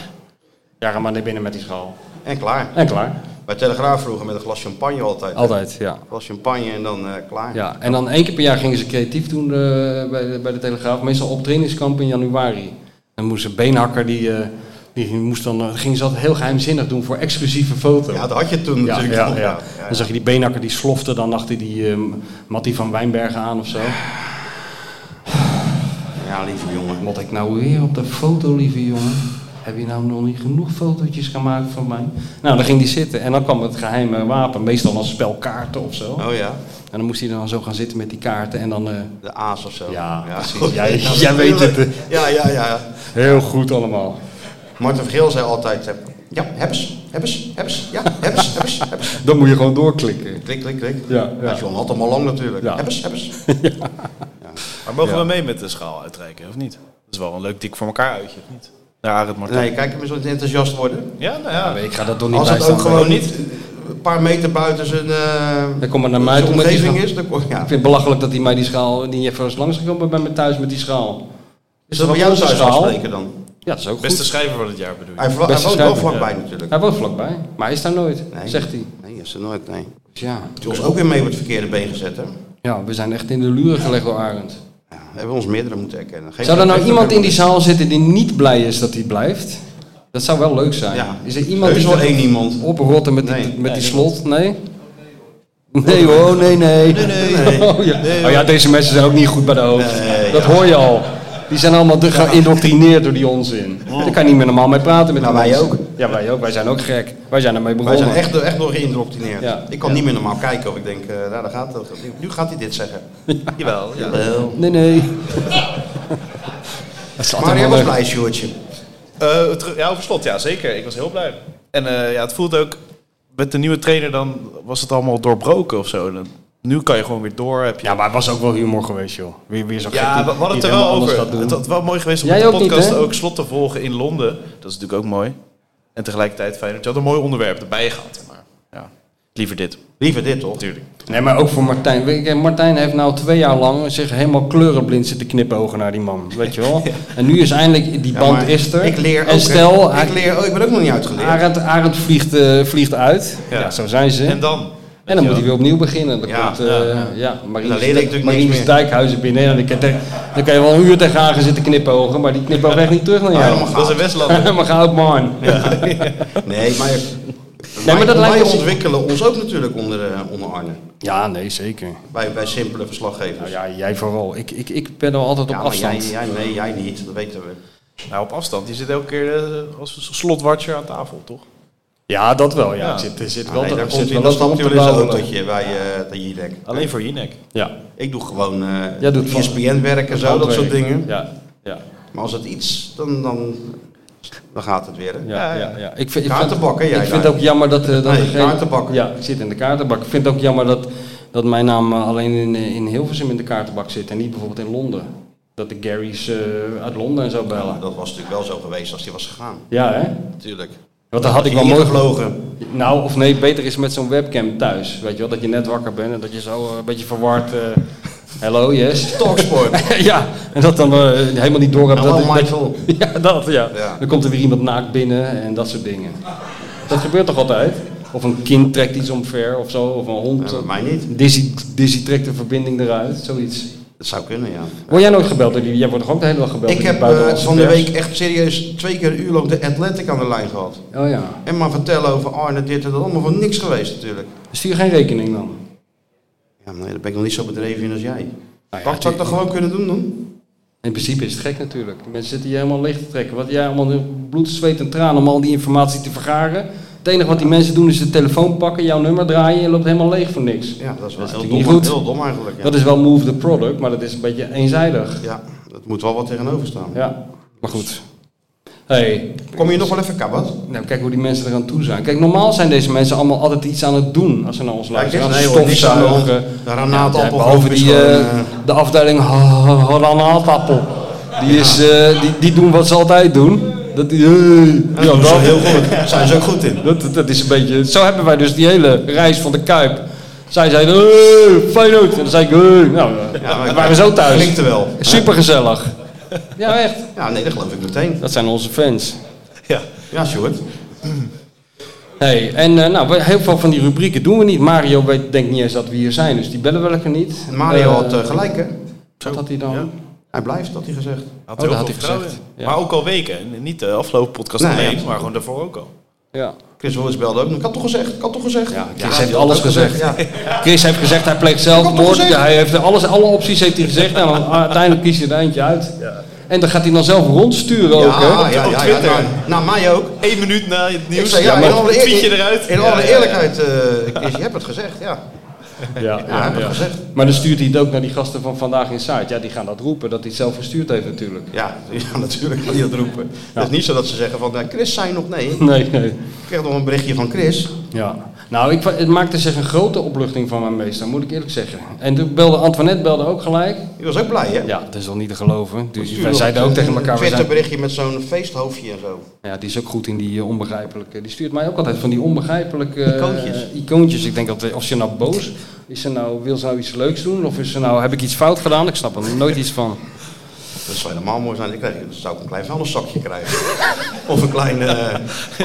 Ja, ga maar naar binnen met die schaal.
En klaar.
En klaar.
Bij Telegraaf vroeger met een glas champagne altijd. Een
Altijd, ja.
glas champagne en dan eh, klaar.
Ja, en dan één keer per jaar gingen ze creatief doen eh, bij, de, bij de Telegraaf. Meestal op trainingskamp in januari. Dan moest een beenhakker, die, eh, die moest dan, eh, ging ze dat heel geheimzinnig doen voor exclusieve foto.
Ja, dat had je toen
Ja,
natuurlijk
ja,
nog.
ja.
Ja,
Dan zag je die beenhakker die slofte, dan dacht hij die eh Mattie van Wijnbergen aan of zo.
Ja, lieve jongen.
Wat ik nou weer op de foto, lieve jongen. Heb je nou nog niet genoeg fotootjes gemaakt van mij? Nou, dan ging hij zitten en dan kwam het geheime wapen, meestal als spel kaarten of zo.
Oh ja,
En dan moest hij dan zo gaan zitten met die kaarten en dan... eh,
de aas of zo.
Ja, precies. Jij- jij weet
natuurlijk.
het,
Ja, ja, ja.
heel goed allemaal.
Marten Vergeel zei altijd, eh, ja, hebbes, hebbes, hebbes, ja, hebbes, hebbes, hebbes.
Dan moet je gewoon doorklikken.
Klik, klik, klik.
Ja, ja.
John had hem al lang natuurlijk.
Ja.
Hebbes, hebbes. Ja.
Maar mogen
Ja.
we mee met de schaal uitreiken, of niet? Dat is wel een leuk dik voor elkaar uitje, of niet? Naar Arend Martijn.
Nee, kijk, je moet zo enthousiast worden.
Ja, nou ja.
Ik ga dat toch niet
Als het
bijstaan.
ook gewoon niet een paar meter buiten zijn, eh,
Dan kom maar naar mij
zijn
toe met die
omgeving
schaal.
is, dan kom ja.
Ik vind het belachelijk dat hij mij die schaal niet even eens langs gekomen bij me thuis met die schaal.
Is dat bij jou thuis afspreken dan?
Ja, dat is ook
Beste
goed.
schrijver van het jaar bedoel je?
Hij, wo- hij
Beste
woont wel
schrijver.
vlakbij natuurlijk.
Hij woont vlakbij, maar hij is daar nooit,
Nee.
zegt hij.
Nee, is er nooit, nee.
Dus ja.
Heeft ons ook weer mee op het verkeerde been gezet, hè?
ja, we zijn echt in de luren gelegd door Arend.
Ja, hebben we ons meerdere moeten erkennen. Geef
Zou er
dat
nou
echt
iemand
een-
in die zaal zitten die niet blij is dat hij blijft? Dat zou wel leuk zijn.
Ja.
Is er iemand
Er is
die
wel
dat
één iemand.
oprotten met die,
Nee.
met die slot? Nee? Nee hoor, nee nee. Oh, ja. oh ja, deze mensen zijn ook niet goed bij de hoofd. dat hoor je al. Die zijn allemaal de- geïndoctrineerd door die onzin. Daar kan je niet meer normaal mee praten met
Nou,
die
wij
mensen.
ook.
Ja, wij ook. Wij zijn ook gek. Wij zijn ermee
Wij
begonnen.
zijn echt, echt door geïndoctrineerd.
Ja.
Ik kan niet meer normaal kijken of ik denk, eh, nou, daar gaat het. Nu gaat hij Eh, dit zeggen.
Jawel, ja.
Wel.
Nee, nee. dat is
Maar
altijd
jij
wel
was
leuk.
blij, Sjoerdje.
Eh, terug- ja, over slot, ja zeker. Ik was heel blij. En eh, ja, het voelt ook, met de nieuwe trainer dan was het allemaal doorbroken of zo. Dan- nu kan je gewoon weer door. Heb je...
Ja, maar het was ook wel humor geweest, joh. Weer, weer zo gek.
Ja,
die-
we hadden
die
het er wel
helemaal anders
over.
gaat doen.
Het had wel mooi geweest om
Jij
op de
ook niet,
podcast
hè?
ook slot te volgen in Londen. Dat is natuurlijk ook mooi. En tegelijkertijd Feyenoord. Je had een mooi onderwerp erbij gehad. Maar ja, liever dit.
Liever dit, toch?
Natuurlijk.
Nee, maar ook voor Martijn. Weet je, Martijn heeft nou twee jaar lang zich helemaal kleurenblind zitten knipogen naar die man. Weet je wel? En nu is eindelijk die
Ja,
band
maar
is er.
Ik leer
en
ook,
stel,
ik,
hij-
leer, oh, ik ben ook nog niet uitgeleerd.
Arend, Arend vliegt, eh, vliegt uit. Ja.
Ja.
zo zijn ze.
En
En,
dan?
dan moet hij weer opnieuw beginnen. Dan
Ja,
komt eh ja, Marinus,
Dan leer ik natuurlijk niks
Marinus
meer.
Dijkhuizen binnen. En dan kan, dan, dan kan je wel een uur tegen Arend zitten knipogen. Maar die knipoog echt niet terug naar jou.
Ah, helemaal
Dat is een Westlander.
maar ga ook man.
Nee, maar,
maar
wij,
dat
wij
lijkt dus- me-
ontwikkelen ons ook natuurlijk onder, eh, onder Arne.
Ja, nee, zeker.
Wij, wij simpele verslaggevers.
Nou ja, jij vooral. Ik, ik, ik ben er altijd op
Ja, maar jij,
afstand.
jij, nee, jij niet. Dat weten we. Ah,
Nou, op afstand. Je zit elke keer eh, als slotwatcher aan tafel, toch?
Ja, dat wel. Ja. Er zit, er zit wel
Nee,
te-
daar
er
komt
zit
hij,
wel
dan
wat op
stapt hij
te
wel eens een
bouwen.
autootje bij eh de Jidek.
Alleen voor Jinek.
Ja.
Ik doe gewoon eh
Jij doet vast-
ESPN-werk en zo, dat soort dingen.
Ja, ja,
Maar als het iets, dan, dan, dan gaat het weer. hè.
ja. ja, ja. Ik vind, ik
Kaartenbak, hè,
vind,
jij
ik vind
daar.
ook jammer dat... eh, dat
Nee,
er geen-
kaartenbak.
Ja, ik zit in de kaartenbak. Ik vind het ook jammer dat, dat mijn naam eh, alleen in, eh, in Hilversum in de kaartenbak zit en niet bijvoorbeeld in Londen. Dat de Gary's eh, uit Londen en zo bellen.
Dat was natuurlijk wel zo geweest als die was gegaan.
Ja, hè?
Natuurlijk.
Want dan had ik
je
wel mooi...
ingevlogen.
Nou, of nee, beter is met zo'n webcam thuis. Weet je wel, dat je net wakker bent en dat je zo eh, een beetje verward... eh, Hello, yes.
Talksport.
ja, en dat dan eh, helemaal niet door hebt.
Hallo,
dat,
Michael.
ja, dat ja.
Ja.
Dan komt er weer iemand naakt binnen en dat soort dingen. Dat gebeurt toch altijd? Of een kind trekt iets omver of zo, of een hond.
Ja, maar mij niet.
Dizzy, Dizzy trekt de verbinding eruit, zoiets.
Dat zou kunnen, ja.
Word jij nooit gebeld? door die- Jij wordt toch ook de hele dag gebeld?
Ik
door die
heb eh,
buitenlandse
van de
pers?
week echt serieus twee keer een uur lang de Atlantic aan de lijn gehad.
Oh ja.
En maar vertellen over Arne, dit en dat, allemaal voor niks geweest natuurlijk.
Stuur geen rekening dan.
Ja, maar nee, daar ben ik nog niet zo bedreven in als jij.
Nou ja,
Wat zou ik dat gewoon kunnen doen dan?
In principe is het gek natuurlijk. Die mensen zitten hier helemaal leeg te trekken. Wat jij allemaal in bloed, zweet en tranen om al die informatie te vergaren. Het enige wat die mensen doen is de telefoon pakken, jouw nummer draaien en je loopt helemaal leeg voor niks.
Ja, dat is wel
Dat
heel,
is natuurlijk
dom,
niet goed.
heel dom eigenlijk. Ja.
Dat is wel move the product, maar dat is een beetje eenzijdig.
ja, dat moet wel wat tegenover staan.
Ja, maar goed. Hey,
Kom je nog wel even kabbat?
nou, kijk hoe die mensen eraan toe zijn. Kijk, normaal zijn deze mensen allemaal altijd iets aan het doen als ze naar ons luisteren.
Kijk
Aan
eens,
het
nee, hoor, niks aan de hand.
stofzuigen.
De granaatappel
Ja, behalve
is
die, eh,
gewoon, eh,
de afdeling ha- ha- ha- granaatappel. Die, is, eh, die, die doen wat ze altijd doen. Dat, die, eh, ja,
dat is
dat,
heel goed. Daar zijn ze ook goed in.
dat, dat is een beetje... Zo hebben wij dus die hele reis van de Kuip. Zij zeiden, eh, Feyenoord. En dan zei ik, eh, nou, eh,
maar
we waren zo thuis.
Klinkt er wel.
Supergezellig. Ja, echt.
Ja, nee, dat geloof ik meteen.
Dat zijn onze fans.
Ja, Sjoerd.
Hey, en eh, nou, we- heel veel van die rubrieken doen we niet. Mario weet, denkt niet eens dat we hier zijn, dus die bellen we lekker niet.
Mario
Eh,
had eh, gelijk, hè?
Wat had hij dan?
Ja.
Hij blijft, had hij gezegd.
Had
Oh, dat
heel
had
veel
hij
vertrouwen
gezegd.
in.
Ja. Nou
Maar ook al weken. En Niet de afgelopen podcast
Nee,
alleen,
ja.
maar gewoon daarvoor ook al.
Ja.
Chris Willis belde ook. Ik had toch gezegd, ik had toch gezegd.
Ja, Chris
hij
heeft
had
alles
ook
gezegd.
Ja.
Chris heeft gezegd, hij pleegt
Ik had
zelfmoord.
het gezegd.
Ja, hij heeft alles, alle opties heeft hij gezegd. En dan ah, uiteindelijk kiest hij er eentje uit. En dan gaat hij dan zelf rondsturen ook, hè?
Ja, ja,
Op
ja, ja,
Twitter.
nou, nou, mij ook.
Eén minuut na het
Ik
nieuws.
zei, ja,
maar
in alle,
tweet je
in-
eruit.
In
Ja,
alle
ja, ja.
eerlijkheid, eh, Chris, je hebt het gezegd, ja.
Ja,
Ja, heb ik gezegd.
Maar dan stuurt hij het ook naar die gasten van Vandaag in Site. Ja, die gaan dat roepen, dat hij het zelf gestuurd heeft natuurlijk.
Ja, ja natuurlijk kan je dat roepen. Het is niet zo dat ze zeggen van, eh, Chris, zijn nog nee. Ik
Nee, nee.
kreeg nog een berichtje van Chris.
Ja. Nou, ik, va- het maakte zich een grote opluchting van mijn meester, moet ik eerlijk zeggen. En toen belde Antoinette belde ook gelijk.
Je was ook blij, hè?
Ja, dat is wel niet te geloven. Dus wij
Nog
zeiden
een-
ook tegen elkaar...
Een
we zijn-
Twitter berichtje met zo'n feesthoofdje en zo.
Ja, die is ook goed in die eh, onbegrijpelijke. Die stuurt mij ook altijd van die onbegrijpelijke eh,
Icoontjes.
icoontjes. Ik denk altijd, of ze nou boos is, ze nou, wil ze nou iets leuks doen? Of is ze nou, heb ik iets fout gedaan? Ik snap er nooit iets van.
Dat zou helemaal mooi zijn. Ik krijg, dan zou ik een klein vuilniszakje krijgen. of een klein eh,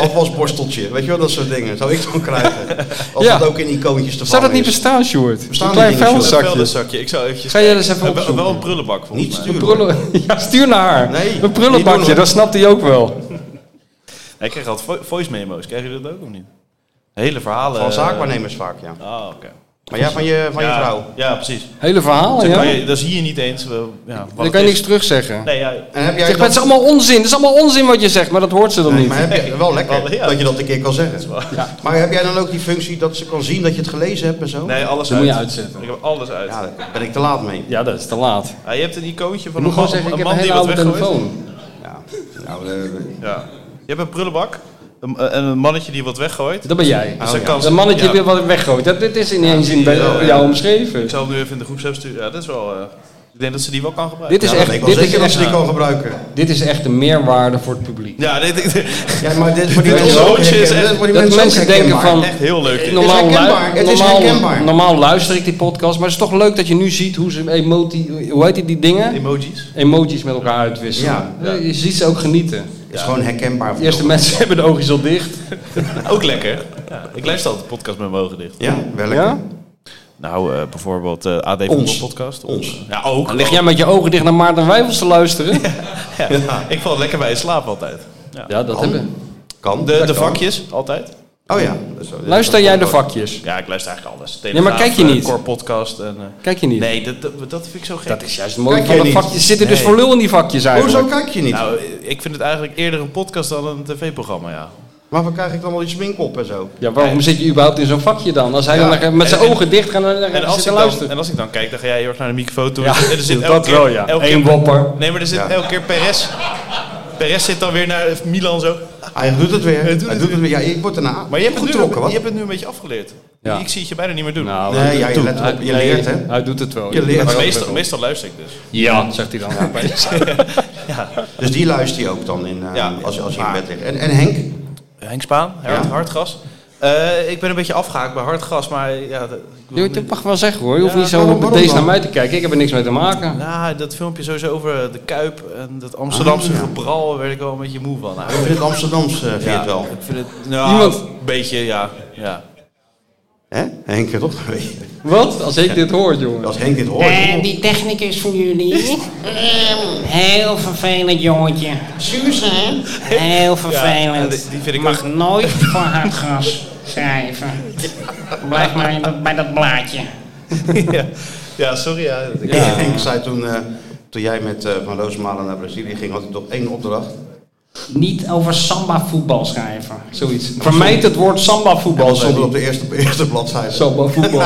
afwasborsteltje. Weet je wel, dat soort dingen. Zou ik zo'n krijgen. Als
Ja.
dat ook in icoontjes te
Zou dat
vangen
niet
is.
bestaan, Sjoerd?
Bestaan
een
die
klein
dingen, Sjoerd?
Een
vuilniszakje.
vuilniszakje. Ik zou eventjes...
Ga jij dat eens even
Eh, wel-
opzoeken?
Wel een prullenbak volgens
Niet
mij.
Een
sturen.
prullen- Ja, stuur naar haar.
Nee, niet
een
doen,
prullenbakje,
hoor.
dat snapt hij ook wel.
Nee, ik krijg altijd vo- voice memo's. Krijgen jullie dat ook of niet? Hele verhalen.
Van
eh,
zaakwaarnemers vaak, ja.
Ah, oké.
Maar ja, van je, van je
ja,
vrouw.
Ja, precies.
Hele verhaal,
Dan
ja.
kan je, dat zie je niet eens. eh, ja, wat
Dan
het
kan je
is.
niks terugzeggen.
Nee, ja.
En heb
Zeg,
jij
maar het is
dat...
allemaal onzin. Het is allemaal onzin wat je zegt, maar dat hoort ze dan niet.
Maar heb je, wel lekker
Wel, ja.
dat je dat een keer kan zeggen. Maar heb jij dan ook die functie dat ze kan zien dat je het gelezen hebt en zo?
Nee, alles
Dat
uit.
moet je uitzetten.
Ik heb alles uit.
Ja, daar ben ik te laat mee.
Ja, dat is te laat.
Ah, je hebt een icoontje van
Ik
een
moet gewoon
man,
zeggen, ik
een
heb
man
een hele
die wat
oude
weggooit.
telefoon.
Ja. Nou, eh,
Ja. Je hebt een prullenbak een- eh, en een mannetje die wat weggooit.
Dat ben jij.
Dus dan
ja.
kan ze-
Dat mannetje
ja.
weer wat weggooit. Dat, dit is in één zin bij
Ja,
bij
ja.
jou omschreven.
Ik zal hem nu even in de groepsapp sturen. Ja, dat is wel... eh, ik denk dat ze die wel kan gebruiken.
Dit is,
ja, dat weet
echt,
ik wel
dit, is
zeker dat ze die
echt,
kan gebruiken.
dit is echt een meerwaarde voor het publiek.
Ja, dit, dit-
Ja, maar dit is voor die
Dit
mensen ook
loodje is
herkenbaar. Dit
echt-
is voor die
dat
mensen ook
mensen denken
herkenbaar.
van...
echt heel leuk. dit.
Normaal, lu-
herkenbaar. Het is
normaal,
herkenbaar.
normaal luister ik die podcast, maar het is toch leuk dat je nu ziet hoe ze emoti, hoe heet die, die dingen?
Emojis.
Emojis met elkaar uitwisselen.
Ja,
Je ziet ze ook genieten.
Het is gewoon herkenbaar.
De eerste mensen hebben de oogjes al dicht.
Ook lekker. Ja, ik luister altijd podcast met mijn ogen dicht.
Ja, wel lekker.
Ja?
Nou, eh, bijvoorbeeld eh AD
Ons.
Voetbal Podcast.
Ons.
Ja, ook.
Lig jij met je ogen dicht naar Maarten Wijfels te luisteren? Ja,
Ja, Ik val lekker bij in slaap altijd.
dat hebben.
Kan.
De, de vakjes, altijd.
Oh ja. Zo, dit-
Luister jij de vakjes?
Ja, ik luister eigenlijk alles.
Ja, maar kijk je
eh,
niet?
Core podcast. En, eh,
Kijk je niet?
nee, dat, dat, dat vind ik zo gek.
Dat is juist het mooie
Kijk
van
jij
de
niet?
vakjes. Ze zitten dus
Nee.
voor lul in die vakjes eigenlijk.
Hoezo kijk je niet?
Nou, ik vind het eigenlijk eerder een podcast dan een tv-programma, ja.
Waarvoor krijg ik dan wel die smink op en zo?
Ja, waarom zit je überhaupt in zo'n vakje dan? Als hij
Ja.
dan met zijn
En- en-
ogen dicht gaat en,
En
en
als,
zit te
ik dan,
luisteren.
en als ik dan kijk, dan ga jij heel erg naar de microfoon toe.
Ja,
en er zit
dat
elke keer-
wel, ja.
elke
Eén
keer-
wopper.
Nee, maar er zit
Ja.
elke keer Perez. Perez zit dan weer naar Milan zo.
Hij doet het weer. Hij doet,
het
het, weer. Ja, ik word erna.
Maar je hebt, het nu,
getrokken,
je
wat?
hebt het nu een beetje afgeleerd.
Ja.
Ik zie het je bijna niet meer doen.
Nou, hij
Nee,
doet
ja,
het
je
wel.
let op. Je
Hij-
leert, hè?
Hij doet het wel.
Je leert.
Maar
wel.
meestal, meestal luister ik dus.
Ja, zegt hij dan.
Dus die luister je ook dan in, eh,
Ja.
als, als je in bed ligt. En, en Henk?
Henk Spaan, hard,
Ja.
Hartgas. Eh, ik ben een beetje afgehaakt bij Hartgas, maar ja, dat, ik wil
Je
nu-
dat mag wel zeggen hoor. Je hoeft
Ja,
niet zo
waarom-
op
waarom
deze
dan?
naar mij te kijken. Ik heb er niks mee te maken.
Nou, dat filmpje sowieso over de Kuip en dat Amsterdamse
Ah, ja.
gebral, daar werd ik wel een beetje moe van. Nou,
Over het Amsterdamse vind je
ja,
het wel.
Ik vind het nou,
Iemand-
een beetje, ja. ja.
Hè? Henk, toch?
Wat? Als ik dit hoor, jongen.
Als Henk dit hoort.
Eh, die technicus van jullie. Ehm, heel vervelend jongetje. Suze, hè? Heel vervelend.
Ja, die- die vind ik
Mag
ook-
nooit voor hard gas schrijven. Blijf maar in dat- bij dat blaadje.
ja. Ja, sorry. Ja. Ik-
Ja. Henk zei toen, eh, toen jij met eh, Van Roosmalen naar Brazilië ging, had hij toch één opdracht.
Niet over samba voetbal schrijven.
Zoiets. Vermijd het woord samba voetbal.
Dat stond er op de eerste, eerste bladzijde.
Samba voetbal.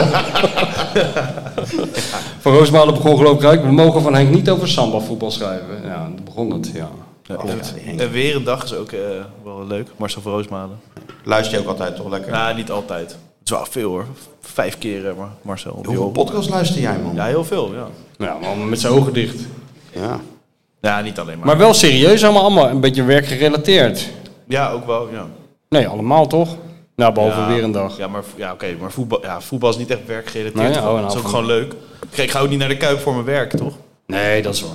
Van Roosmalen begon geloof ik "Kijk, We mogen van Henk niet over samba voetbal schrijven. Ja, dat begon het. Ja.
Oh, ja, die Henk.
En weer een dag is ook eh, wel leuk. Marcel van Roosmalen.
Luister je ook altijd toch lekker?
Nou, niet altijd. Het is wel veel hoor. Vijf keer eh, maar Marcel. op die
Hoeveel
rol.
podcast luister jij, man?
Ja, heel veel, ja.
Nou Ja, maar met zijn ogen dicht.
Ja.
Ja, niet alleen maar.
Maar wel serieus allemaal, allemaal een beetje werkgerelateerd.
Ja, ook wel, ja.
Nee, allemaal toch? Nou, behalve
ja.
weer een dag.
Ja, maar, ja, oké, maar voetbal, ja, voetbal is niet echt werkgerelateerd.
Nou ja,
toch?
oh, nou,
dat is ook
van-
gewoon leuk. Kijk, Ik ga ook niet naar de Kuip voor mijn werk, toch?
Nee, dat is waar.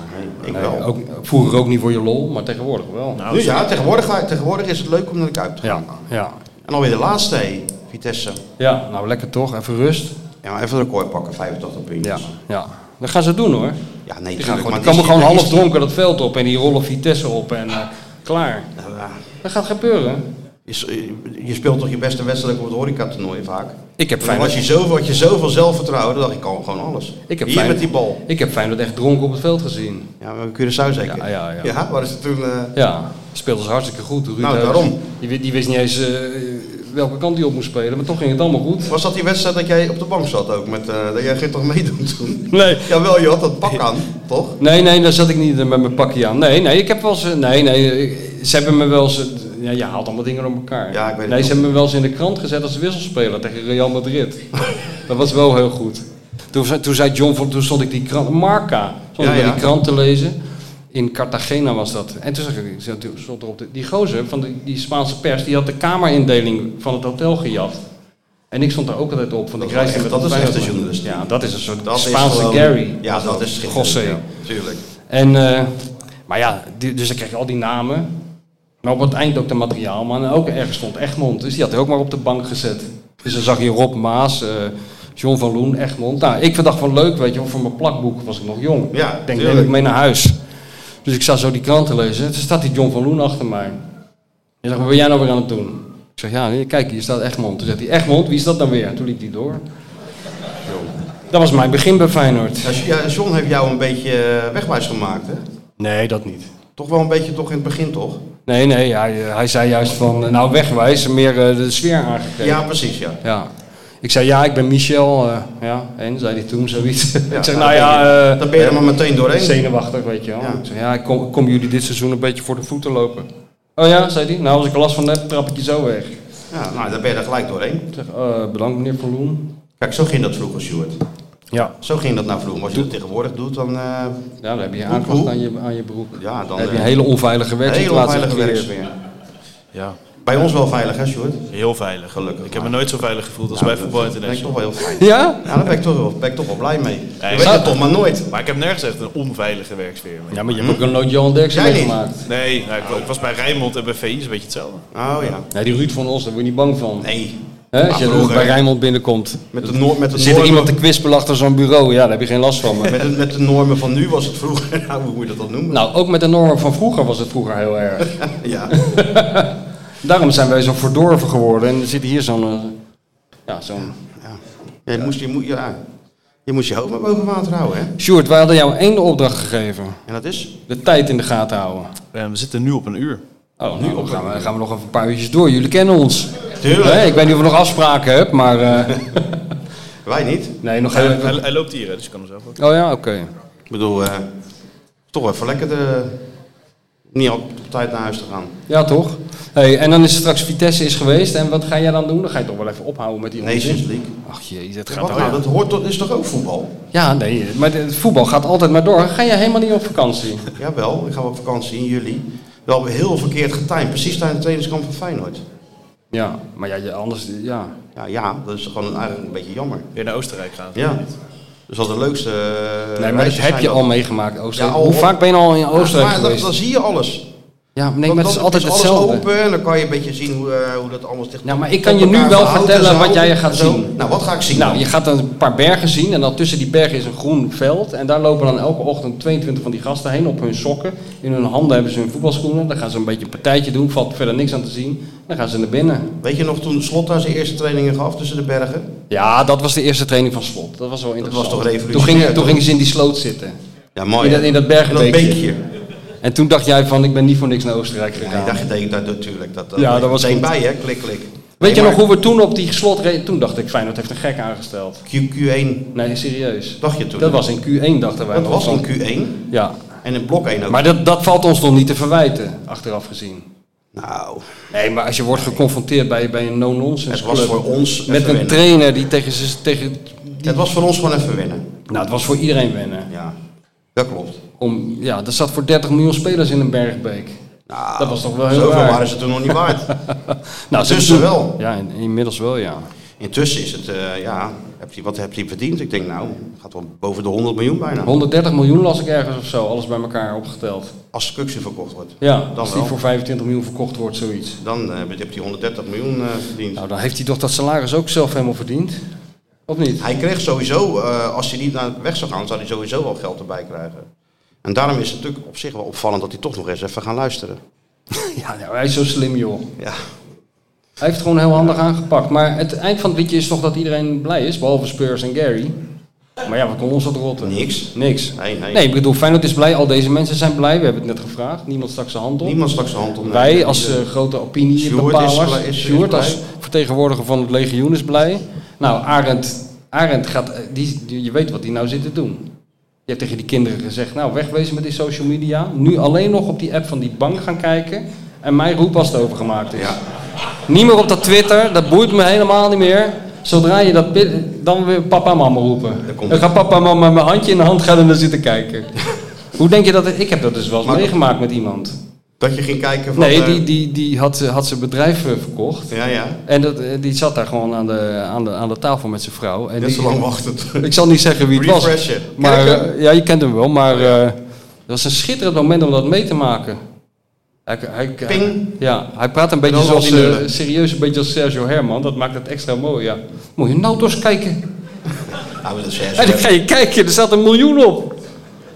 ik
Nee,
wel.
ook, vroeger ook niet voor je lol, maar tegenwoordig wel.
Nu Dus ja, tegenwoordig, ga- tegenwoordig is het leuk om naar de Kuip te
Ja,
gaan.
ja.
En alweer de laatste, hé, Vitesse.
ja, nou lekker toch, even rust.
Ja, maar even een record pakken, 85 punten.
Ja, ja. Dat gaan ze doen
ja
hoor.
nee,
Die, gaan
tuurlijk, maar
gewoon, die komen
dit is-
gewoon
dit
half
is-
dronken dat veld op en die rollen Vitesse op en eh, klaar. Dat gaat gebeuren.
Is, eh, je speelt toch je beste wedstrijd op het horeca-toernooi vaak?
Ik heb
En Dan
Feyenoord,
was je zoveel, had je zoveel zelfvertrouwen, dan dacht ik, ik kan gewoon alles.
ik heb
Hier
Feyenoord-
met die bal.
Ik heb Feyenoord echt dronken op het veld gezien.
Ja, maar Curaçao zeker?
Ja, ja, ja.
waar is het toen? eh,
Ja, speelden ze hartstikke goed. Ruud
Nou,
Heus.
daarom.
Die, wi- die wist niet eens eh, welke kant hij op moest spelen, maar toch ging het allemaal goed.
Was dat die wedstrijd dat jij op de bank zat ook? Met, eh, dat jij ging toch meedoen toen?
Nee.
Jawel, je had dat pak aan, toch?
Nee, nee, daar zat ik niet eh, met mijn pakje aan. Nee, nee, ik heb wel eens... eh, Nee, nee, eh, ze hebben me wel eens... eh, ja, je haalt allemaal dingen door elkaar.
Ja, ik weet het
nee, ze
nog.
hebben me wel eens in de krant gezet als wisselspeler tegen Real Madrid. dat was wel heel goed. Toen, zei- toen zei John, van, toen stond ik die krant, Marca, stond
Ja,
ik bij
ja.
die krant te lezen. In Cartagena was dat. En toen zag ik, ik zat- toen stond erop, de- die gozer van die, die Spaanse pers, die had de kamerindeling van het hotel gejat. En ik stond daar ook altijd op, want
Dat
ik reisde
is
met
echt- dat is
altijd
echt
mee.
een journalist.
Ja, dat is een soort
Dat is
Spaanse
gewoon-
Gary.
Ja, dat is schitterend,
José.
ja, Tuurlijk.
En, eh, maar ja, die- dus dan kreeg je al die namen. Maar op het eind ook de materiaalman. En ook ergens stond Egmond. Dus die had hij ook maar op de bank gezet. Dus dan zag je Rob Maas, eh, John van Loen, Egmond. Nou, ik dacht van leuk, weet je wel, voor mijn plakboek was ik nog jong.
Ja,
ik denk, neem
tuurlijk.
ik mee naar huis. Dus ik zat zo die kranten lezen. Toen staat die John van Loen achter mij. Hij zegt, wat ben jij nou weer aan het doen? Ik zeg, ja, nee, kijk, hier staat Egmond. Toen zegt hij, Egmond, wie is dat dan weer? Toen liep hij door. Dat was mijn begin bij Feyenoord.
Ja, Nou, Ja, John heeft jou een beetje eh, wegwijs gemaakt, hè?
Nee, dat niet.
Toch wel een beetje toch in het begin, toch?
Nee, nee, hij, hij zei juist van, eh, nou wegwijs, meer eh, de sfeer aangegeven.
Ja, precies, ja.
Ja. Ik zei, ja, ik ben Michel. eh, ja, en zei hij toen zoiets.
Ja,
ik zeg,
nou,
nou
dan
ja...
ben je-
eh,
dan ben je er maar meteen doorheen.
Zenuwachtig, weet je wel.
Ja.
Ik zeg, ja, ik kom, kom jullie dit seizoen een beetje voor de voeten lopen. Oh ja, zei hij. Nou, als ik er last van heb, trap ik je zo weg. Ik
ja nou, daar ben je er gelijk doorheen.
zeg, eh, bedankt meneer Van Loen.
Kijk, zo ging dat vroeger, Stuart.
Ja.
Zo ging dat nou vroeger. Maar Als je dat tegenwoordig doet, dan... eh,
Ja, dan heb je
Hoe-
aanklacht
hoe?
aan je, aan je broek.
ja, dan...
Dan heb je
eh,
een hele onveilige
hele
werksituatie.
onveilige
gecreëerd.
werksfeer.
Ja,
Bij ons wel veilig, hè, Stuart?
heel veilig.
Gelukkig
Ik heb me
maar.
nooit zo veilig gevoeld als
Nou,
bij Voetbal
Dat vind ik
International.
toch wel heel fijn.
Ja?
Ja, daar ben ik toch wel, ben ik toch wel blij mee. Je
Nee,
weet
zou-
het toch maar nooit.
Maar ik heb nergens echt een onveilige werksfeer. mee.
Ja, maar je hebt ook nog nooit Johan Derksen
Jij niet.
meegemaakt.
Nee, nou, ik, wa- ik was bij Rijnmond en bij VI is een beetje hetzelfde.
Oh ja.
Nee, die Ruud van Os, daar word je niet bang van.
Nee.
Hè, als
Maar
je
vroeger-
bij Rijnmond binnenkomt.
Met de, noor, met, de
Er zit er
normen,
iemand te kwispelen achter zo'n bureau. Ja, daar heb je geen last van. Maar.
met, de, met de normen van nu was het vroeger. Nou, hoe moet je dat dan noemen?
Nou, ook met de normen van vroeger was het vroeger heel erg.
Ja.
Daarom zijn wij zo verdorven geworden. En er zit hier zo'n... eh, ja, zo'n...
ja. Je, moest, je, moet, ja. je moest je hoofd maar boven water houden, hè?
Sjoerd, wij hadden jou één opdracht gegeven.
En dat is?
De tijd in de gaten houden.
Eh, we zitten nu op een uur.
Oh, nu gaan we, gaan we nog even een paar uurtjes door. Jullie kennen ons.
Tuurlijk.
Hè, ik weet niet of we nog afspraken hebben, maar... eh,
Wij niet.
nee, nog
Hij,
heel
hij,
even...
hij loopt hier, hè, dus ik kan hem zelf ook.
Oh ja, oké.
Ik bedoel, eh, toch even lekker de, niet op tijd naar huis te gaan.
Ja, toch? Hey, en dan is straks Vitesse is geweest. En wat ga jij dan doen? Dan ga je toch wel even ophouden met die
Nations
onzin.
League.
Ach jee, dat gaat
Wat
toch
nou, dat hoort tot, is toch ook voetbal?
Ja, nee, maar het voetbal gaat altijd maar door. Ga je helemaal niet op vakantie?
Jawel, ik ga op vakantie in juli. Wel heel verkeerd getimed, precies tijdens de trainingskamp van Feyenoord.
Ja, maar ja, je- anders, ja.
Ja, ja, dat is gewoon een- eigenlijk een beetje jammer.
Weer naar Oostenrijk gaan.
Ja. Dus dat is de leukste. eh,
Nee, maar dat
reisjes
heb
zijn
je
dat.
al meegemaakt, Oostenrijk.
Ja, al-
Hoe vaak ben je al in Oostenrijk
Ja, maar dan,
geweest?
dan zie je alles.
ja, nee, maar
Dan-
het is
dan
altijd
alles
hetzelfde.
open en dan kan je een beetje zien hoe, eh, hoe dat allemaal dicht
Ja, maar ik kan je
op elkaar
nu wel
verhoudt en
vertellen
zo.
wat jij gaat
Zo.
zien.
Nou, wat ga ik zien?
Nou,
dan?
je gaat dan een paar bergen zien en dan tussen die bergen is een groen veld. En daar lopen dan elke ochtend 22 van die gasten heen op hun sokken. In hun handen hebben ze hun voetbalschoenen. Dan gaan ze een beetje een partijtje doen, valt verder niks aan te zien. Dan gaan ze naar binnen.
Weet je nog toen Slot daar zijn eerste trainingen gaf tussen de bergen?
Ja, dat was de eerste training van Slot. Dat was wel interessant.
toch
Toen
revolutionair,
gingen, toen
toch?
gingen ze in die sloot zitten.
Ja, mooi.
In dat-
hè?
in dat bergbeekje.
beekje.
En toen dacht jij van, ik ben niet voor niks naar Oostenrijk
Ja,
gegaan.
ik dacht je deed dat natuurlijk. Dat, dat
Ja,
leek
dat was
meteen
goed.
bij, hè? Klik, klik.
Weet je
Nee,
nog hoe we toen op die slot reden? Toen dacht ik, Feyenoord heeft een gek aangesteld.
maar Q1
Nee, serieus.
dacht je toen?
Dat was in Q1, dachten wij.
dat
nog
was
van.
in Q1
Ja,
en in blok 1 ook.
maar dat, dat valt ons nog niet te verwijten, achteraf gezien.
nou,
Nee, maar als je wordt geconfronteerd bij, bij een
het
no-nonsense
was
club...
voor ons even
met een
wennen.
trainer die tegen... z'n- tegen
Het was voor ons gewoon even winnen.
nou, het was voor iedereen wennen.
Ja, dat klopt.
Om, ja, er zat voor 30 miljoen spelers in een bergbeek.
Nou,
Dat was toch wel heel
Zoveel
raar.
waren ze toen nog niet waard.
Nou, ze
Intussen
hebben toen-
wel.
Ja, in- inmiddels wel, ja.
Intussen is het, eh, ja, heb je, wat heb je verdiend? Ik denk, nou, gaat wel boven de 100 miljoen bijna.
130 miljoen las ik ergens of zo, alles bij elkaar opgeteld.
Als Kuxu verkocht wordt.
Ja,
Dan
als die
wel.
voor 25 miljoen verkocht wordt, zoiets.
Dan eh, heb je 130 miljoen eh, verdiend.
Nou, dan heeft hij toch dat salaris ook zelf helemaal verdiend? Of niet?
Hij kreeg sowieso, eh, als hij niet naar weg zou gaan, zou hij sowieso wel geld erbij krijgen. En daarom is het natuurlijk op zich wel opvallend dat hij toch nog eens even gaan luisteren. Ah,
Ja, nou, hij is zo slim, joh.
Ja,
Hij heeft het gewoon heel handig aangepakt. Maar het eind van het liedje is toch dat iedereen blij is, behalve Spurs en Gary. Maar ja, wat kon ons dat rotten?
niks.
Niks.
Nee, nee.
ik bedoel, Feyenoord is blij, al deze mensen zijn blij. We hebben het net gevraagd, niemand stak zijn hand op.
Niemand stak zijn hand om.
Wij als eh, grote
Sjoerd is
opiniebepalers,
blij- is- is
Sjoerd
blij.
als vertegenwoordiger van het legioen is blij. Nou, Arend, Arend gaat, eh, die, die- je weet wat die nou zit te doen. Je hebt tegen die kinderen gezegd, nou wegwezen met die social media. Nu alleen nog op die app van die bank gaan kijken. En mijn roep was het overgemaakt is. Niet meer op dat Twitter, dat boeit me helemaal niet meer. Zodra je dat pit, dan weer papa en mama roepen. Dan gaat papa en mama met mijn handje in de hand gaan en dan zitten kijken. Hoe denk je dat... Ik heb dat dus wel eens meegemaakt met iemand.
Dat je ging kijken van...
Nee,
eh,
die, die, die had, ze- had zijn bedrijf eh, verkocht.
Ja, ja.
En dat, eh, die zat daar gewoon aan de, aan de, aan de tafel met zijn vrouw. En
Net
die,
zo lang wachtend.
Ik zal niet zeggen wie het was.
Refreshen.
Maar,
Ken ik hem? Oh,
eh, ja, je kent hem wel. Maar eh, dat was een schitterend moment om dat mee te maken. Hij, hij,
Ping.
Ja, hij praat een
En
beetje
dan was
zoals,
hij
eh,
nullen.
serieus een beetje als Sergio Herman. Dat maakt het extra mooi, ja. Moet je nou eens kijken.
Nou, dat is
En dan ga je kijken, er staat een miljoen op.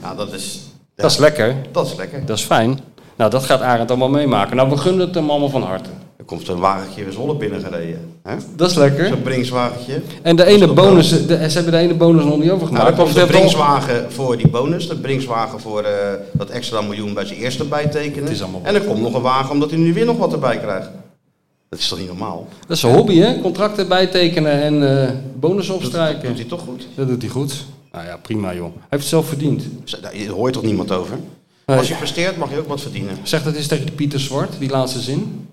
Nou, dat is...
Dat is lekker.
Dat is lekker.
Dat is fijn. Nou, dat gaat Arend allemaal meemaken. Nou, we gunnen het hem allemaal van harte.
Er komt een wagentje weer Zwolle binnengereden. hè?
Dat is lekker.
Zo'n Bringswagentje.
En de ene bonus, de, ze hebben de ene bonus nog niet overgemaakt.
Nou, er komt
Of
een
ze hebben al-
Bringswagen voor die bonus. De Bringswagen voor eh, dat extra miljoen bij zijn eerste bijtekenen. en er komt nog een wagen omdat hij nu weer nog wat erbij krijgt. Dat is toch niet normaal?
dat is een hobby, hè? Contracten bijtekenen en eh bonussen
Dat doet
opstrijken.
hij toch goed?
Dat doet hij goed. Nou ja, prima joh. Hij heeft het zelf verdiend.
Daar hoort toch niemand over?
Nee.
Als je presteert mag je ook wat verdienen.
Zeg dat eens tegen Pieter Zwart, die laatste zin.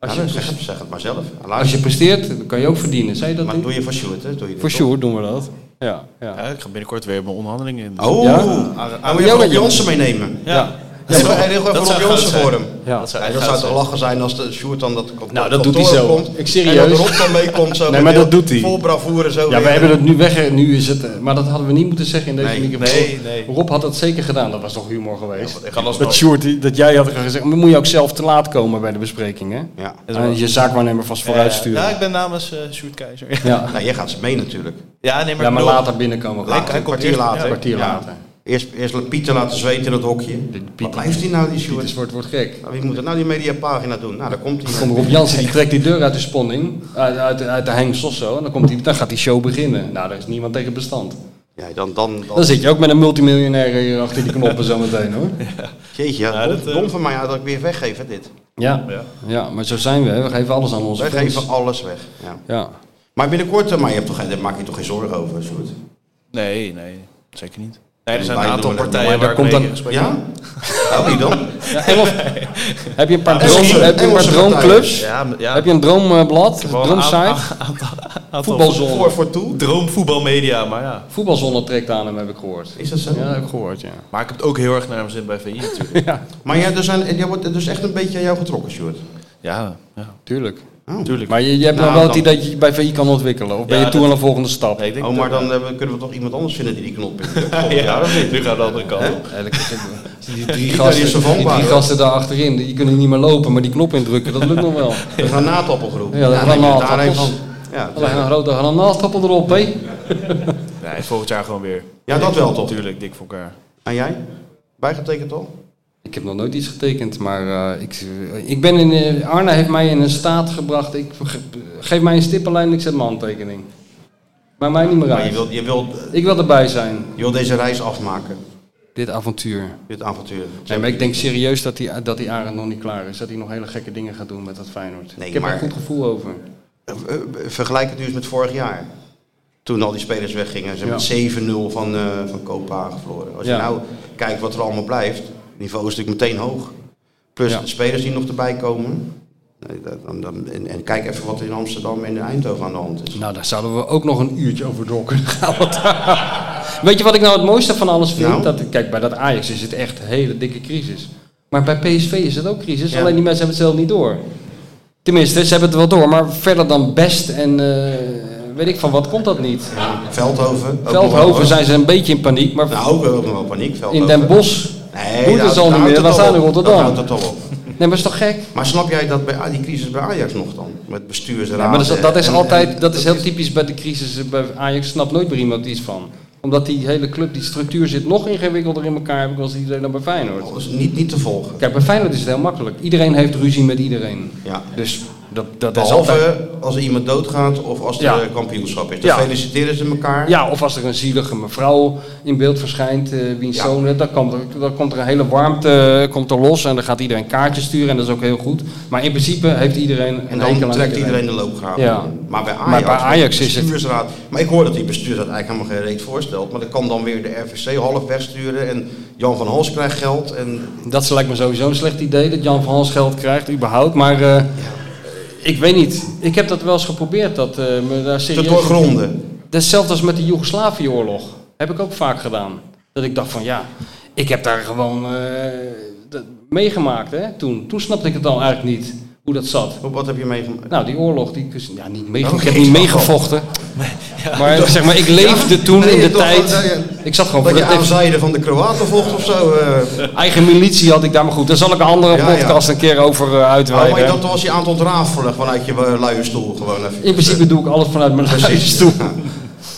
Als,
Ja,
je,
zeg, het, zeg het maar zelf.
als je presteert, dan kan je ook verdienen. Zei je dat
maar
niet?
doe je voor Sjoerd, hè? Doe je dit
Voor
toch?
sure doen we dat. Ja, ja.
Ja, ik ga binnenkort weer mijn onderhandelingen in.
Oh,
Ja?
ja? moet je
Ja,
even
maar-
op Jansen meenemen.
Ja.
Hij regelt even
dat
op
zou
Jansen
goud zijn.
voor hem.
Ja.
Dat zou,
Ja,
echt
dat
goud
zou toch
zijn.
lachen zijn als de Sjoerd dan dat op
Nou,
dat
dat doet hij
kantoor
zo.
komt.
Ik serieus.
En dat Rob dan meekomt zo.
Nee, maar dat doet hij.
Vol bravoure zo.
Ja,
weer.
we hebben het nu weg. Nu is het, eh, maar dat hadden we niet moeten zeggen in deze
Nee,
microfoon.
nee, nee.
Rob had dat zeker gedaan. Dat was toch humor geweest.
Ik kan alsnog-
dat Sjoerd, die- dat jij had gezegd. Maar moet je ook zelf te laat komen bij de bespreking, hè?
Ja.
En je zaakwaarnemer vast vooruit sturen.
Ja,
Ja,
ik ben namens eh Sjoerd Keizer.
ja.
Nou, jij gaat ze mee natuurlijk.
Ja, nee, maar,
maar
ik bedoel-
later binnenkomen.
Later,
hij
een
komt
kwartier
eerst-
later.
Een kwartier
Ja.
later.
Eerst, eerst Pieter laten zweten in het hokje. Wat blijft hij nou, die
Pieter
Sjoerd?
Zwart wordt gek.
Nou, wie moet het nou die mediapagina doen? Nou, daar komt
Komt
hij.
Rob Jansen, die trekt die deur uit de spanning. Uit, uit, uit de hang Sosso. En dan, komt die, dan gaat die show beginnen. Nou, daar is niemand tegen bestand.
Ja, dan, dan,
Dan
dan.
zit je ook met een multimiljonair hier achter die knoppen zo meteen, hoor.
Jeetje, ja,
Ja,
dom-
dat, eh,
dom van mij uit dat ik weer weggeef, hè, dit.
Ja. ja, maar zo zijn we. hè. We geven alles aan onze
Wij
fans.
geven alles weg. Ja.
Ja.
Maar binnenkort, eh, maar je hebt toch, geen- daar maak je toch geen zorgen over, Sjoerd?
Nee, nee, zeker niet. Nee, er zijn
wij
een
doen
aantal
het.
partijen
Maar
waar
daar komt
ik mee
dan-
in gesprek ben.
Ja? Nou, wie dan?
Ja, Engels- heb je een paar, droom,
Engelse-
heb je een paar
Engelse
droomclubs?
Ja, m- ja.
Heb je een droomblad?
wel een
Droomsite?
aantal
Voetbalzone.
Voor, voor toe?
Droomvoetbalmedia, maar ja.
Voetbalzone trekt aan hem, heb ik gehoord.
Is dat zo?
Ja, dat heb ik gehoord, ja.
Maar ik heb het ook heel erg naar mijn zin bij VI natuurlijk.
Maar ja, er zijn, jij wordt dus echt een beetje aan jou getrokken, Sjoerd.
Ja, ja.
Tuurlijk.
Oh.
Tuurlijk.
Maar je, je hebt
Nou,
nou wel het
dan-
idee dat je je bij VI kan ontwikkelen. Of ben
Ja,
je toe
dat-
aan de volgende stap?
Nee, ik denk
Oh,
dat-
maar dan eh, kunnen we toch iemand anders vinden die die knop in.
Ja, ja, nu gaan we de andere kant op.
Eigenlijk is het- die drie,
dat
gasten,
is zo
die
vangbaar,
drie
hoor.
gasten daar achterin, die kunnen niet meer lopen, maar die knop indrukken, dat lukt nog wel.
De granaatappelgroep.
Ja, de
neem je
granaatappels.
daar een van. Ja,
Alleen een grote granaatappel erop, hé.
Nee, volgend jaar gewoon weer.
ja, dat wel toch?
Natuurlijk, dik voor elkaar.
En jij? Bijgetekend al?
Ik heb nog nooit iets getekend, maar eh, ik, ik ben in, eh, Arne heeft mij in een staat gebracht. Ik, ge- geef mij een stippenlijn en ik zet mijn handtekening. Maar mij niet meer
Maar je
uit.
wilt, je, wilt,
Ik wil erbij zijn,
je wilt deze reis afmaken,
dit avontuur.
dit avontuur.
Nee, maar ik denk serieus dat die, dat die Arend nog niet klaar is. Dat hij nog hele gekke dingen gaat doen met dat Feyenoord.
Nee,
ik heb er
maar-
een goed gevoel over.
Eh, eh, Vergelijk het nu eens met vorig jaar. Toen al die spelers weggingen. Ze hebben
Ja.
met 7-0 van, eh van Kopenhagen verloren. Als je
Ja.
nou kijkt wat er allemaal blijft. Het niveau is natuurlijk meteen hoog. Plus
Ja.
de spelers die nog erbij komen. Nee, dat- dan, dan, en, en kijk even wat er in Amsterdam en in Eindhoven aan de hand is.
Nou, daar zouden we ook nog een uurtje over door kunnen gaan. want daar- Weet je wat ik nou het mooiste van alles vind?
Nou?
Dat, kijk, bij dat Ajax is het echt een hele dikke crisis. Maar bij PSV is het ook crisis,
Ja.
alleen die mensen hebben het zelf niet door. Tenminste, ze hebben het wel door, maar verder dan best en eh, weet ik van wat komt dat niet.
Veldhoven. ook nog wel, hoor.
Veldhoven zijn ze een beetje in paniek, maar
Nou, ook wel- ook nog wel paniek. Veldhoven.
in Den Bosch
Nee,
moeten
daar-
ze al
daar
niet
houdt
meer, dan
het
zijn
al
in
op. Daar houdt
Rotterdam.
het al op.
Nee, maar is toch gek?
Maar snap jij dat bij ah, die crisis bij Ajax nog dan? Met bestuursraad.
Ja, maar dat is, dat is
en-
altijd,
en-
dat is heel typisch bij de crisis. eh, Bij Ajax snapt nooit meer iemand iets van. Omdat die hele club, die structuur zit nog ingewikkelder in elkaar, heb ik wel eens het idee dan bij Feyenoord.
dat is niet, niet te volgen.
Kijk, bij Feyenoord is het heel makkelijk. Iedereen heeft ruzie met iedereen.
Ja.
Dus dat, dat is altijd...
Behalve als er iemand doodgaat of als er
Ja.
eh, kampioenschap is. Dan
Ja.
feliciteren ze elkaar.
Ja, of als er een zielige mevrouw in beeld verschijnt, eh wiens
Ja.
zoon, het, dan, komt er, dan komt er een hele warmte eh, komt er los en dan gaat iedereen kaartjes sturen en dat is ook heel goed. Maar in principe heeft iedereen een
En
hekel
dan
aan
trekt iedereen de loopgraven.
Ja.
Maar bij Ajax,
Maar bij Ajax is het-
bestuursraad, Maar ik hoor dat die bestuursraad eigenlijk helemaal geen reet voorstelt. Maar dat kan dan weer de RVC half wegsturen. En Jan van Hals krijgt geld. En
Dat is- lijkt me sowieso een slecht idee dat Jan van Hals geld krijgt, überhaupt. Maar eh, ik weet niet. Ik heb dat wel eens geprobeerd. Dat, eh, me daar
te
serieus...
doorgronden.
Dat is Hetzelfde als met de Joegoslavië-oorlog. Heb ik ook vaak gedaan. Dat ik dacht van ja, ik heb daar gewoon eh, dat meegemaakt hè, toen. Toen snapte ik het al eigenlijk niet, hoe dat zat.
Wat- Wat heb je meegemaakt?
Nou, die oorlog, die, kus- ja, niet mee,
Nou,
ik heb
geen
niet
slag
meegevochten. Maar zeg maar, Nou, ik leefde toen
Nee,
in de
toch,
tijd.
dat je-
Ik zat gewoon
Dat
voor
je
de
aan
tv.
zijde van de Kroaten vocht of zo. eh.
Eigen militie had ik daar, maar goed, daar zal ik een andere
Ja, ja.
podcast een keer over eh,
Oh, maar
uitweiden.
dat was je aan het ontrafelen vanuit je eh, luie stoel gewoon even.
In principe doe ik alles vanuit mijn
Precies.
huisstoel.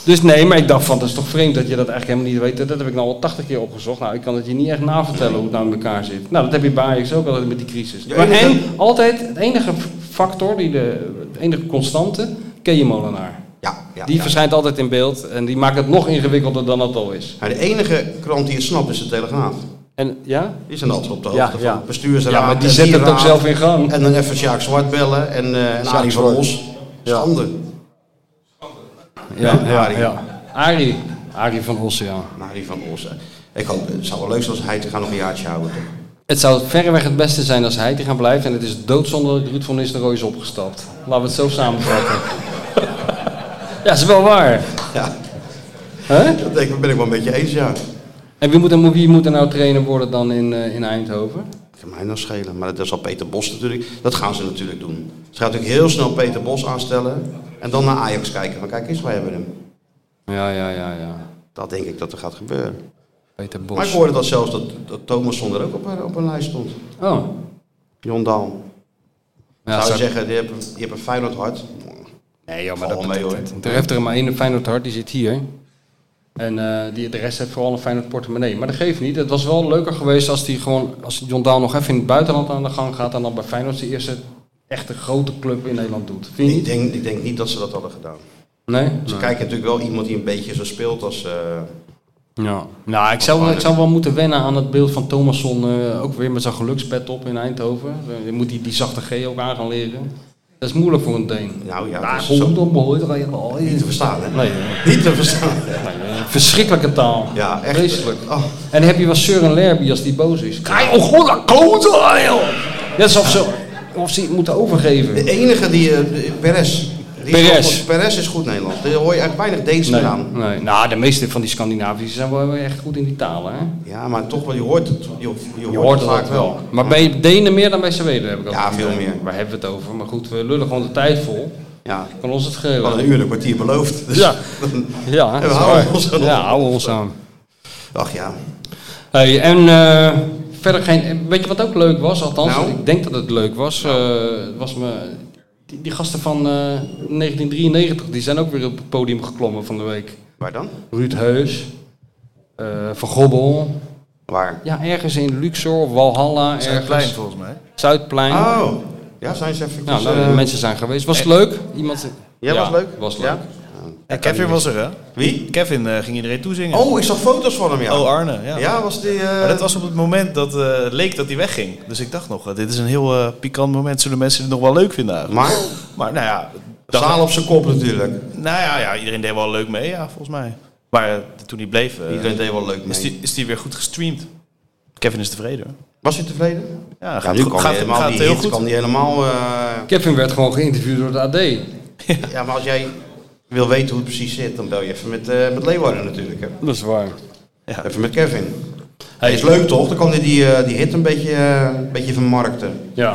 Dus nee, maar ik dacht van, dat is toch vreemd dat je dat eigenlijk helemaal niet weet. Dat heb ik nou al 80 keer opgezocht. Nou, ik kan het je niet echt navertellen hoe het nou in elkaar zit. Nou, dat heb je bij Ajax ook altijd met die crisis.
Ja,
maar
enige-
en altijd, het enige factor, die de, het enige constante, ken je Molenaar.
Ja, ja,
Die
ja.
verschijnt altijd in beeld en die maakt het nog ingewikkelder dan het al is.
Maar de enige krant die het snapt is de Telegraaf.
En ja?
Die zijn altijd op de
Ja,
hoogte
ja.
van het bestuursraad.
Ja, maar die
en
zetten het ook
raad.
zelf in gang.
En dan even Sjaak Zwart bellen en, eh en Arie van Os. Schande.
Ja, ja,
Arie.
ja. Arie. Arie van Ossen, ja.
Arie van Os. eh. Ik hoop, het zou wel leuk zijn als hij te gaan nog een jaartje houden. toch?
Het zou verreweg het beste zijn als hij te gaan blijven. En het is doodzonde dat Ruud van Nistelrooy is opgestapt. Laten we het zo samenvatten. ja, is wel waar.
Ja,
hè?
dat denk ik, ben ik wel een beetje eens, ja.
En wie moet, er, wie moet er nou trainer worden dan in, eh, in Eindhoven?
Dat kan mij nou schelen. Maar dat zal Peter Bos natuurlijk... Dat gaan ze natuurlijk doen. Ze gaan natuurlijk heel snel Peter Bos aanstellen. En dan naar Ajax kijken. Maar kijk eens, wij hebben hem.
Ja, ja, ja, ja.
Dat denk ik dat er gaat gebeuren.
Peter
Maar ik
Bos.
hoorde dat zelfs dat, dat Thomasson er ook op, een- op een lijst stond.
Oh.
Jon Daal.
Ja,
zou
zou-
je zeggen, die hebben, die hebben een Feyenoord hart.
Nee, joh, maar
Val
dat
wel mee hoor.
Er heeft er maar één een Feyenoord hart, die zit hier. En eh, die, de rest heeft vooral een Feyenoord portemonnee. Maar dat geeft niet. Het was wel leuker geweest als, die gewoon, als John Daal nog even in het buitenland aan de gang gaat... en dan bij Feyenoord zijn eerste echte grote club in Nederland doet. Vind je
Ik
niet?
denk, ik denk niet dat ze dat hadden gedaan.
Nee?
Ze
Nee.
kijken natuurlijk wel iemand die een beetje zo speelt als... eh,
Ja. Nou, ik zou, ik zou wel moeten wennen aan het beeld van Thomasson. eh, ook weer met zijn gelukspet op in Eindhoven. Eh, Je moet die, die zachte G ook aan gaan leren. Dat is moeilijk voor een Deen.
nou ja,
Ja,
dat is zo
dan mooi. dat je wel-
niet te verstaan, hè?
Nee, eh,
Niet te verstaan.
verschrikkelijke taal.
Ja, echt.
Vreselijk.
Oh,
En dan heb je wel Søren Lerby als die boos is. Krijg je gewoon dat klote, joh! Net alsof ze, of ze het moeten overgeven.
de enige die... eh, de- Perez. Die is
Perez.
wel goed. Perez is goed Nederlands. Daar hoor je eigenlijk weinig Deens
Nee,
aan.
nee. Nou, de meeste van die Scandinavische zijn wel echt goed in die talen, hè?
Ja, maar toch wel, je hoort het, je, je hoort het vaak wel.
Maar bij Denen meer dan bij Zweden heb ik al
Ja,
het idee.
veel meer.
Waar hebben we het over? Maar goed, we lullen gewoon de tijd vol.
Ja,
Kan ons het
we hadden
schelen.
een uur en een kwartier beloofd. Dus
Ja. Ja,
we
dat is
houden
waar.
ons aan
ja,
ons.
houden we ons aan.
Ach ja.
Hey, en eh, verder geen. Weet je wat ook leuk was? Althans,
Nou?
ik denk dat het leuk was. eh, het was me, die, die gasten van eh, 1993 die zijn ook weer op het podium geklommen van de week.
Waar dan?
Ruud Heus, eh, Van Gobbel.
Waar?
Ja, ergens in Luxor of Walhalla.
Dat is
Ergens.
klein volgens mij.
Zuidplein.
Oh, ja, zijn ze eh- even...
Nou, nou, de mensen zijn geweest. Was het leuk? Iemand...
Ja, was leuk.
Was leuk.
Ja.
Ja, Kevin was er, hè?
Wie?
Kevin eh, ging iedereen toezingen.
Oh, ik zag foto's van hem, ja.
Oh, Arne, ja.
Ja, was die... eh,
Maar dat was op het moment dat eh, het leek dat hij wegging. Dus ik dacht nog, eh, dit is een heel eh, pikant moment. Zullen mensen het nog wel leuk vinden
ah.
eigenlijk?
Maar,
Maar nou ja, dag-
zaal op zijn kop natuurlijk.
nou ja, ja, iedereen deed wel leuk mee, ja, volgens mij. Maar eh, toen hij bleef, eh,
Iedereen deed wel leuk
is,
mee.
die, is die weer goed gestreamd. Kevin is tevreden. hoor.
Was je tevreden?
Ja,
Ja,
gaat,
nu
goed-
kan
gaat,
hij helemaal,
gaat
die
heel
hit
goed.
kan die helemaal... eh,
Kevin werd gewoon geïnterviewd door de AD.
ja, maar als jij wil weten hoe het precies zit, dan bel je even met, eh met Leeuwarden natuurlijk. Hè.
Dat is waar.
Even met Kevin. Hij is leuk toch? Dan kan hij die, eh, die hit een beetje, eh, een beetje vermarkten.
Ja.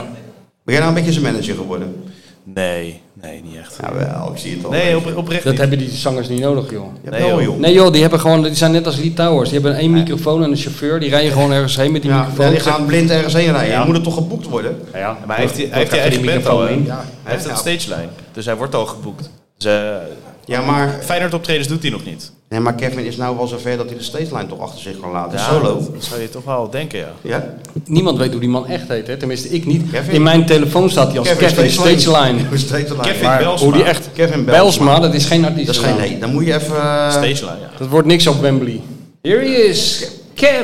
Ben jij nou een beetje zijn manager geworden?
Nee, nee, niet echt.
Jawel, ik zie het al.
Nee, op, oprecht
Dat
niet.
hebben die zangers niet nodig, joh.
Ja,
Nee,
wel,
joh.
joh.
Nee joh, die, hebben gewoon, die zijn net als Litouwers. Die hebben één microfoon en een chauffeur. Die rijden gewoon ergens heen met die
Ja,
microfoon.
ja, die gaan blind ergens heen rijden. Dan moet het toch geboekt worden?
Ja, ja.
Maar hij heeft, die- hij heeft die
Plug even
eigen
die
band al, hè?
microfoon in.
Ja,
hè?
hij heeft een
Ja.
stagelijn. Dus hij wordt al geboekt. Dus, eh,
Ja, maar
Feyenoord optredens doet hij nog niet.
Nee, maar Kevin is nou wel zover dat hij de stagelijn toch achter zich kan laten.
Ja,
Solo.
Dat zou je toch wel denken, ja.
Ja?
Niemand weet hoe die man echt heet, hè? tenminste ik niet.
Kevin?
In mijn telefoon staat hij als Kevin, Stageline.
Kevin Stageline.
Kevin
Maar-
Belsma.
Hoe die echt...
Kevin Belsma.
Belsma, dat is geen artiest.
Dat is geen nee. Dan moet je even... eh,
Stageline, ja.
Dat wordt niks op Wembley. Hier he is,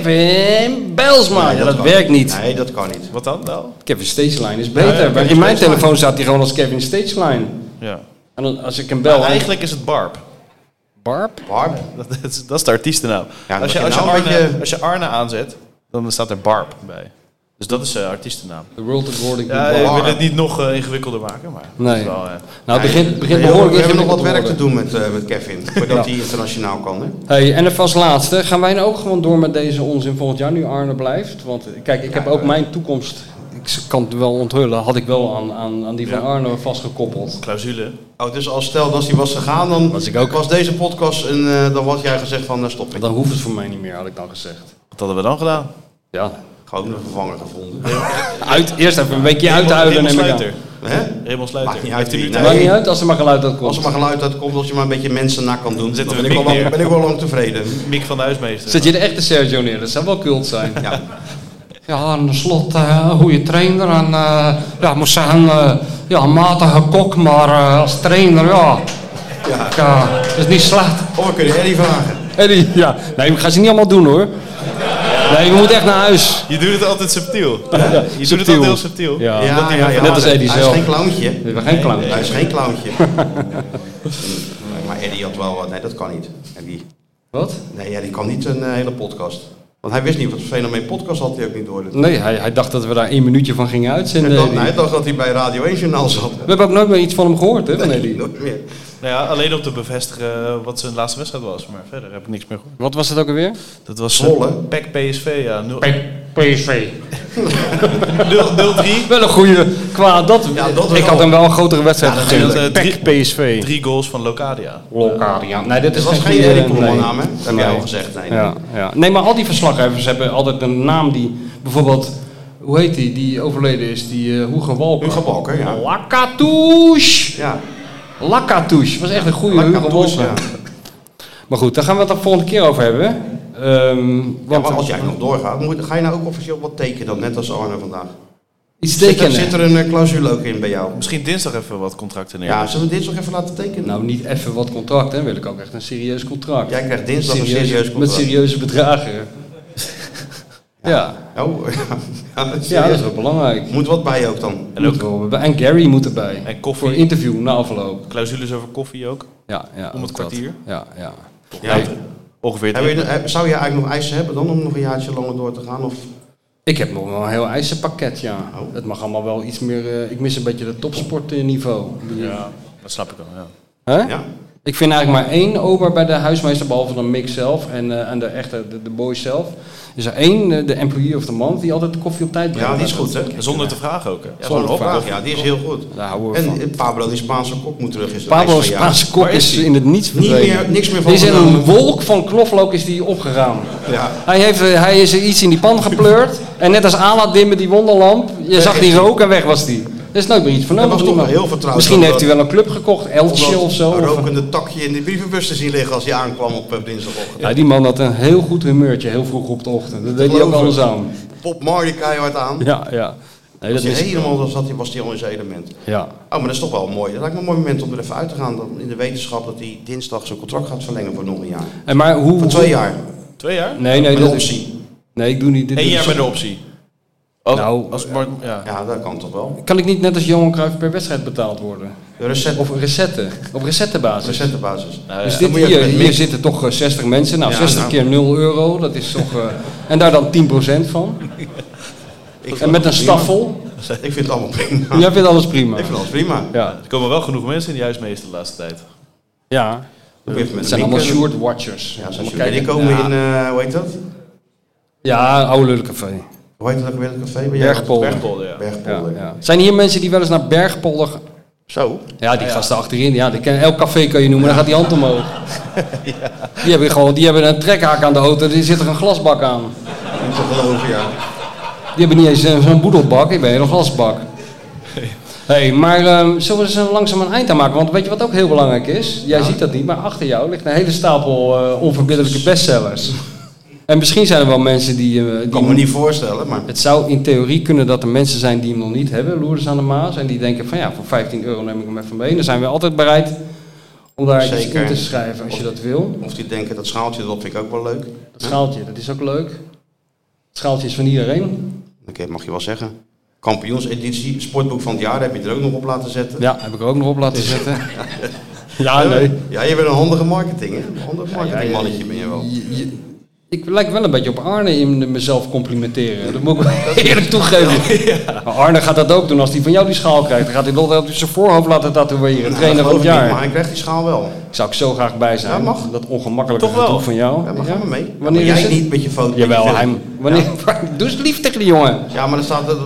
Kevin Belsma.
Nee,
ja, dat
kan
werkt niet.
Nee, dat kan niet.
Wat dan wel?
Kevin Stageline is beter.
Kevin
maar in mijn
Stageline.
telefoon staat hij gewoon als Kevin Stageline.
Ja.
En dan, als ik hem bel...
Eigenlijk is het Barb.
Barb?
Barb?
Dat is, dat is de artiestennaam.
Ja,
als, je,
begin
als, je
nou een
Arne,
beetje-
als je Arne aanzet, dan staat er Barb bij. Dus dat is zijn artiestennaam.
The World According to
Ja,
Barb.
ik wil het niet nog eh, ingewikkelder maken, maar... dat
Nee.
is wel, eh,
Nou, het begint, het begint
Nee, joh,
behoorlijk
we hebben nog wat
ingewikkeld
werk
worden.
te doen met, eh, met Kevin. Voordat hij internationaal kan. Hè?
Hey, en als laatste, gaan wij nou ook gewoon door met deze onzin volgend jaar, nu Arne blijft? Want eh, kijk, ik heb ook mijn toekomst, ik kan het wel onthullen, had ik wel aan, aan, aan die van Arne vastgekoppeld.
clausule.
Oh, dus als stel, als hij was gegaan, dan was,
ik ook.
deze podcast en eh, dan had jij gezegd van, nou stop ik.
Dan hoeft het voor mij niet meer, had ik dan gezegd.
Wat hadden we dan gedaan?
Ja,
Gewoon een vervanger gevonden.
uit, eerst even een weekje uit te huilen en
Sluiter.
Hè?
Raymond Sluiter.
Maakt niet uit
Heeft hij
wie.
nu
Nee.
Maakt niet uit als er maar geluid uit
Als
komt.
er maar geluid uitkomt, als je maar een beetje mensen na kan doen, dan
zetten we
ben ik, al
Mick
lang,
neer.
ben ik wel lang tevreden.
Mick van de Huismeester.
Dus
Zet je de echte Sergio neer, dat zou wel kult zijn.
Ja.
Ja, en slot eh, een goede trainer. En eh, ja, ik moet zeggen, eh, ja, een matige kok, maar eh, als trainer, ja.
Ja.
Ik, eh, is niet slecht.
Of we kunnen Eddie vragen.
Eddie, ja. Nee, ik ga ze niet allemaal doen hoor. Nee, we moeten echt naar huis.
Je doet het altijd subtiel. je doet het
subtiel.
altijd heel subtiel.
Ja,
Ja, Ah, ja, ja,
net als
maar
Eddie
Hij
zelf.
is geen clowntje.
We hebben geen clown.
Hij is geen clowntje. Nee, maar Eddie had wel... wat- Nee, dat kan niet. Eddie.
Wat?
Nee, ja, die kan niet een eh, hele podcast. Want hij wist niet wat voor fenomeen podcast had hij ook niet door.
Nee, hij, hij dacht dat we daar één minuutje van gingen uitzenden.
En dan,
Eddie.
hij dacht dat hij bij Radio 1 Journaal zat.
We hebben ook nooit meer iets van hem gehoord, hè, van Eddie?
Nooit meer.
Nou ja, alleen om te bevestigen wat zijn laatste wedstrijd was. Maar verder heb ik niks meer gehoord.
Wat was het ook alweer?
Dat was
Zwolle.
eh, PEC PSV, ja. 0
PSV.
0-3.
Wel een goede qua dat.
Ja, dat
ik
wel.
had hem wel een grotere wedstrijd
dat
gegeven.
scheelt, eh,
Pek PSV.
Drie goals van Locadia.
Locadia.
Nee, dit
Het
is
was geen
goede-
Eddie
nee.
Poelman naam, hè? Dat heb jij al gezegd. Nee,
Ja, ja. Nee, maar al die verslaggevers hebben altijd een naam die bijvoorbeeld, hoe heet die, die overleden is, die eh Hugo Walker.
Hugo Balker, ja.
Lakatouche!
Ja,
Lakatouche, was echt een goede Hugo
Lakatouche,
Walker.
ja.
Maar goed, daar gaan we het de volgende keer over hebben. hè. Ehm,
Ja,
want
maar als jij nog doorgaat, moet, ga je nou ook officieel wat tekenen dan, net als Arne vandaag?
iets
Zit er,
tekenen.
zit er een eh, clausule ook in bij jou?
Misschien dinsdag even wat contracten neer.
Ja, zullen we dit nog even laten tekenen?
Nou, niet even wat contract, hè? Wil ik ook echt een serieus contract.
Jij krijgt dinsdag een serieus contract.
Met serieuze bedragen. ja.
Oh, ja, ja,
Ja, dat
serieus.
is wel belangrijk.
Moet wat bij je ook dan?
En, ook, en Gary moet erbij.
En
Voor
koffie.
interview na afloop.
Clausules over koffie ook.
Ja, ja,
Om het
ook
kwartier?
Dat. Ja, ja.
Ja.
Nee,
Ongeveer
Heb
drie.
je- heb- zou je eigenlijk nog eisen hebben dan om nog een jaartje langer door te gaan? Of
ik heb nog wel een heel eisenpakket, ja.
Oh.
Het mag allemaal wel iets meer... eh, ik mis een beetje dat topsportniveau.
Ja, dat snap ik wel. Ja.
Hè?
Ja.
Ik vind eigenlijk maar één ober bij de huismeester, behalve dan Mick zelf en, eh, en de echte, de, de boys zelf. Is er één, eh, de employee of the month, die altijd de koffie op tijd brengt.
Ja, die is goed, hè?
Zonder te vragen ook. Hè.
Ja, zo'n
Zonder
opdracht,
vraag.
ja, die is heel goed.
Daar houden we
En
van.
eh, Pablo, die Spaanse kok, moet terug. Is de
Pablo
lijst van jou.
Spaanse kop
Waar is
is
die?
in het niets
Niet
verdwenen.
meer- niks meer van
Die is in een
vernomen.
wolk van knoflook is die opgegaan.
Ja.
Hij, heeft, eh, hij is er iets in die pan gepleurd. en net als Aladdin met die wonderlamp, je zag die rook en weg was die. Er is nooit meer iets vernomen.
Dat was
van
toch
iemand.
heel vertrouwd
Misschien
dat-
heeft hij wel een club gekocht, Elche
Omdat
of zo.
Een
of-
rokende takje in de brievenbus te zien liggen als hij aankwam op eh, dinsdagochtend.
Ja, die man had een heel goed humeurtje, heel vroeg op de ochtend. Dat deed hij ook
Geloof
alles
ik.
aan.
Pop Marley keihard aan.
Ja, ja. Nee,
Als
dat
hij
is...
helemaal dan zat, hij- was hij al in zijn element.
Ja.
Oh, maar dat is toch wel mooi. Dat lijkt me een mooi moment om er even uit te gaan. Dan in de wetenschap dat hij dinsdag zijn contract gaat verlengen voor nog een jaar.
En maar hoe...
Voor twee jaar.
Twee jaar?
Nee, nee.
Met een
dat-
optie.
Nee, ik doe niet. Dit
Eén
doe ik
jaar
zo-
met de optie. Als,
Nou,
als Mar- ja.
Ja, dat kan toch wel.
Kan ik niet net als Johan Cruijff per wedstrijd betaald worden?
De recept,
Of resetten. Op resettenbasis.
receptenbasis.
Dus
Eh, Dan
dit
moet je
hier,
even met
hier
mix-
zitten toch eh, 60 mensen. Nou,
Ja,
60
nou.
keer 0 euro, dat is toch. eh, en daar dan 10% van.
Ik
En
vind het
met een
allemaal
staffel.
prima. Ik vind het allemaal prima.
Jij vindt alles prima.
Ik vind alles prima.
Ja.
Er komen wel genoeg mensen in die huismeester de laatste tijd.
ja.
Dan moet je even met
Het
de
zijn
mink-
allemaal short watchers.
eh, Ja,
Allemaal
zoals jullie die
kijken.
komen
ja.
in, eh, hoe heet dat?
Ja, oude lullencafé.
Hoe heet dat ook weer, het café? Waar jij
Bergpolder.
Bergpolder, ja.
was?
Ja,
Bergpolder.
ja. Zijn hier mensen die wel eens naar Bergpolder... gaan?
Zo.
Ja, die gasten achterin. Ja, die ken, elk café kan je noemen, dan gaat die hand omhoog. Die, hebben gewoon, die hebben een trekhaak aan de auto, die zit er een glasbak aan.
Niet te geloven, ja.
Die hebben niet eens eh, zo'n boedelbak, ik ben een glasbak. hey, maar ehm, zullen we eens eh, langzaam een eind aan maken? Want weet je wat ook heel belangrijk is? Jij ziet dat niet, maar achter jou ligt een hele stapel eh, onverbiddelijke bestsellers. En misschien zijn er wel mensen die... eh, die
Ik kan me niet voorstellen, maar
Het zou in theorie kunnen dat er mensen zijn die hem nog niet hebben, Loerders aan de Maas. En die denken van ja, voor 15 euro neem ik hem even mee. Dan zijn we altijd bereid om daar iets
Zeker.
in te schrijven als je dat wil.
of die denken dat schaaltje erop vind ik ook wel leuk.
Dat schaaltje, dat is ook leuk. Het schaaltje is van iedereen.
Oké, mag je wel zeggen. Kampioenseditie, sportboek van het jaar, heb je er ook nog op laten zetten.
Ja, heb ik er ook nog op laten zetten. Ja, nee.
Ja, je bent een handige marketing, hè? Een handig marketingmannetje ben je wel.
Je- je- ik lijk wel een beetje op Arne in de mezelf complimenteren. Dat moet ik wel eerlijk toegeven. Maar Arne gaat dat ook doen. Als hij van jou die schaal krijgt, dan gaat hij dat op zijn voorhoofd laten tatoeëren.
Nou,
trainer
dat
van
geloof
het
ik
jaar.
niet, maar ik krijg die schaal wel.
Ik zou ik zo graag bij zijn.
Ja, mag.
Dat ongemakkelijke
Toch wel.
gedoe van jou.
Ja, maar ga maar mee. Ja,
Wanneer
maar
is
jij
het?
niet met je foto.
Jawel,
met je
hij...
film.
Wanneer... Doe eens lief tegen die jongen.
Ja, maar dan staat dat...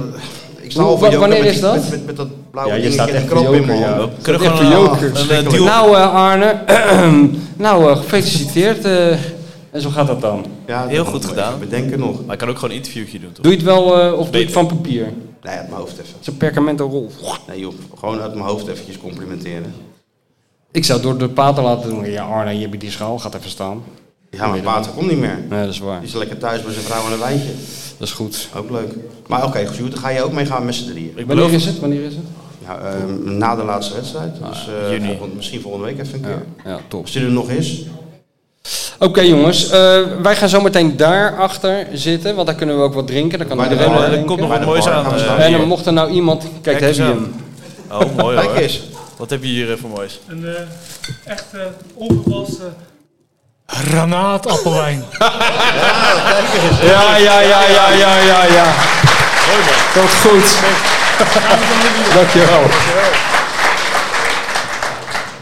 Ik sta
Hoe-
al voor
wa-
Joker
wanneer
met
is
die-
dat?
Met, met, met dat blauwe
Ja, je
dingetje
staat
en die
echt
krab in
Joker,
mijn
ja.
hand.
Kunnen we
Echt
gewoon
een
een,
joker.
een, eh, deal?
Nou, eh, Arne. nou, eh, gefeliciteerd. eh, en zo gaat dat dan.
Ja, dat
Heel
moet
goed
ik
gedaan.
even Bedenken nog.
Maar ik kan ook gewoon een interviewtje doen, toch?
Doe je het wel eh, of doe je het
Beter.
van papier?
Nee, uit mijn hoofd even.
Zo'n perkamenten rol.
Nee joh, gewoon uit mijn hoofd eventjes complimenteren.
Ik zou het door de pater laten doen. Ja, Arne, je hebt die schaal. Gaat even staan.
Ja, maar water komt niet meer.
Nee, dat is waar.
Die is lekker thuis met zijn vrouw en een wijntje.
Dat is goed.
Ook leuk. Maar oké, okay, dan ga je ook mee gaan met z'n drieën?
Wanneer is het? Wanneer is het?
Ja, ehm, na de laatste wedstrijd.
Ah,
Dus eh, volgende- misschien volgende week even een keer.
Ja, top.
Als die er nog is.
Oké jongens, eh, wij gaan zo meteen daarachter zitten, want daar kunnen we ook wat drinken. Daar kan
Bij de
iedereen
bar,
wat
hè?
Er komt nog
drinken.
wat moois aan. eh,
En dan
hier.
mocht er nou iemand... Kijk, daar heb
eens
je
aan.
hem.
Oh, mooi
Kijk
hoor.
eens.
Wat heb je hier eh, voor moois?
Een eh, echt eh, ongewassen granaatappelwijn.
Ja, ja, ja, ja, ja, ja, ja. Komt goed. Dankjewel.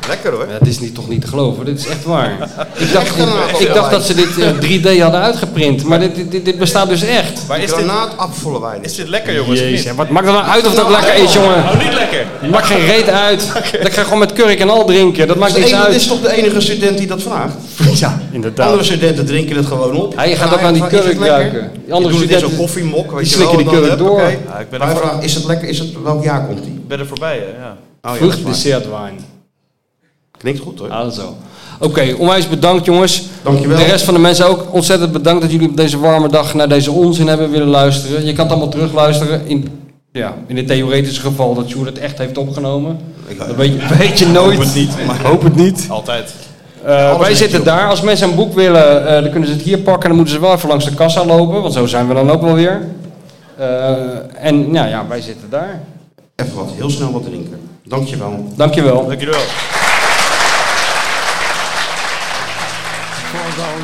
Lekker hoor.
Ja, dit is niet, toch niet te geloven, dit is echt waar. Ik dacht, ik dacht dat ze dit in 3D hadden uitgeprint, maar dit, dit, dit bestaat dus echt.
Maar is dit,
Granaat afvolle nou wijn.
is dit lekker, jongens? of
Jezus,
niet?
hè, wat maakt het nou uit of dat lekker is, jongen?
Oh, niet lekker.
Maakt geen reet uit. Dat ga ik gewoon met kurk en al drinken, dat maakt
Dit is,
niks
de enige- dit is
uit.
toch de enige student die dat vraagt?
Ja, inderdaad.
Andere studenten drinken het gewoon op.
Hij gaat
En
ook aan die
vraagt, is het
kurk
lekker?
ruiken. Die
Die
andere
andere studenten...
studenten-
in zo'n koffiemok. Weet
die
je
slikken
wel,
die
en dan
kurk door.
huppakee.
Ja, ik ben er
Hij
voor-
vraagt, is het lekker? Is het, welk jaar komt die?
Ik ben er voorbij, hè,
Oh,
ja.
ja, dat is waar.
Vruchtdessertwijn.
Klinkt goed hoor.
Ah, zo. Oké, onwijs bedankt jongens.
Dankjewel.
De rest van de mensen ook ontzettend bedankt dat jullie op deze warme dag naar deze onzin hebben willen luisteren. Je kan het allemaal terugluisteren in, ja, in het theoretische geval dat Sjoerd het echt heeft opgenomen. Dat weet je, weet je nooit. Hoop het niet. Maar hoop het niet.
Altijd.
Eh, wij zitten daar. Als mensen een boek willen, eh, dan kunnen ze het hier pakken. Dan moeten ze wel even langs de kassa lopen, want zo zijn we dan ook wel weer. Eh, en nou ja, wij zitten daar.
Even wat, heel snel wat drinken. Dankjewel.
Dankjewel.
Dank jullie wel.
Volgens al een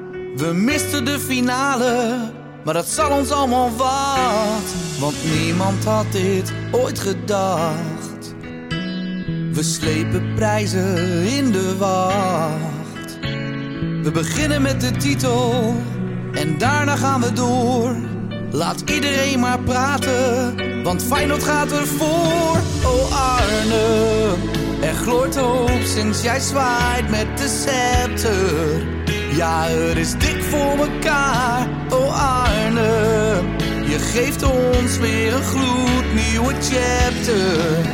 We misten de finale, maar dat zal ons allemaal wat. Want niemand had dit ooit gedacht. We slepen prijzen in de wacht. We beginnen met de titel en daarna gaan we door. Laat iedereen maar praten, want Feyenoord gaat ervoor. Oh Arne, er gloort hoop sinds jij zwaait met de scepter. Ja, er is dik voor elkaar, oh Arne. Je geeft ons weer een gloednieuwe chapter.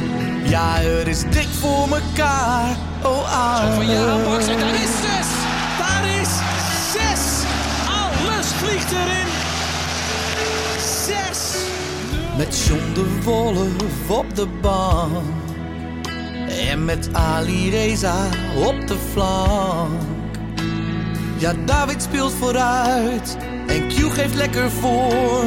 Ja, er is dik voor elkaar, oh Arne.
daar is zes! Daar is zes! Alles vliegt erin! Zes!
Met John de Wolf op de bank. En met Ali Reza op de flank. Ja, David speelt vooruit. En Q geeft lekker voor.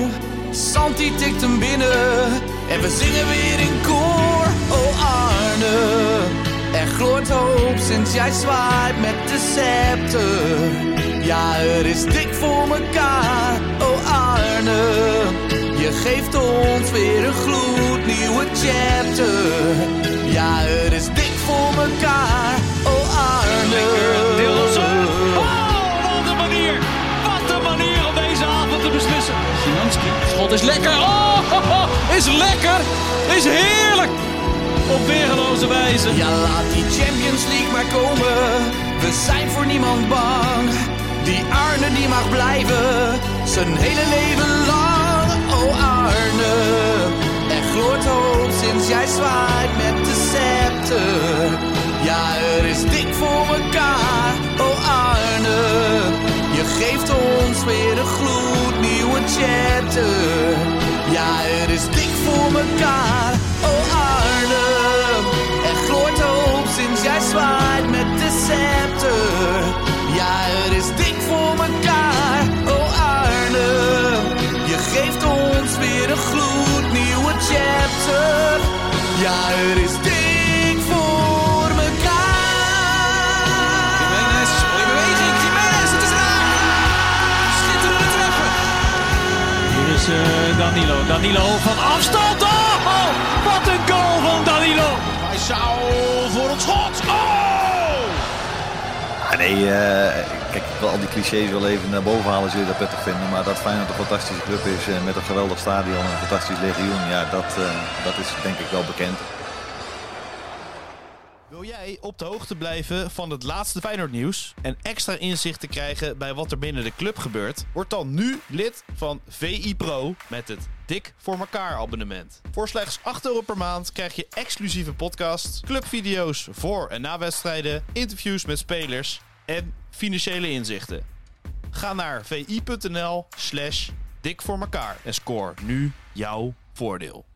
Santi tikt hem binnen. En we zingen weer in koor. Oh Arne, er gloort hoop sinds jij zwaait met de scepter. Ja, er is dik voor mekaar. Oh Arne, je geeft ons weer een gloed. nieuwe chapter. Ja, het is dik voor mekaar. Oh, Arne.
Dillensen. Oh, wat een manier. Wat een manier om deze avond te beslissen. Szymanski. Schot is lekker. Oh, ho, ho, is lekker. Is heerlijk. Op weergeloze wijze.
Ja, laat die Champions League maar komen. We zijn voor niemand bang. Die Arne die mag blijven. Zijn hele leven lang. Oh Arne. Er gloort hoop sinds jij zwaait met de scepter. Ja, er is dik voor elkaar. Oh Arne. Je geeft ons weer een gloednieuwe chapter. Ja, er is dik voor elkaar. Oh Arne. Er gloort hoop sinds jij zwaait met de scepter. Ja, het is dik voor mekaar, oh Arne. Je geeft ons weer een gloednieuwe chapter. Ja, het is dik voor mekaar.
Jiménez, mooie beweging. Jiménez, het is raak. Schitterende treffer. Hier is eh, Danilo. Danilo van afstand. Oh, oh, wat een goal van Danilo. Hij zou voor het schot. Oh!
Ja, nee, eh, kijk, ik wil al die clichés wel even naar boven halen, zul je dat prettig vinden. Maar dat Feyenoord een fantastische club is eh, met een geweldig stadion en een fantastisch legioen, ja, dat, eh, dat is denk ik wel bekend.
Wil jij op de hoogte blijven van het laatste Feyenoord nieuws en extra inzicht te krijgen bij wat er binnen de club gebeurt? Word dan nu lid van VI Pro met het Dik voor elkaar abonnement. Voor slechts 8 euro per maand krijg je exclusieve podcasts, clubvideo's voor en na wedstrijden, interviews met spelers en financiële inzichten. Ga naar vi.nl slash dik voor elkaar en score nu jouw voordeel.